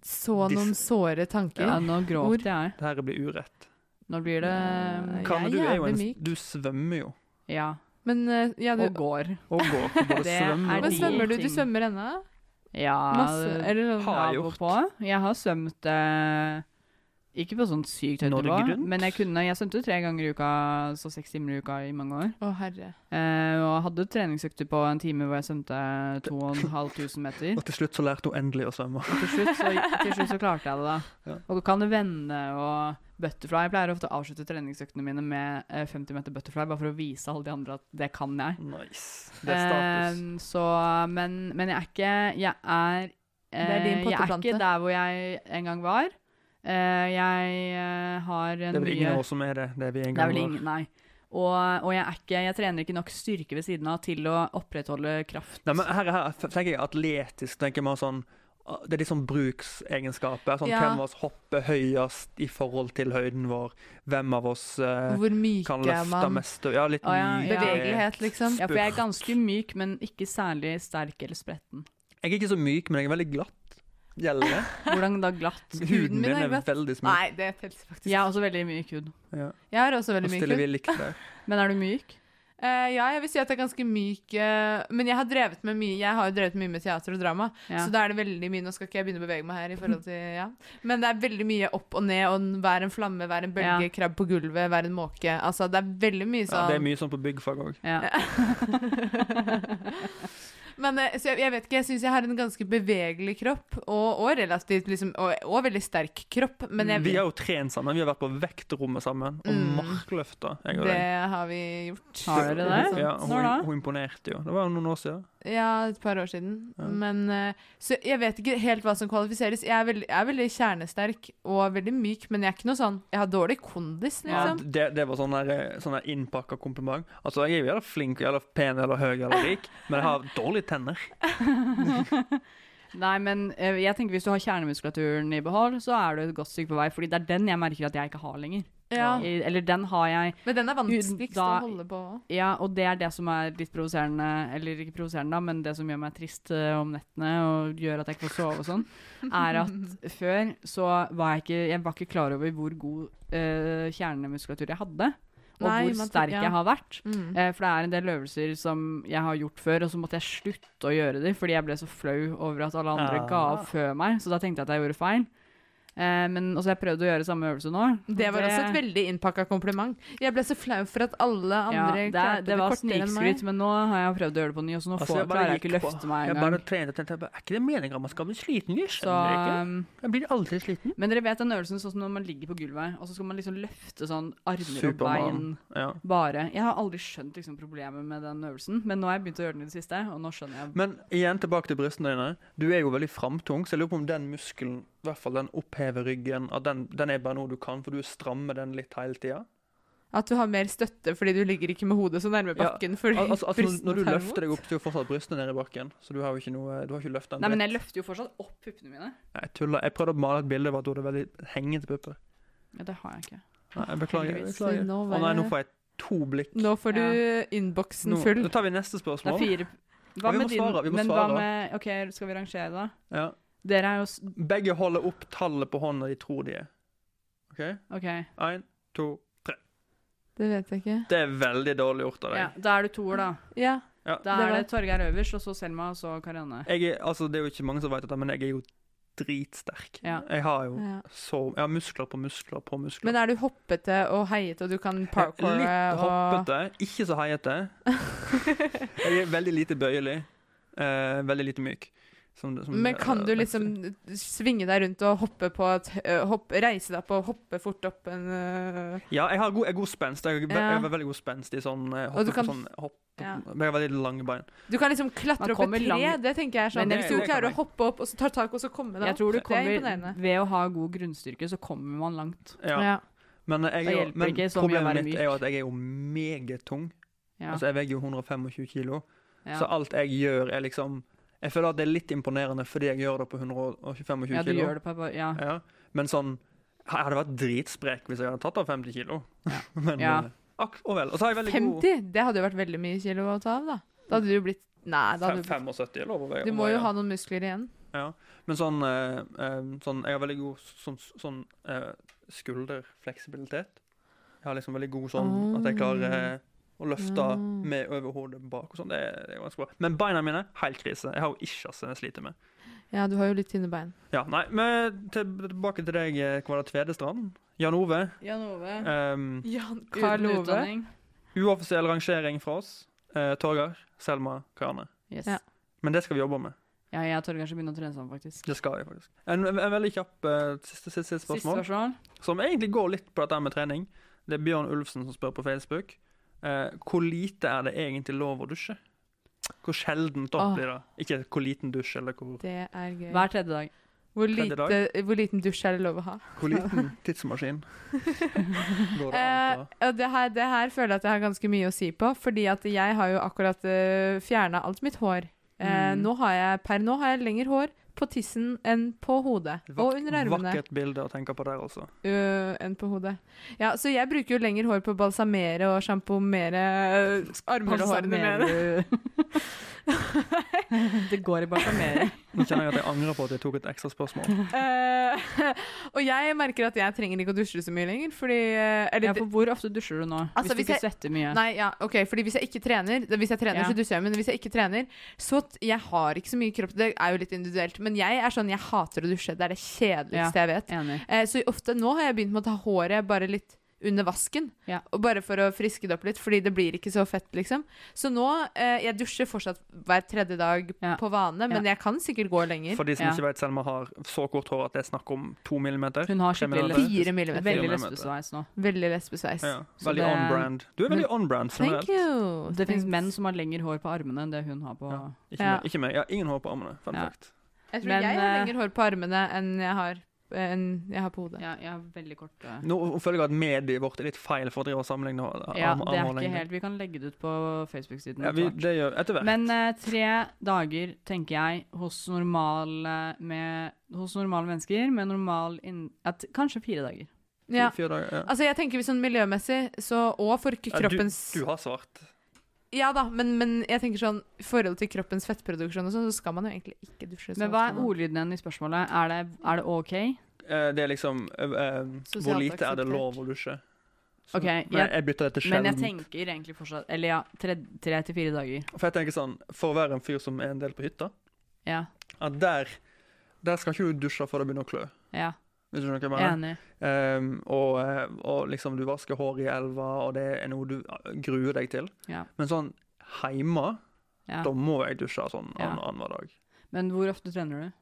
Speaker 6: Så noen såre tanker.
Speaker 7: Ja, nå
Speaker 6: Ord.
Speaker 7: gråt jeg.
Speaker 5: Det her blir urett.
Speaker 7: Nå blir det
Speaker 6: Jeg
Speaker 5: Karne,
Speaker 6: er
Speaker 5: du, er jo
Speaker 6: jævlig
Speaker 5: en,
Speaker 6: myk.
Speaker 5: du svømmer jo.
Speaker 7: Ja.
Speaker 6: Men eh, ja,
Speaker 7: Og
Speaker 6: du,
Speaker 7: går.
Speaker 5: Og går. Du Både
Speaker 7: Det
Speaker 5: svømmer
Speaker 7: er
Speaker 5: og
Speaker 6: men
Speaker 7: de
Speaker 5: går.
Speaker 6: svømmer du? Du
Speaker 7: ting.
Speaker 6: svømmer ennå?
Speaker 7: Ja.
Speaker 6: Masse? Eller sånn
Speaker 5: Har
Speaker 7: av og
Speaker 5: gjort.
Speaker 7: På. Jeg har svømt eh, ikke på sånn sykt høyt
Speaker 5: Når det
Speaker 7: nivå,
Speaker 5: er grunt?
Speaker 7: men jeg kunne, jeg svømte tre ganger i uka, så seks timer i uka i mange år.
Speaker 6: Å, herre.
Speaker 7: Eh, og hadde treningsøkter på en time hvor jeg svømte 2500 meter.
Speaker 5: Og til slutt så lærte hun endelig å svømme.
Speaker 7: Og til slutt så, til slutt så klarte jeg det, da.
Speaker 5: Ja.
Speaker 7: Og du kan vende og butterfly. Jeg pleier ofte å avslutte treningsøktene mine med eh, 50 meter butterfly, bare for å vise alle de andre at det kan jeg.
Speaker 5: Nice. Det er status.
Speaker 7: Eh, så, men, men jeg er ikke Jeg er eh,
Speaker 6: Det er din
Speaker 7: Jeg er
Speaker 6: potteplante.
Speaker 7: ikke der hvor jeg en gang var. Eh, jeg eh, har
Speaker 5: det
Speaker 7: en
Speaker 5: er vel ingen
Speaker 7: mye
Speaker 5: av oss som er det. Det er vi en
Speaker 7: det er
Speaker 5: gang
Speaker 7: vel
Speaker 5: var.
Speaker 7: ingen, nei. Og, og jeg, er ikke, jeg trener ikke nok styrke ved siden av til å opprettholde kraft.
Speaker 5: Nei, men her, her tenker jeg atletisk. tenker man sånn, ah, Det er litt sånn bruksegenskaper. Sånn,
Speaker 6: Ja.
Speaker 5: Hvem av oss hopper høyest i forhold til høyden vår? Hvem av oss eh,
Speaker 6: Hvor myk
Speaker 5: kan
Speaker 6: er
Speaker 5: løfte
Speaker 6: man?
Speaker 5: mest? og- Ja, litt
Speaker 7: Å, ja,
Speaker 5: myk-
Speaker 7: ja.
Speaker 6: Bevegelighet, liksom.
Speaker 7: ja, for jeg er ganske myk, men ikke særlig sterk eller spretten.
Speaker 5: Jeg er ikke så myk, men jeg er veldig glatt. Gjelder det?
Speaker 7: Hvordan da glatt?
Speaker 5: Huden
Speaker 6: min
Speaker 5: min er
Speaker 6: er glatt.
Speaker 5: veldig smooth.
Speaker 6: Nei, det teller faktisk.
Speaker 7: Jeg har også veldig myk hud.
Speaker 5: Ja.
Speaker 6: Jeg er også
Speaker 5: Nå
Speaker 6: veldig myk.
Speaker 5: stiller
Speaker 6: hud.
Speaker 5: vi likt der.
Speaker 7: Men er du myk?
Speaker 6: Eh, ja, jeg vil si at jeg er ganske myk. eh, men jeg har, drevet med mye, jeg har jo drevet mye med teater og drama,
Speaker 7: Ja.
Speaker 6: så da er det veldig mye Nå skal ikke jeg begynne å bevege meg her, i forhold til, ja. men det er veldig mye opp og ned, og en- vær en flamme, vær en bølge,
Speaker 7: Ja.
Speaker 6: krabb på gulvet, vær en måke. Altså, det er veldig mye
Speaker 5: Ja,
Speaker 6: sånn.
Speaker 5: det er mye sånn på byggfag òg.
Speaker 7: Ja.
Speaker 6: men eh, så jeg, jeg vet ikke, jeg syns jeg har en ganske bevegelig kropp, og, og relativt liksom, og, og veldig sterk kropp, men jeg
Speaker 5: Vi har jo trent sammen. Vi har vært på vektrommet sammen. Og
Speaker 6: Mm.
Speaker 5: markløfta. Jeg og
Speaker 6: Det
Speaker 5: deg.
Speaker 6: har vi gjort.
Speaker 7: Har dere det?
Speaker 6: Sånn.
Speaker 5: Ja,
Speaker 7: Når da?
Speaker 5: hun, hun imponerte jo. Det var jo noen år siden.
Speaker 6: Ja, et par år siden.
Speaker 5: Ja.
Speaker 6: Men, eh, så jeg vet ikke helt hva som kvalifiseres. Jeg er veldig, jeg er veldig kjernesterk og veldig myk, men jeg er ikke noe sånn Jeg har dårlig kondis,
Speaker 5: Ja,
Speaker 6: liksom.
Speaker 5: det, det var sånn der, eh, sånn der innpakka kompliment. Altså, jeg er jo jævla flink eller pen eller høy eller rik, men jeg har dårlige tenner.
Speaker 7: Nei, men eh, jeg tenker hvis du har kjernemuskulaturen i behold, så er du et godt stykke på vei. Fordi det er den jeg merker at jeg ikke har lenger.
Speaker 6: Ja.
Speaker 7: I- Eller den har jeg
Speaker 6: Men den er vanskeligst
Speaker 7: Da-
Speaker 6: å holde på.
Speaker 7: Ja, og det er det som er litt provoserende, eller ikke provoserende, da, men det som gjør meg trist eh, om nettene og gjør at jeg ikke får sove og sånn, er at før så var jeg ikke, jeg var ikke klar over hvor god eh, kjernemuskulatur jeg hadde, og
Speaker 6: Nei,
Speaker 7: hvor
Speaker 6: man-
Speaker 7: sterk
Speaker 6: ja.
Speaker 7: jeg har vært.
Speaker 6: Mm.
Speaker 7: Eh, for det er en del øvelser som jeg har gjort før, og så måtte jeg slutte å gjøre dem fordi jeg ble så flau over at alle andre
Speaker 5: Ah.
Speaker 7: ga opp før meg, så da tenkte jeg at jeg gjorde feil. Eh, men også jeg prøvde å gjøre samme øvelse nå.
Speaker 6: Mm. Det var også et veldig innpakka kompliment. Jeg ble så flau for at alle
Speaker 7: ja,
Speaker 6: andre
Speaker 7: det, er- det var
Speaker 6: kortere enn meg.
Speaker 7: snikskryt, men nå har jeg prøvd å gjøre det på ny, og så nå
Speaker 5: Altså,
Speaker 7: får,
Speaker 5: jeg bare
Speaker 7: klarer jeg ikke
Speaker 5: gikk på.
Speaker 7: løfte meg
Speaker 5: Jeg
Speaker 7: engang.
Speaker 5: bare trente, trente, jeg bare, er ikke det meningen at man skal bli sliten? Jeg
Speaker 7: Så,
Speaker 5: skjønner ikke. Jeg blir aldri sliten.
Speaker 7: um, Men dere vet den øvelsen sånn som når man ligger på gulvet, og så skal man liksom løfte sånn armer og bein
Speaker 5: Supermann. Ja.
Speaker 7: bare. Jeg har aldri skjønt liksom, problemet med den øvelsen, men nå har jeg begynt å gjøre den i det siste, og nå skjønner jeg.
Speaker 5: Men igjen tilbake til brystene dine. Du er jo veldig framtung, så jeg lurer på om den muskelen, i hvert fall den opphever ryggen, at den, den er bare noe du kan, for du strammer den litt hele tida.
Speaker 6: At du har mer støtte fordi du ligger ikke med hodet så nærme bakken.
Speaker 5: al-
Speaker 6: fordi
Speaker 5: altså, altså,
Speaker 6: brystene
Speaker 5: når du
Speaker 6: tar imot.
Speaker 5: løfter deg opp, så er jo fortsatt brystene nede i bakken. Så du har jo ikke noe Du har ikke løftet den.
Speaker 7: Nei, men
Speaker 5: dritt.
Speaker 7: jeg løfter jo fortsatt opp puppene mine.
Speaker 5: jeg tuller. Jeg prøvde å male et bilde av at du hadde veldig hengete pupper.
Speaker 7: Ja, det har jeg ikke.
Speaker 5: Nei, jeg beklager. jeg
Speaker 7: Heldigvis.
Speaker 5: beklager. Å
Speaker 7: Nå var
Speaker 5: nei, nå
Speaker 7: det-
Speaker 5: får jeg to blikk.
Speaker 6: Nå får du innboksen
Speaker 5: Nå-
Speaker 6: full.
Speaker 5: Da tar vi neste
Speaker 7: Det er
Speaker 5: spørsmål.
Speaker 7: fire
Speaker 5: Ja,
Speaker 7: Hva
Speaker 5: vi må
Speaker 7: med din
Speaker 5: svare, vi må
Speaker 7: Men
Speaker 5: svare.
Speaker 7: hva med OK, skal vi rangere, da?
Speaker 5: Ja.
Speaker 7: Dere er jo s-
Speaker 5: Begge holder opp tallet på hånda de tror de er. OK?
Speaker 7: OK.
Speaker 5: Én, to, tre.
Speaker 6: Det vet jeg ikke.
Speaker 5: Det er veldig dårlig gjort av deg.
Speaker 7: Ja, da er du toer, da.
Speaker 6: Ja.
Speaker 5: Ja.
Speaker 7: Da
Speaker 5: Det
Speaker 7: er
Speaker 5: var-
Speaker 7: det Torgeir øverst, og så Selma, og så Karianne.
Speaker 5: Jeg er, altså, det er jo ikke mange som vet dette, men jeg er jo dritsterk.
Speaker 7: Ja.
Speaker 5: Jeg har jo
Speaker 6: Ja.
Speaker 5: så Jeg har muskler på muskler på muskler.
Speaker 6: Men er du hoppete og heiete, og du kan parkour eh,
Speaker 5: Litt
Speaker 6: og
Speaker 5: hoppete, ikke så heiete. jeg er veldig lite bøyelig. eh, veldig lite myk. Som, det- som-
Speaker 6: Men kan du liksom svinge deg rundt og hoppe på et eh, hopp, Reise deg opp og hoppe fort opp en eh,
Speaker 5: Ja, jeg har god, jeg er god spenst. Jeg, er ve-
Speaker 6: Ja.
Speaker 5: jeg er veldig god spenst i sånn eh,
Speaker 6: Og du
Speaker 5: hoppe
Speaker 6: kan-
Speaker 5: på sånn hopp.
Speaker 6: ja.
Speaker 5: Jeg har veldig lange bein.
Speaker 6: Du kan liksom
Speaker 7: Man
Speaker 6: klatre opp
Speaker 7: kommer
Speaker 6: et tre,
Speaker 7: langt.
Speaker 6: det tenker jeg er
Speaker 7: Men
Speaker 6: sånn.
Speaker 7: det-
Speaker 6: Hvis du
Speaker 7: det
Speaker 6: klarer
Speaker 7: kan
Speaker 6: å
Speaker 7: jeg.
Speaker 6: hoppe opp og så tar tak og så komme deg
Speaker 7: Jeg
Speaker 6: opp,
Speaker 7: tror du
Speaker 6: det er
Speaker 7: kommer
Speaker 6: imponerende.
Speaker 7: Ved å ha god grunnstyrke, så kommer man langt.
Speaker 5: Ja.
Speaker 6: Ja.
Speaker 5: Men, eh, jeg,
Speaker 7: Da
Speaker 5: er jo-
Speaker 7: hjelper
Speaker 5: men
Speaker 7: det ikke så mye å
Speaker 5: problemet
Speaker 7: være
Speaker 5: mitt
Speaker 7: myk.
Speaker 5: er jo at jeg er jo meget tung.
Speaker 7: Ja.
Speaker 5: Altså, jeg veier jo 125 kilo.
Speaker 7: Ja.
Speaker 5: Så alt jeg gjør, er liksom Jeg føler at det er litt imponerende fordi jeg gjør det på 125 kilo.
Speaker 7: Ja, du gjør det på Ja.
Speaker 5: Ja. Men sånn Jeg hadde vært dritsprek hvis jeg hadde tatt av 50 kilo. Men
Speaker 6: Ja.
Speaker 5: eh, akk og vel. Og så har jeg veldig god
Speaker 6: 50? Det hadde jo vært veldig mye kilo å ta av, da. Da hadde du blitt Nei, da
Speaker 5: Fem-
Speaker 6: hadde du
Speaker 5: 75 er lov å veie.
Speaker 6: Du
Speaker 5: å
Speaker 6: må
Speaker 5: veie.
Speaker 6: jo ha noen muskler igjen.
Speaker 5: Ja, men sånn, eh, eh, sånn Jeg har veldig god sånn, sånn eh, skulderfleksibilitet. Jeg har liksom veldig god sånn at jeg klarer eh, å løfte
Speaker 6: Ah.
Speaker 5: med over hodet bak og sånn. Det, er- det er ganske bra. Men beina mine, helt krise. Jeg har jo ischias som jeg sliter med.
Speaker 6: Ja, du har jo litt tynne bein.
Speaker 5: Ja, nei, men til, tilbake til deg, eh, hva var det, Tvedestrand? Jan Ove.
Speaker 7: Jan Ove.
Speaker 5: ehm,
Speaker 6: Jan
Speaker 7: Uten
Speaker 6: Karl Ove.
Speaker 7: utdanning.
Speaker 5: uoffisiell rangering fra oss. Uh, Torgeir, Selma, Karne.
Speaker 7: Yes.
Speaker 6: Ja.
Speaker 7: Ja.
Speaker 5: Men det skal vi jobbe med.
Speaker 7: jeg og Torgeir skal begynne å trene sammen, faktisk.
Speaker 5: Det skal vi faktisk. En, en veldig kjapp eh, siste, siste, siste
Speaker 7: Siste
Speaker 5: spørsmål.
Speaker 7: spørsmål.
Speaker 5: som egentlig går litt på dette med trening. Det er Bjørn Ulfsen som spør på Facebook. Eh, hvor lite er det egentlig lov å dusje? Hvor sjeldent da
Speaker 6: Åh.
Speaker 5: blir det? Ikke hvor liten dusj, eller hvor,
Speaker 6: Det er gøy.
Speaker 7: Hver tredje dag.
Speaker 6: Hvor,
Speaker 5: Tredje
Speaker 6: lite, hvor liten dusj er det lov å ha?
Speaker 5: hvor liten tidsmaskin går det an å ta?
Speaker 6: Eh, og det, her, det her føler jeg at jeg har ganske mye å si på, fordi at jeg har jo akkurat uh, fjerna alt mitt hår. Eh,
Speaker 7: Mm.
Speaker 6: nå har jeg, per nå har jeg lenger hår på tissen enn på hodet. og
Speaker 5: Vak-
Speaker 6: under armene.
Speaker 5: Vakkert bilde å tenke på der, altså.
Speaker 6: Øh, enn på hodet. Ja, så jeg bruker jo lenger hår på å balsamere og sjampomere øh, armer og hårene mine.
Speaker 7: det går i balsamering.
Speaker 5: Nå kjenner jeg at jeg angrer på at jeg tok et ekstra spørsmål.
Speaker 6: Eh, og jeg merker at jeg trenger ikke å dusje så mye lenger, fordi eh, eller,
Speaker 7: Ja, for hvor ofte dusjer du nå?
Speaker 6: Altså, hvis
Speaker 7: hvis du ikke
Speaker 6: jeg-
Speaker 7: svetter mye.
Speaker 6: Nei, ja, ok, fordi hvis jeg ikke trener det- Hvis jeg trener,
Speaker 7: Ja.
Speaker 6: så dusjer jeg, men hvis jeg ikke trener Så t- jeg har ikke så mye kropp Det er jo litt individuelt, men jeg er sånn Jeg hater å dusje, det er det
Speaker 7: Ja,
Speaker 6: kjedeligste jeg vet
Speaker 7: Enig.
Speaker 6: Eh, Så ofte nå har jeg begynt med å ta håret bare litt under vasken.
Speaker 7: Ja.
Speaker 6: Og bare for å friske det opp litt, fordi det blir ikke så fett, liksom. Så nå eh, Jeg dusjer fortsatt hver tredje dag
Speaker 7: Ja.
Speaker 6: på vane, men jeg kan sikkert gå lenger.
Speaker 5: For de som
Speaker 7: Ja.
Speaker 5: ikke vet, Selma har så kort hår at det er snakk om to millimeter.
Speaker 7: Hun har
Speaker 5: Tre
Speaker 7: skikkelig
Speaker 5: millimeter.
Speaker 6: Fire millimeter.
Speaker 5: Fire
Speaker 7: Veldig
Speaker 5: millimeter.
Speaker 7: lesbesveis nå.
Speaker 6: Veldig lesbesveis.
Speaker 5: Ja,
Speaker 7: Så
Speaker 5: veldig
Speaker 7: det-
Speaker 5: on-brand. Du er veldig on-brand
Speaker 6: Thank
Speaker 5: generelt.
Speaker 6: you.
Speaker 7: Det fins
Speaker 6: Thanks.
Speaker 7: menn som har lengre hår på armene enn det hun har på
Speaker 5: Ja. Ikke,
Speaker 6: Ja.
Speaker 5: Meg, ikke meg. Jeg har ingen hår på armene. Fun
Speaker 7: Ja.
Speaker 5: fact.
Speaker 6: Jeg tror
Speaker 7: Men,
Speaker 6: jeg har
Speaker 7: eh,
Speaker 6: lenger hår på armene enn jeg har, enn jeg har på hodet.
Speaker 7: Ja, jeg har veldig kort eh,
Speaker 5: Nå føler jeg at mediet vårt er litt feil for å drive og sammenligne
Speaker 7: Ja,
Speaker 5: arm-
Speaker 7: det er
Speaker 5: armhålingene.
Speaker 7: ikke helt Vi kan legge det ut på Facebook-siden.
Speaker 5: ja, vi,
Speaker 7: snart.
Speaker 5: Det gjør etter hvert.
Speaker 7: Men eh, tre dager, tenker jeg, hos normale, med, hos normale mennesker med normal inn... At, kanskje fire dager.
Speaker 6: Ja.
Speaker 5: Fire dager, ja.
Speaker 6: Altså, jeg tenker sånn miljømessig, så, og for
Speaker 5: Ja,
Speaker 6: kroppens
Speaker 5: du, du har svart.
Speaker 6: Ja da, men, men jeg tenker sånn i forhold til kroppens fettproduksjon og sånn, så skal man jo egentlig ikke dusje så
Speaker 7: Men hva er
Speaker 6: ofte nå.
Speaker 7: ordlyden igjen i spørsmålet? Er det, er det OK?
Speaker 5: Eh, Det er liksom eh, eh, Hvor
Speaker 6: Sosialt
Speaker 5: lite er det
Speaker 6: akseptert.
Speaker 5: lov å dusje? Så-
Speaker 7: Ok,
Speaker 5: Nei,
Speaker 7: jeg-
Speaker 5: jeg bytter det til
Speaker 7: Men jeg
Speaker 5: sjelden.
Speaker 7: tenker egentlig fortsatt Eller ja, tre, tre til fire dager.
Speaker 5: For jeg tenker sånn, for å være en fyr som er en del på hytta,
Speaker 7: Ja.
Speaker 5: at der, der skal ikke du dusje før det begynner å klø.
Speaker 7: ja.
Speaker 5: Hvis du skjønner hva jeg
Speaker 7: Enig.
Speaker 5: mener. Ehm, og, eh, og liksom du vasker håret i elva, og det er noe du gruer deg til.
Speaker 7: Ja.
Speaker 5: Men sånn hjemme,
Speaker 7: Ja.
Speaker 5: da må jeg dusje sånn
Speaker 7: Ja.
Speaker 5: annen- annenhver dag.
Speaker 7: Men hvor ofte trener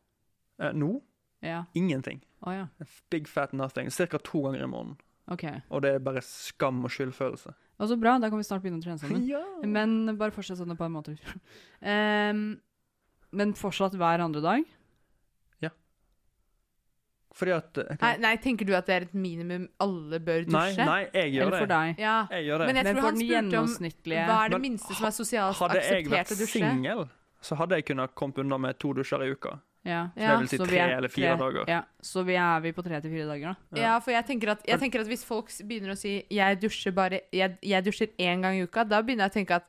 Speaker 7: du?
Speaker 5: Eh, nå
Speaker 7: Ja.
Speaker 5: ingenting.
Speaker 7: Å ja.
Speaker 5: Big fat nothing. Cirka to ganger i måneden.
Speaker 7: Ok.
Speaker 5: Og det er bare skam og skyldfølelse.
Speaker 7: Og så bra, da kan vi snart begynne å trene sammen.
Speaker 5: Ja.
Speaker 7: Men bare fortsett sånn et par måneder. Ehm, men fortsatt hver andre dag?
Speaker 5: Fordi at eh,
Speaker 6: Nei, nei, tenker du at det er et minimum alle bør
Speaker 5: Nei,
Speaker 6: dusje?
Speaker 5: nei, jeg gjør
Speaker 7: Eller for
Speaker 5: det.
Speaker 7: deg.
Speaker 6: Ja.
Speaker 5: Jeg gjør det.
Speaker 6: Men jeg
Speaker 7: Men
Speaker 6: tror
Speaker 7: for
Speaker 6: han
Speaker 7: den
Speaker 6: spurte om hva
Speaker 7: gjennomsnittlige-
Speaker 6: er det
Speaker 5: Men
Speaker 6: minste som er sosialt
Speaker 5: Hadde jeg vært
Speaker 6: akseptert å dusje?
Speaker 5: singel, så hadde jeg kunnet kommet unna med to dusjer i uka.
Speaker 7: Ja.
Speaker 5: Så det vil si
Speaker 7: vi
Speaker 5: tre
Speaker 7: er
Speaker 5: eller fire
Speaker 7: tre-
Speaker 5: dager.
Speaker 7: Ja. Så vi er vi på tre til fire dager, da.
Speaker 6: Ja, for jeg tenker, at, jeg tenker at hvis folk s- begynner å si jeg dusjer bare, jeg, jeg dusjer én gang i uka, da begynner jeg å tenke at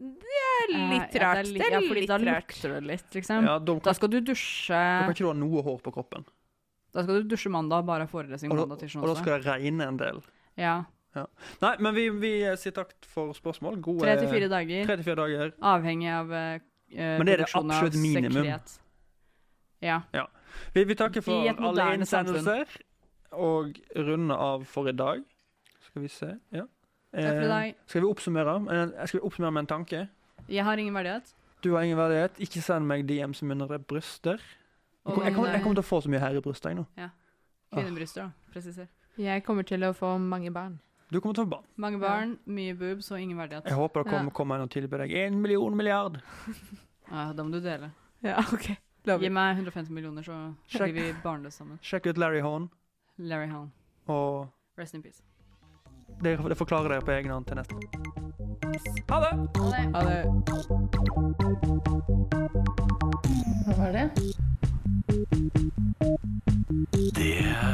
Speaker 6: det er litt
Speaker 7: Eh, ja,
Speaker 6: rart.
Speaker 7: det er
Speaker 6: Det
Speaker 7: litt- ja,
Speaker 6: er
Speaker 7: fordi da
Speaker 6: litt rart.
Speaker 7: lukter det litt, liksom.
Speaker 5: Ja, da kan-
Speaker 7: da skal du dusje
Speaker 5: Da kan ikke du ha noe hår på kroppen.
Speaker 7: Da skal du dusje mandag, bare ha forelesning
Speaker 5: Og da,
Speaker 7: mandag til
Speaker 5: og da
Speaker 7: onsdag.
Speaker 5: skal det regne en del.
Speaker 7: Ja.
Speaker 5: Ja. Nei, men vi, vi eh, sier takk for spørsmål. Gode
Speaker 7: Tre til fire dager.
Speaker 5: Tre til fire dager.
Speaker 7: Avhengig av eh, eh,
Speaker 5: Men det er det
Speaker 7: produksjonen av
Speaker 5: absolutt minimum.
Speaker 7: sekret. Ja.
Speaker 5: Ja. Vi, vi takker
Speaker 7: I
Speaker 5: for
Speaker 7: et
Speaker 5: alle
Speaker 7: moderne
Speaker 5: innsendelser. Og runde av for i dag. Skal vi se ja.
Speaker 7: Takk for i dag.
Speaker 5: Skal vi oppsummere? Eh, Skal vi oppsummere med en tanke?
Speaker 7: Jeg har ingen verdighet.
Speaker 5: Du har ingen verdighet. Ikke send meg DM som mindre bryster. Jeg
Speaker 7: Og
Speaker 5: kom- jeg kommer
Speaker 7: nei.
Speaker 5: jeg kommer til å få så mye herrebryster jeg nå.
Speaker 7: Ja. Kvinnebryster, da. Presiser.
Speaker 6: Jeg kommer til å få mange barn.
Speaker 5: Du kommer til å få barn.
Speaker 7: Mange barn, mye boobs og ingen verdighet.
Speaker 5: Jeg håper det kommer, kommer en og tilbyr deg en million milliard.
Speaker 7: Ja, da må du dele.
Speaker 6: Ja, ok.
Speaker 7: Gi meg 150 millioner, så
Speaker 5: Sjekk.
Speaker 7: blir vi barnløse sammen.
Speaker 5: Sjekk ut Larry Hone,
Speaker 7: Larry Hall.
Speaker 5: og
Speaker 7: Rest in peace.
Speaker 5: det, det forklarer dere på egen hånd til neste Ha det!
Speaker 6: Ha det.
Speaker 13: Hva var det?
Speaker 8: Det